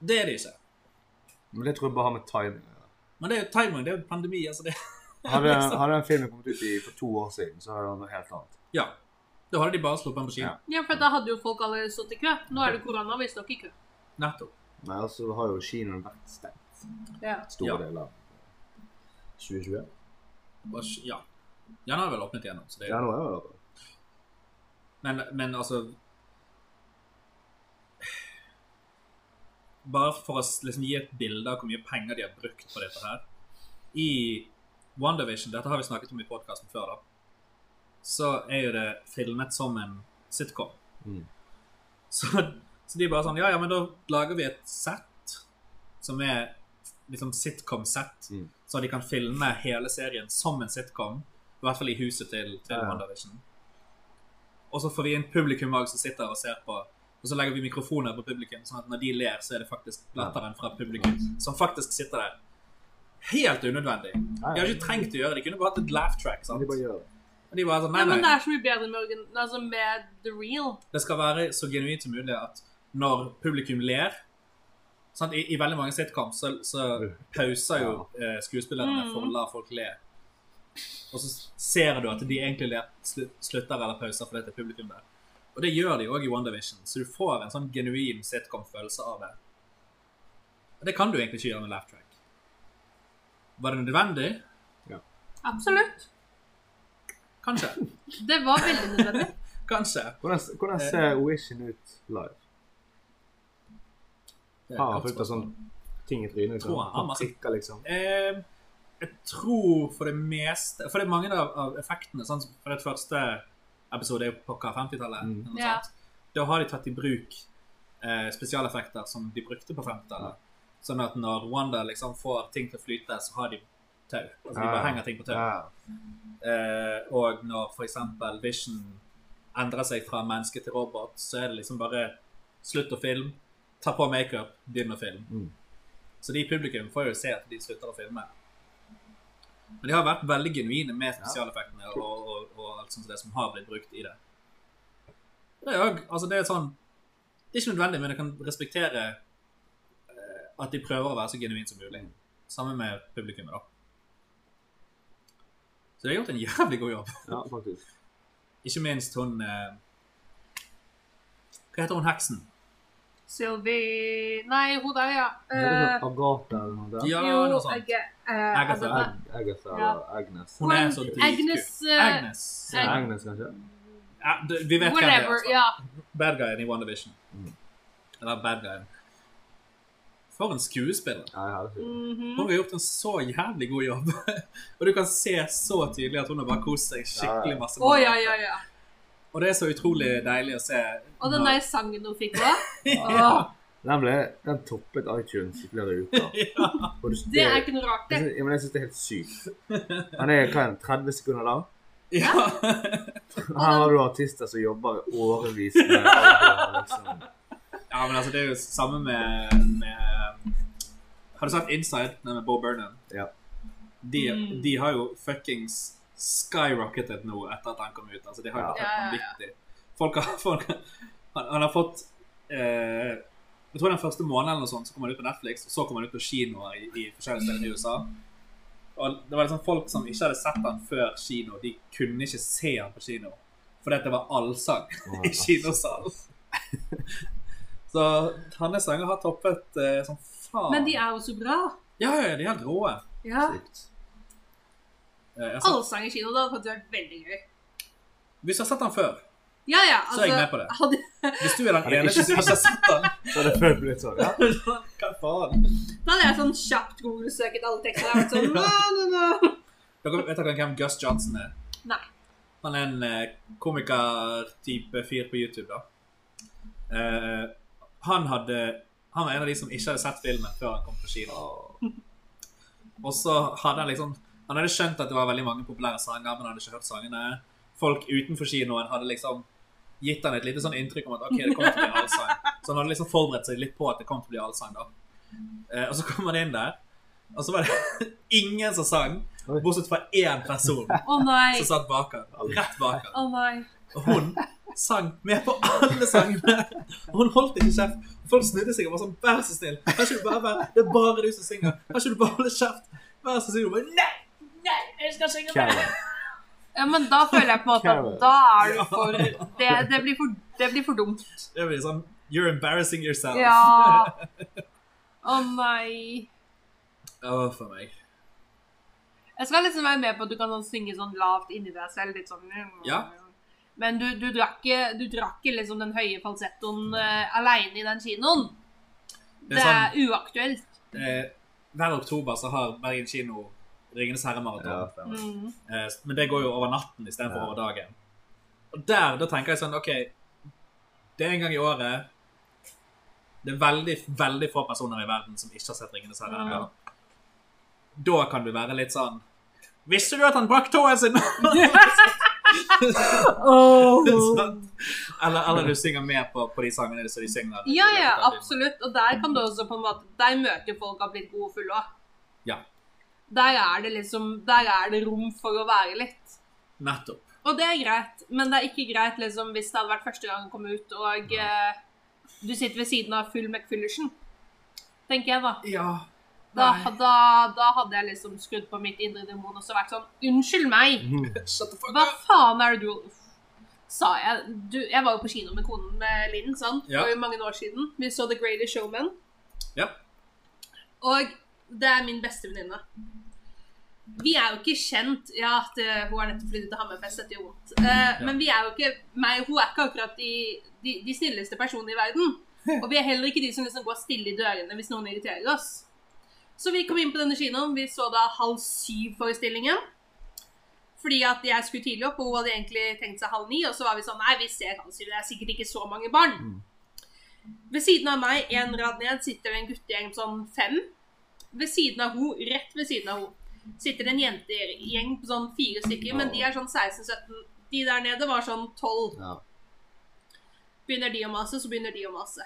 Speaker 3: Det er det ikke.
Speaker 4: Men det tror jeg bare har med timing å gjøre.
Speaker 3: Men det er jo timing, det er jo pandemi, altså det
Speaker 4: Hadde,
Speaker 3: liksom.
Speaker 4: hadde den filmen kommet ut i, for to år siden, så hadde det vært noe helt annet.
Speaker 3: Ja. Da hadde de bare sluppet den på kino.
Speaker 4: Ja.
Speaker 2: Ja, for da hadde jo folk allerede stått i kø. Nå er det korona, vi står ikke i kø.
Speaker 3: Nettopp.
Speaker 4: Nei, altså har jo kinoen vært stengt
Speaker 2: Ja.
Speaker 4: store
Speaker 3: Ja.
Speaker 4: deler av 2020.
Speaker 3: Bare sk- Ja. Ja, den har vel åpnet igjen nå, så det
Speaker 4: Ja, nå er det det.
Speaker 3: men, men altså Bare for å s- liksom gi et bilde av hvor mye penger de har brukt på dette her I WandaVision, dette har vi snakket om i podkasten før, da, så er jo det filmet som en sitcom.
Speaker 4: Mm.
Speaker 3: Så, så de er bare sånn Ja, ja, men da lager vi et sett som er liksom sitcom-sett,
Speaker 4: Mm.
Speaker 3: så de kan filme hele serien som en sitcom. I hvert fall i huset til, til
Speaker 4: Ja, ja.
Speaker 3: WandaVision. Og så får vi inn publikum også som sitter og ser på. Og så legger vi mikrofoner på publikum, sånn at når de ler, så er det faktisk latteren fra publikum som faktisk sitter der. Helt unødvendig.
Speaker 4: Ja,
Speaker 3: De har ikke trengt å gjøre det. De kunne bare hatt et laugh track. sant?
Speaker 4: Men de bare gjør det.
Speaker 3: Men de bare sånn,
Speaker 2: ja,
Speaker 3: nei,
Speaker 2: men det
Speaker 3: nei.
Speaker 2: er så mye bedre med, organ- altså med the real.
Speaker 3: Det skal være så genuint som mulig at når publikum ler sant? I, I veldig mange sitcoms så, så pauser jo eh, skuespillerne for å la folk le. Og så ser du at de egentlig ler, slu- slutter eller pauser fordi det er publikum der. Og det gjør de òg i WandaVision, så du får en sånn genuin sitcom-følelse av det. Og det kan du egentlig ikke gjøre med laugh track. Var det nødvendig?
Speaker 2: Absolutt.
Speaker 3: Kanskje.
Speaker 2: Det var veldig nødvendig.
Speaker 3: Kanskje.
Speaker 4: Hvordan,
Speaker 3: Eh,
Speaker 4: hvordan ser Wishen ut live?
Speaker 3: Det er
Speaker 4: Har han
Speaker 3: et godt
Speaker 4: fullt av sånn
Speaker 3: spørsmål.
Speaker 4: ting i trynet? Liksom?
Speaker 3: Tror han har masse-
Speaker 4: prikker, liksom.
Speaker 3: Eh, jeg tror for det meste For det er mange av, av effektene. Sånn, som for det første episode er jo på 50-tallet.
Speaker 4: Mm.
Speaker 3: eller noe
Speaker 2: Ja.
Speaker 3: sånt. Da har de tatt i bruk eh, spesialeffekter som de brukte på 50-tallet. Sånn at når Wanda liksom får ting til å flyte, så har de tau. Altså de bare
Speaker 4: Ah.
Speaker 3: henger ting på tau.
Speaker 4: Ja.
Speaker 3: Eh, og når f.eks. Vision endrer seg fra menneske til robot, så er det liksom bare slutt å filme, ta på makeup, begynn å filme.
Speaker 4: Mm.
Speaker 3: Så de i publikum får jo se at de slutter å filme. Men de har vært veldig genuine med spesialeffektene og, og, og alt sånt som det som har blitt brukt i det. Det er jo altså det er sånn Det er ikke nødvendig, men jeg kan respektere eh, at de prøver å være så genuine som mulig. Sammen med publikummet, da. Så de har gjort en jævlig god jobb.
Speaker 4: ja, faktisk.
Speaker 3: Ikke minst hun eh, Hva heter hun heksen?
Speaker 2: Sylvie Nei, hun der, ja.
Speaker 3: Eh,
Speaker 2: Eh,
Speaker 4: Er det sånn Agatha eller noe der?
Speaker 3: Ja,
Speaker 2: jo,
Speaker 3: noe sånt.
Speaker 2: Ag- eh,
Speaker 3: Agatha.
Speaker 2: Agatha.
Speaker 4: Ag Agatha
Speaker 2: Ja.
Speaker 4: eller Agnes?
Speaker 3: Hun er så dritkul.
Speaker 2: Agnes, eh,
Speaker 3: Agnes.
Speaker 4: Ja,
Speaker 2: Ag-
Speaker 4: Agnes, kanskje?
Speaker 3: Ja, du, vi vet hvem det er.
Speaker 2: Whatever.
Speaker 3: altså.
Speaker 2: Ja.
Speaker 3: Bad guyen i WandaVision.
Speaker 4: Mm.
Speaker 3: Eller bad guyen. For en skuespiller.
Speaker 4: Ja, jeg har det sikkert.
Speaker 2: Mhm.
Speaker 3: Hun har gjort en så jævlig god jobb. og du kan se så tydelig at hun har bare kost seg skikkelig masse.
Speaker 2: Å, ja, ja, ja.
Speaker 3: Og det er så utrolig deilig å se.
Speaker 2: Og den der sangen hun fikk òg.
Speaker 3: ja.
Speaker 4: Den, ble, den toppet iTunes i flere uker. Og du-
Speaker 2: Det er ikke noe rart,
Speaker 4: jeg
Speaker 2: det.
Speaker 4: synes- ja, men jeg syns det er helt sykt. Han er hva er han, 30 sekunder lang.
Speaker 3: ja.
Speaker 4: Her har du artister som jobber i årevis med albumet, liksom.
Speaker 3: ja, men altså, det er jo samme med, med Har du sett Inside? Den med Bo Burnham.
Speaker 4: Ja.
Speaker 3: De,
Speaker 2: Mm.
Speaker 3: de har jo fuckings skyrocketet nå etter at han kom ut. Altså, de har jo
Speaker 4: Ja.
Speaker 3: vært
Speaker 2: Ja, ja,
Speaker 3: helt
Speaker 2: ja.
Speaker 3: vanvittig. Folk har, folk, han, han har fått eh, Jeg tror den første måneden eller noe sånt, så kom han ut på Netflix, og så kom han ut på kinoer i, i forskjellige steder
Speaker 2: Mm.
Speaker 3: i USA. Og det var liksom folk som ikke hadde sett han før kino, de kunne ikke se han på kino. Fordi at det var allsang i kinosalen. Så hans sanger har toppet eh, som faen.
Speaker 2: Men de er jo så bra.
Speaker 3: Ja, ja, de er helt rå.
Speaker 2: Ja.
Speaker 4: Sykt.
Speaker 3: Eh, jeg sa-
Speaker 2: Allsang i kino, det hadde faktisk vært veldig gøy.
Speaker 3: Hvis du har sett han før,
Speaker 2: Ja, ja. altså,
Speaker 3: Så er jeg med på det.
Speaker 2: Hadde,
Speaker 3: hvis du er den
Speaker 4: Hadde jeg
Speaker 3: eneste
Speaker 4: ikke
Speaker 3: som ikke har sett han
Speaker 4: Så det føles litt sånn. Ja.
Speaker 3: Hva faen?
Speaker 2: da hadde jeg sånn kjapt Google-søket alle tekstene. Jeg hadde vært sånn, no, no, no.
Speaker 3: Dere vet dere hvem Gus Johnson er?
Speaker 2: Nei.
Speaker 3: Han er en eh, komiker-type fyr på YouTube, da. Eh, han hadde Han var en av de som ikke hadde sett filmen før han kom på kino. Og så hadde han liksom Han hadde skjønt at det var veldig mange populære sanger, men han hadde ikke hørt sangene. Folk utenfor kinoen hadde liksom gitt han et lite sånn inntrykk om at ok, det kommer til å bli allsang. Så han hadde liksom forberedt seg litt på at det kom til å bli allsang, da. Eh, og så kom han inn der, og så var det ingen som sang,
Speaker 4: Oi.
Speaker 3: bortsett fra én person
Speaker 2: Å nei.
Speaker 3: som satt bak han. Rett bak han.
Speaker 2: Å nei.
Speaker 3: Og hun sang med på alle sangene. Og hun holdt ikke kjeft. Folk snudde seg og var sånn Vær så snill, kan ikke du bare være Det er bare du som synger. Kan ikke du bare holde kjeft? Vær så snill. Hun bare, Nei!
Speaker 4: Karen.
Speaker 2: Ja, men da føler jeg på en måte
Speaker 4: Karen.
Speaker 2: at da er du for Det, det, blir, for, det blir for dumt.
Speaker 3: Det blir sånn You're embarrassing yourself.
Speaker 2: Ja. Å nei.
Speaker 3: Å, for meg.
Speaker 2: Jeg skal liksom være med på at du kan sånn synge sånn lavt inni deg selv. litt sånn.
Speaker 3: Ja.
Speaker 2: Men du, du drakk ikke du drakk ikke liksom den høye falsettoen eh, alene i den kinoen.
Speaker 3: Det er
Speaker 2: Det er uaktuelt.
Speaker 3: Eh, hver oktober så har Bergen kino Ringenes
Speaker 4: Ja,
Speaker 3: herre-maraton.
Speaker 4: stemmer.
Speaker 2: Mm.
Speaker 3: Eh, men det går jo over natten istedenfor
Speaker 4: Ja.
Speaker 3: over dagen. Og der, da tenker jeg sånn OK, det er en gang i året. Det er veldig, veldig få personer i verden som ikke har sett 'Ringenes herre'.
Speaker 2: Ja.
Speaker 3: Da kan du være litt sånn Visste du at han brakk tåen sin? Sant? eller, eller du synger med på, på de sangene som de synger.
Speaker 2: Ja, ja, absolutt. Og der kan du også på en måte Der møter jo folk har blitt gode og fulle òg.
Speaker 3: Ja.
Speaker 2: Der er det liksom Der er det rom for å være litt.
Speaker 3: Nettopp.
Speaker 2: Og det er greit, men det er ikke greit liksom hvis det hadde vært første gang han kom ut, og eh, du sitter ved siden av full McFillersen. Tenker jeg, da.
Speaker 3: Ja.
Speaker 2: Da,
Speaker 3: Nei.
Speaker 2: da. da hadde jeg liksom skrudd på mitt indre demon og så vært sånn Unnskyld meg!
Speaker 3: Shut the fuck
Speaker 2: Hva
Speaker 3: up.
Speaker 2: faen er det du Sa jeg du, Jeg var jo på kino med konen med Linn sant?
Speaker 3: Ja.
Speaker 2: for mange år siden. Vi så The Greatest Showman.
Speaker 3: Ja.
Speaker 2: Og det er min beste venninne. Vi er jo ikke kjent Ja, at eh, hun er nettopp flyttet til Hammerfest, dette gjør vondt. Eh, Men vi er jo ikke meg, Hun er ikke akkurat de, de, de snilleste personene i verden. Og vi er heller ikke de som liksom går stille i dørene hvis noen irriterer oss. Så vi kom inn på denne kinoen. Vi så da halv syv-forestillingen. Fordi at jeg skulle tidlig opp, og hun hadde egentlig tenkt seg halv ni. Og så var vi sånn Nei, vi ser halv syv. Det er sikkert ikke så mange barn. Ved siden av meg, en rad ned, sitter det en guttegjeng på sånn fem. Ved siden av hun, rett ved siden av hun, sitter det en jentegjeng på sånn fire stykker. Men de er sånn 16-17. De der nede var sånn 12.
Speaker 4: Ja.
Speaker 2: Begynner de å mase, så begynner de å mase.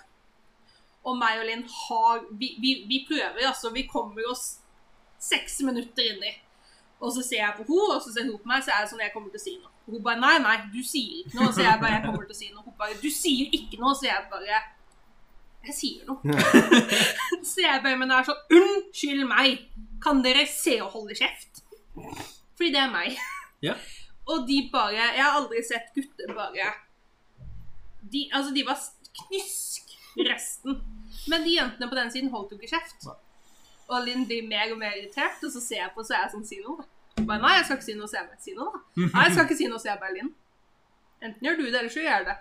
Speaker 2: Og meg og Linn har vi, vi, vi prøver, altså. Vi kommer oss seks minutter inni. Og så ser jeg på henne, og så ser hun på meg, så er det sånn jeg kommer til å si noe. Hun bare nei, nei, du sier ikke noe. Så jeg bare jeg kommer til å si noe. Hun bare du sier ikke noe. Så jeg bare jeg sier noe. så jeg bare men det er sånn unnskyld meg, kan dere se og holde kjeft? Fordi det er meg.
Speaker 3: Ja.
Speaker 2: Og de bare Jeg har aldri sett gutter bare de, altså, de var knysk, resten. Men de jentene på den siden holdt jo ikke kjeft. Og Linn blir mer og mer irritert, og så ser jeg på, så er jeg sånn Si noe, da. Hun Bare, nei, jeg skal ikke si noe, så jeg bare si noe, da. Nei, jeg skal ikke si noe, så jeg bare Linn. Enten gjør du det, eller så gjør jeg det.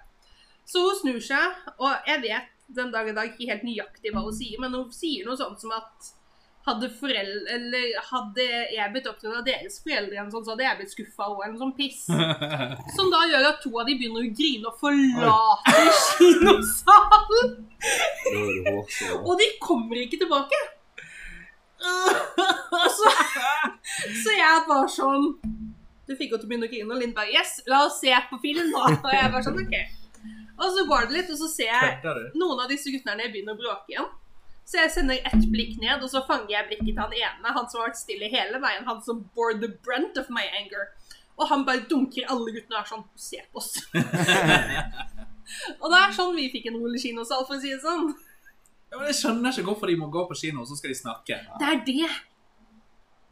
Speaker 2: Så hun snur seg, og jeg vet den dag i dag ikke helt nøyaktig hva hun sier, men hun sier noe sånt som at hadde foreldre, eller hadde jeg blitt opptatt av deres foreldre igjen, sånn, så hadde jeg blitt skuffa òg, eller noe sånn piss. Som da gjør at to av de begynner å grine og forlater kinosalen.
Speaker 4: Da er du hårsår.
Speaker 2: Og de kommer ikke tilbake. Og så, så jeg er bare sånn Du fikk jo til å begynne å grine, og Linn bare Yes, la oss se på film, da. Og jeg er bare sånn, OK. Og så går det litt, og så ser jeg
Speaker 3: Kødder du?
Speaker 2: noen av disse guttene begynner å bråke igjen. Så jeg sender ett blikk ned, og så fanger jeg blikket til han ene. Han som har vært stille hele veien. Han som bore the brunt of my anger. Og han bare dunker alle guttene og er sånn Se på oss. og det er sånn vi fikk en rulleskinnosal, for å si det sånn.
Speaker 3: Ja, men jeg skjønner ikke hvorfor de må gå på kino, og så skal de snakke.
Speaker 2: Det er det.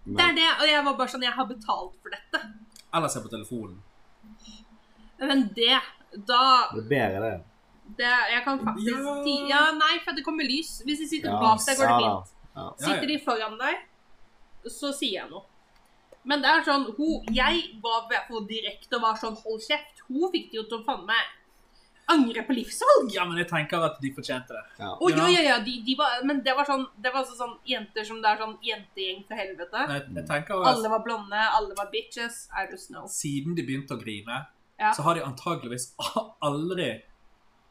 Speaker 2: Det
Speaker 4: Men,
Speaker 2: er det. Og jeg var bare sånn Jeg har betalt for dette.
Speaker 3: Eller se på telefonen.
Speaker 2: Men det Da
Speaker 4: det er bedre, det.
Speaker 2: det, Jeg kan faktisk
Speaker 3: Ja.
Speaker 2: ti, Ja, nei, for det kommer lys. Hvis de sitter
Speaker 4: Ja,
Speaker 2: bak deg, går det
Speaker 4: sa da.
Speaker 2: fint.
Speaker 4: Ja.
Speaker 3: Ja, ja.
Speaker 2: Sitter de foran deg, så sier jeg noe. Men det er sånn hun, Jeg var i hvert fall direkte og var sånn hold kjeft. Hun fikk det jo til å faen meg angre på livsvalg.
Speaker 3: Ja, men jeg tenker at de fortjente det.
Speaker 4: Ja.
Speaker 2: Å, ja,
Speaker 3: Ja.
Speaker 2: ja, ja, de, de var, men det var sånn Det var altså sånn jenter som det er sånn jentegjeng til helvete.
Speaker 3: Jeg, jeg tenker at
Speaker 2: Alle var blonde, alle var bitches. I don't know.
Speaker 3: siden de begynte å grine,
Speaker 2: Ja.
Speaker 3: så har de antageligvis aldri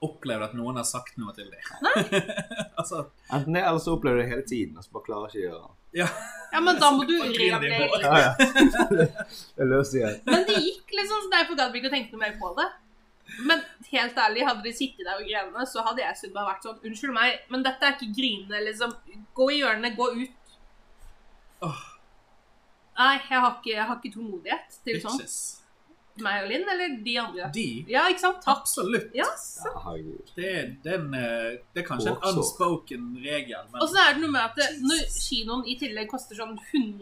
Speaker 3: opplevd at noen har sagt noe til dem. altså,
Speaker 4: Enten det, eller så opplever du det hele tiden, og så bare klarer jeg ikke å gjøre det.
Speaker 3: ja.
Speaker 2: Ja, men da må du
Speaker 3: Hva griner de på?
Speaker 2: reagere.
Speaker 4: Ja, ja. Det løser jeg.
Speaker 2: Men det gikk liksom, så derfor gadd vi ikke å tenke noe mer på det. Men helt ærlig, hadde de sittet der og grene, så hadde jeg syntes bare vært sånn Unnskyld meg, men dette er ikke grinende, liksom. Gå i hjørnet, gå ut.
Speaker 3: Åh,
Speaker 2: Nei, jeg har ikke, jeg har ikke tålmodighet til sånn.
Speaker 3: bitches.
Speaker 2: Meg og Linn, eller de andre.
Speaker 3: De?
Speaker 2: Ja, ikke sant? Takk.
Speaker 3: Absolutt.
Speaker 2: Ja, så.
Speaker 4: Ja, herregud.
Speaker 3: Det, er- det, er en, eh, det er kanskje en
Speaker 4: Også.
Speaker 3: unspoken regel, men
Speaker 2: Og så er det noe med at det- når kinoen i tillegg koster sånn 101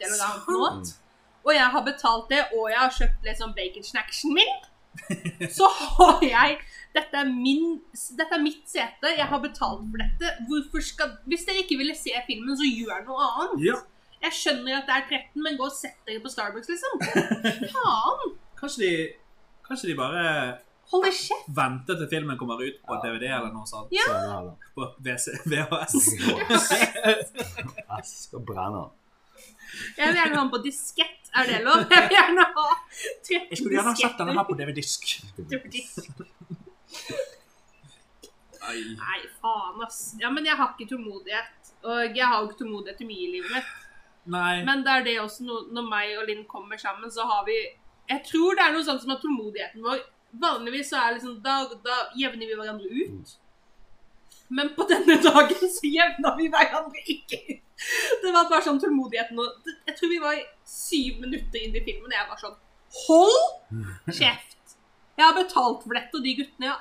Speaker 2: eller noe annet nå,
Speaker 4: Mm.
Speaker 2: og jeg har betalt det, og jeg har kjøpt liksom baconsnacksen min, så har jeg dette er, min, dette er mitt sete, jeg har betalt for dette. Hvorfor skal Hvis dere ikke ville se filmen, så gjør noe annet.
Speaker 3: Ja,
Speaker 2: Jeg skjønner at det er 13, men gå og sett dere på Starbucks, liksom. Faen!
Speaker 3: kanskje de, kanskje de bare
Speaker 2: Hold deg kjeft.
Speaker 3: venter til filmen kommer ut på
Speaker 4: Ja.
Speaker 3: DVD eller noe sånt.
Speaker 2: Ja.
Speaker 4: Sånn er det.
Speaker 3: På VC, VHS.
Speaker 4: Jeg skal brenne.
Speaker 2: Jeg vil gjerne ha den på diskett. Er det lov? Jeg vil gjerne ha 13
Speaker 3: Jeg skulle gjerne ha sett denne
Speaker 2: disketter.
Speaker 3: her på DVD-disk.
Speaker 2: på disk. Nei, faen, ass. Ja, men jeg har ikke tålmodighet. Og jeg har jo ikke tålmodighet til mye i livet mitt.
Speaker 3: Nei.
Speaker 2: Men det er det også no, når meg og Linn kommer sammen, så har vi Jeg tror det er noe sånt som at tålmodigheten vår Vanligvis så er liksom da, da jevner vi hverandre ut. Men på denne dagen så jevna vi hverandre ikke ut. Det var bare sånn tålmodigheten og Jeg tror vi var syv minutter inn i filmen, og jeg var sånn Hold kjeft! Jeg har betalt for dette, og de guttene Jeg,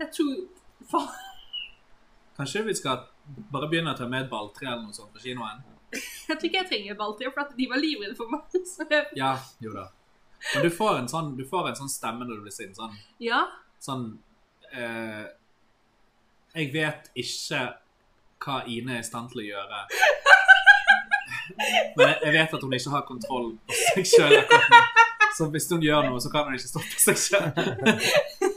Speaker 2: jeg tror Faen.
Speaker 3: Kanskje vi skal bare begynne å ta med et balltre eller noe sånt på kinoen?
Speaker 2: Jeg tror ikke jeg trenger balltre, for at de var livredde for meg. Så jeg,
Speaker 3: Ja, jo da. Men du får en sånn, du får en sånn stemme når du blir sint. Sånn,
Speaker 2: ja.
Speaker 3: sånn eh, Jeg vet ikke hva Ine er i stand til å gjøre. Men jeg- jeg vet at hun ikke har kontroll på seg sjøl. Så hvis hun gjør noe, så kan hun ikke stoppe seg sjøl.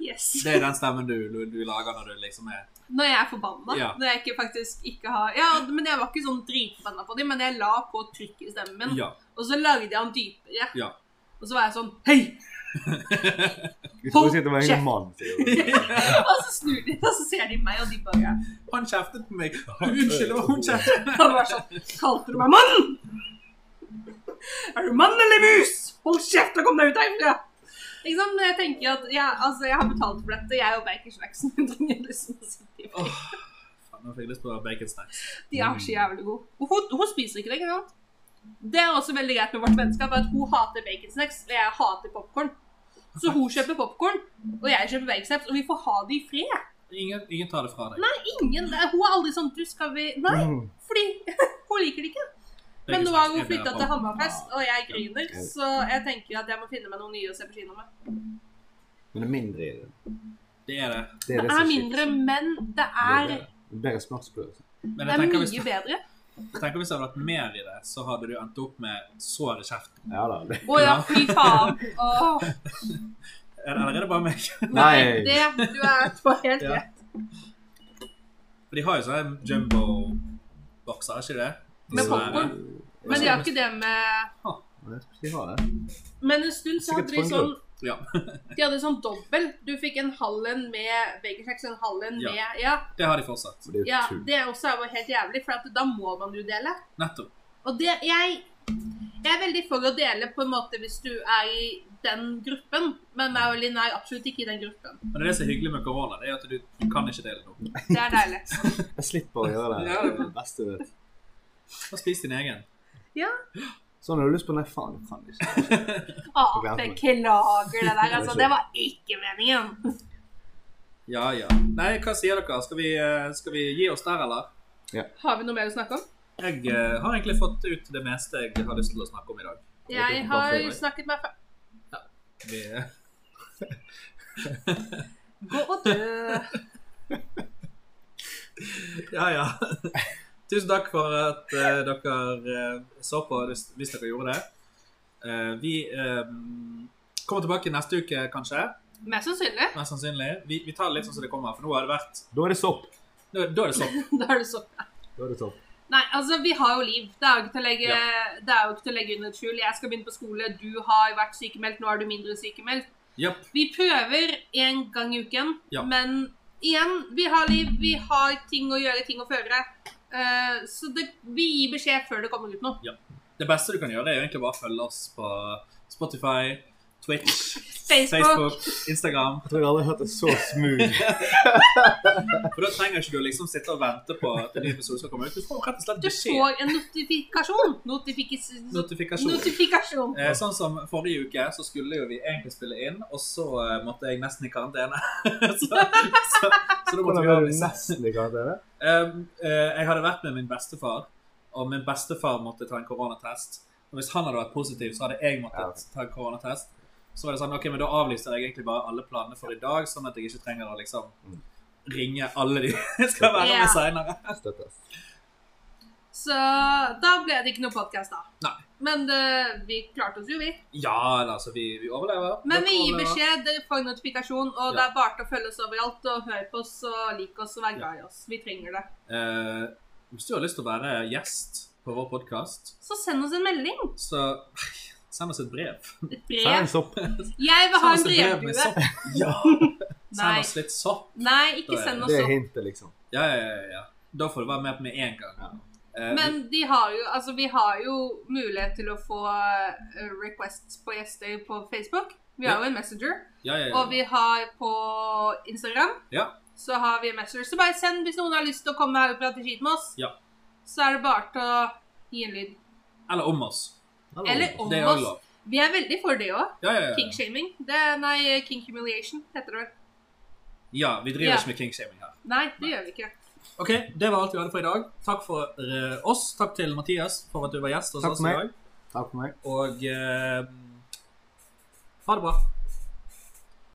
Speaker 2: Yes.
Speaker 3: Det er den stemmen du, du, du lager når du liksom er
Speaker 2: Når jeg er forbanna.
Speaker 3: Ja.
Speaker 2: Når jeg ikke faktisk ikke har Ja, men jeg var ikke sånn dritforbanna på dem, men jeg la på trykk i stemmen min.
Speaker 3: Ja.
Speaker 2: Og så lagde jeg den dypere.
Speaker 3: Ja.
Speaker 2: Og så var jeg sånn Hei!
Speaker 4: Du tror ikke det var en mann, sier du.
Speaker 2: Og så snur de, og så ser de meg, og de bare
Speaker 3: Han kjeftet på meg. Unnskyld, det var hun kjeftet.
Speaker 2: Han var sånn Kalte du meg mann? Er du mann eller mus? Hold kjeft og kom deg ut herfra! Ikke sant? Men jeg tenker at jeg, altså, jeg har betalt for dette, jeg og Bakersnacksen. Jeg trenger liksom å sitte i fred.
Speaker 3: Åh, faen, Nå fikk jeg lyst på baconsnacks.
Speaker 2: De er så jævlig gode. Og Hun, hun spiser ikke det, ikke sant? Det er også veldig greit med vårt vennskap, at hun hater baconsnacks, og jeg hater popcorn. Så hun kjøper popcorn, og jeg kjøper baconsnacks, og vi får ha det i fred.
Speaker 3: Ingen, ingen tar det fra deg.
Speaker 2: Ingen, hun er aldri sånn, du skal vi... Nei,
Speaker 4: Mm.
Speaker 2: fordi hun liker det ikke. Men nå har hun flyttet til Hammerfest, og jeg griner, så jeg tenker at jeg må finne meg noen nye å se på kino med.
Speaker 4: Men det er mindre i det.
Speaker 3: Det er det.
Speaker 4: Det
Speaker 2: Det
Speaker 4: er det
Speaker 2: er
Speaker 4: som
Speaker 2: mindre,
Speaker 4: skjer.
Speaker 2: men det er,
Speaker 4: Det er Bedre smaksprøvelse.
Speaker 3: Men
Speaker 2: det
Speaker 3: jeg
Speaker 2: er
Speaker 3: tenker hvis,
Speaker 2: mye bedre.
Speaker 3: jeg tenker hvis det hadde vært mer i det, så hadde du endt opp med sår i kjeften.
Speaker 4: Ja da. det-
Speaker 2: Å ja, fy faen. Åh,
Speaker 3: Er det- Eller er det bare meg?
Speaker 4: Nei.
Speaker 2: det, du er på helt
Speaker 3: Ja.
Speaker 2: rett.
Speaker 3: For de har jo sånne jumbo-bokser, er ikke det?
Speaker 2: Med
Speaker 3: Disse
Speaker 2: popcorn. Men de har ikke det med...
Speaker 4: Jeg vet ikke om de har det.
Speaker 2: Men en stund så hadde
Speaker 4: Sikkert
Speaker 2: de
Speaker 4: på en
Speaker 2: sånn
Speaker 3: Ja.
Speaker 2: De hadde sånn dobbel. Du fikk en halv en med bagersnacks, en halv en
Speaker 3: Ja.
Speaker 2: med Ja,
Speaker 3: eh, Det har de fortsatt.
Speaker 4: Men Det er
Speaker 2: ja
Speaker 4: jo tull.
Speaker 2: det er også er jo helt jævlig, for at da må man jo dele.
Speaker 3: Nettopp.
Speaker 2: Og det Jeg jeg er veldig for å dele på en måte hvis du er i den gruppen, men meg og Linn er absolutt ikke i den gruppen.
Speaker 3: Men det er det som er hyggelig med korona, det er at du, du kan ikke dele noe.
Speaker 2: Det er deilig.
Speaker 4: Jeg slipper å gjøre det.
Speaker 3: Ja.
Speaker 4: Det er det beste jeg vet.
Speaker 3: Bare spis din egen.
Speaker 4: Sånn har du lyst på Nei, faen, jeg kan ikke.
Speaker 2: Å, beklager det der, altså. Det var ikke meningen.
Speaker 3: Ja, ja. Nei, hva sier dere? Skal vi, eh, skal vi gi oss der, eller?
Speaker 2: Har vi noe mer å snakke om?
Speaker 3: Jeg eh, har egentlig fått ut det meste jeg har lyst til å snakke om i dag.
Speaker 2: Jeg har snakket meg ferdig.
Speaker 3: Vi, eh,
Speaker 2: Gå og dø.
Speaker 3: ja, ja. Tusen takk for at eh, dere eh, så på, hvis, hvis dere gjorde det. Eh, vi eh, kommer tilbake neste uke, kanskje.
Speaker 2: Mest sannsynlig.
Speaker 3: Mest sannsynlig. Vi, vi tar det litt sånn som det kommer, for nå har det vært
Speaker 4: Da er det sopp.
Speaker 3: Nå, da er det sånn.
Speaker 2: Da er det sånn.
Speaker 4: Da er det sopp.
Speaker 2: Nei, altså, vi har jo liv. Det er jo ikke til å legge, det er jo ikke til å legge under et skjul. Jeg skal begynne på skole, du har vært sykemeldt, nå er du mindre sykemeldt.
Speaker 3: Japp.
Speaker 2: Vi prøver én gang i uken,
Speaker 3: Ja.
Speaker 2: men igjen, vi har liv, vi har ting å gjøre, ting å føre. Eh, så det, vi gir beskjed før det kommer ut noe.
Speaker 3: Det beste du kan gjøre, er jo egentlig bare å følge oss på Spotify, Twitch,
Speaker 2: Facebook.
Speaker 3: Facebook Instagram.
Speaker 4: Jeg tror jeg aldri har hørt det så smooth.
Speaker 3: For da trenger ikke du liksom sitte og vente på at en ny episode skal komme ut. Du får rett og slett
Speaker 2: Du
Speaker 3: beskjed.
Speaker 2: får en notifikasjon. Notifikis
Speaker 3: Notifikasjon.
Speaker 2: notifikasjon.
Speaker 3: Eh, sånn som forrige uke, så skulle jo vi egentlig spille inn, og så eh, måtte jeg nesten i karantene. så, så, så da måtte
Speaker 4: Hvordan
Speaker 3: vi
Speaker 4: er det
Speaker 3: avlyse.
Speaker 4: nesten i karantene?
Speaker 3: Um, eh, jeg hadde vært med min bestefar, og min bestefar måtte ta en koronatest. Og hvis han hadde vært positiv, så hadde jeg
Speaker 4: Ja.
Speaker 3: måttet ta en koronatest. Så var det sånn, ok, men da avlyser jeg egentlig bare alle planene for i dag, sånn at jeg ikke trenger å liksom
Speaker 4: Mm.
Speaker 3: ringe alle de jeg skal være
Speaker 2: Ja.
Speaker 3: med senere.
Speaker 4: Støttes.
Speaker 2: Så da ble det ikke noe podkast, da.
Speaker 3: Nei.
Speaker 2: Men eh, vi klarte oss jo, vi.
Speaker 3: Ja, altså, vi, vi overlever.
Speaker 2: Men
Speaker 3: Dere
Speaker 2: vi gir
Speaker 3: overlever.
Speaker 2: beskjed, dere får notifikasjon, og
Speaker 3: Ja.
Speaker 2: det er bare til å følge oss overalt. Og høre på oss, og like oss, og være glad i oss. Vi trenger det.
Speaker 3: Eh, hvis du har lyst til å være gjest på vår podcast,
Speaker 2: Så send oss en melding.
Speaker 3: så send oss et brev.
Speaker 2: Et
Speaker 4: Så er det
Speaker 2: brev.
Speaker 4: en sopp.
Speaker 2: Jeg vil ha en
Speaker 3: Send oss et brev med
Speaker 2: brevdue.
Speaker 3: sopp. Ja!
Speaker 2: Nei.
Speaker 3: Send oss litt sopp.
Speaker 2: Nei, ikke
Speaker 3: Da er
Speaker 2: send oss
Speaker 4: Det er
Speaker 2: opp.
Speaker 4: hintet, liksom.
Speaker 3: Ja, ja, ja, ja. Da får du være med med en gang.
Speaker 4: Ja.
Speaker 3: Eh,
Speaker 2: Men de har jo, altså, vi har jo mulighet til å få eh, requests på gjester på Facebook. Vi har jo en Messenger.
Speaker 3: ja, ja, ja.
Speaker 2: Og vi har på Instagram.
Speaker 3: Ja.
Speaker 2: Så har vi en Messenger. Så bare send hvis noen har lyst til å komme her og prate skit med oss.
Speaker 3: Ja.
Speaker 2: Så er det bare til å gi en lyd.
Speaker 3: Eller om oss.
Speaker 2: Eller om
Speaker 3: Det er jo
Speaker 2: oss.
Speaker 3: lov.
Speaker 2: Vi er veldig for det òg.
Speaker 3: Ja, ja, ja.
Speaker 2: Kinkshaming. Det er, nei, king humiliation heter det vel.
Speaker 3: ja, vi driver
Speaker 2: Ja.
Speaker 3: ikke med kingshaming her.
Speaker 2: Nei, det gjør vi ikke.
Speaker 3: Ok, Det var alt vi hadde for i dag. Takk for eh, oss. Takk til Mathias for at du var gjest hos
Speaker 4: Takk
Speaker 3: oss
Speaker 4: for
Speaker 3: i
Speaker 4: meg.
Speaker 3: dag.
Speaker 4: Takk for meg.
Speaker 3: Og eh, ha det bra.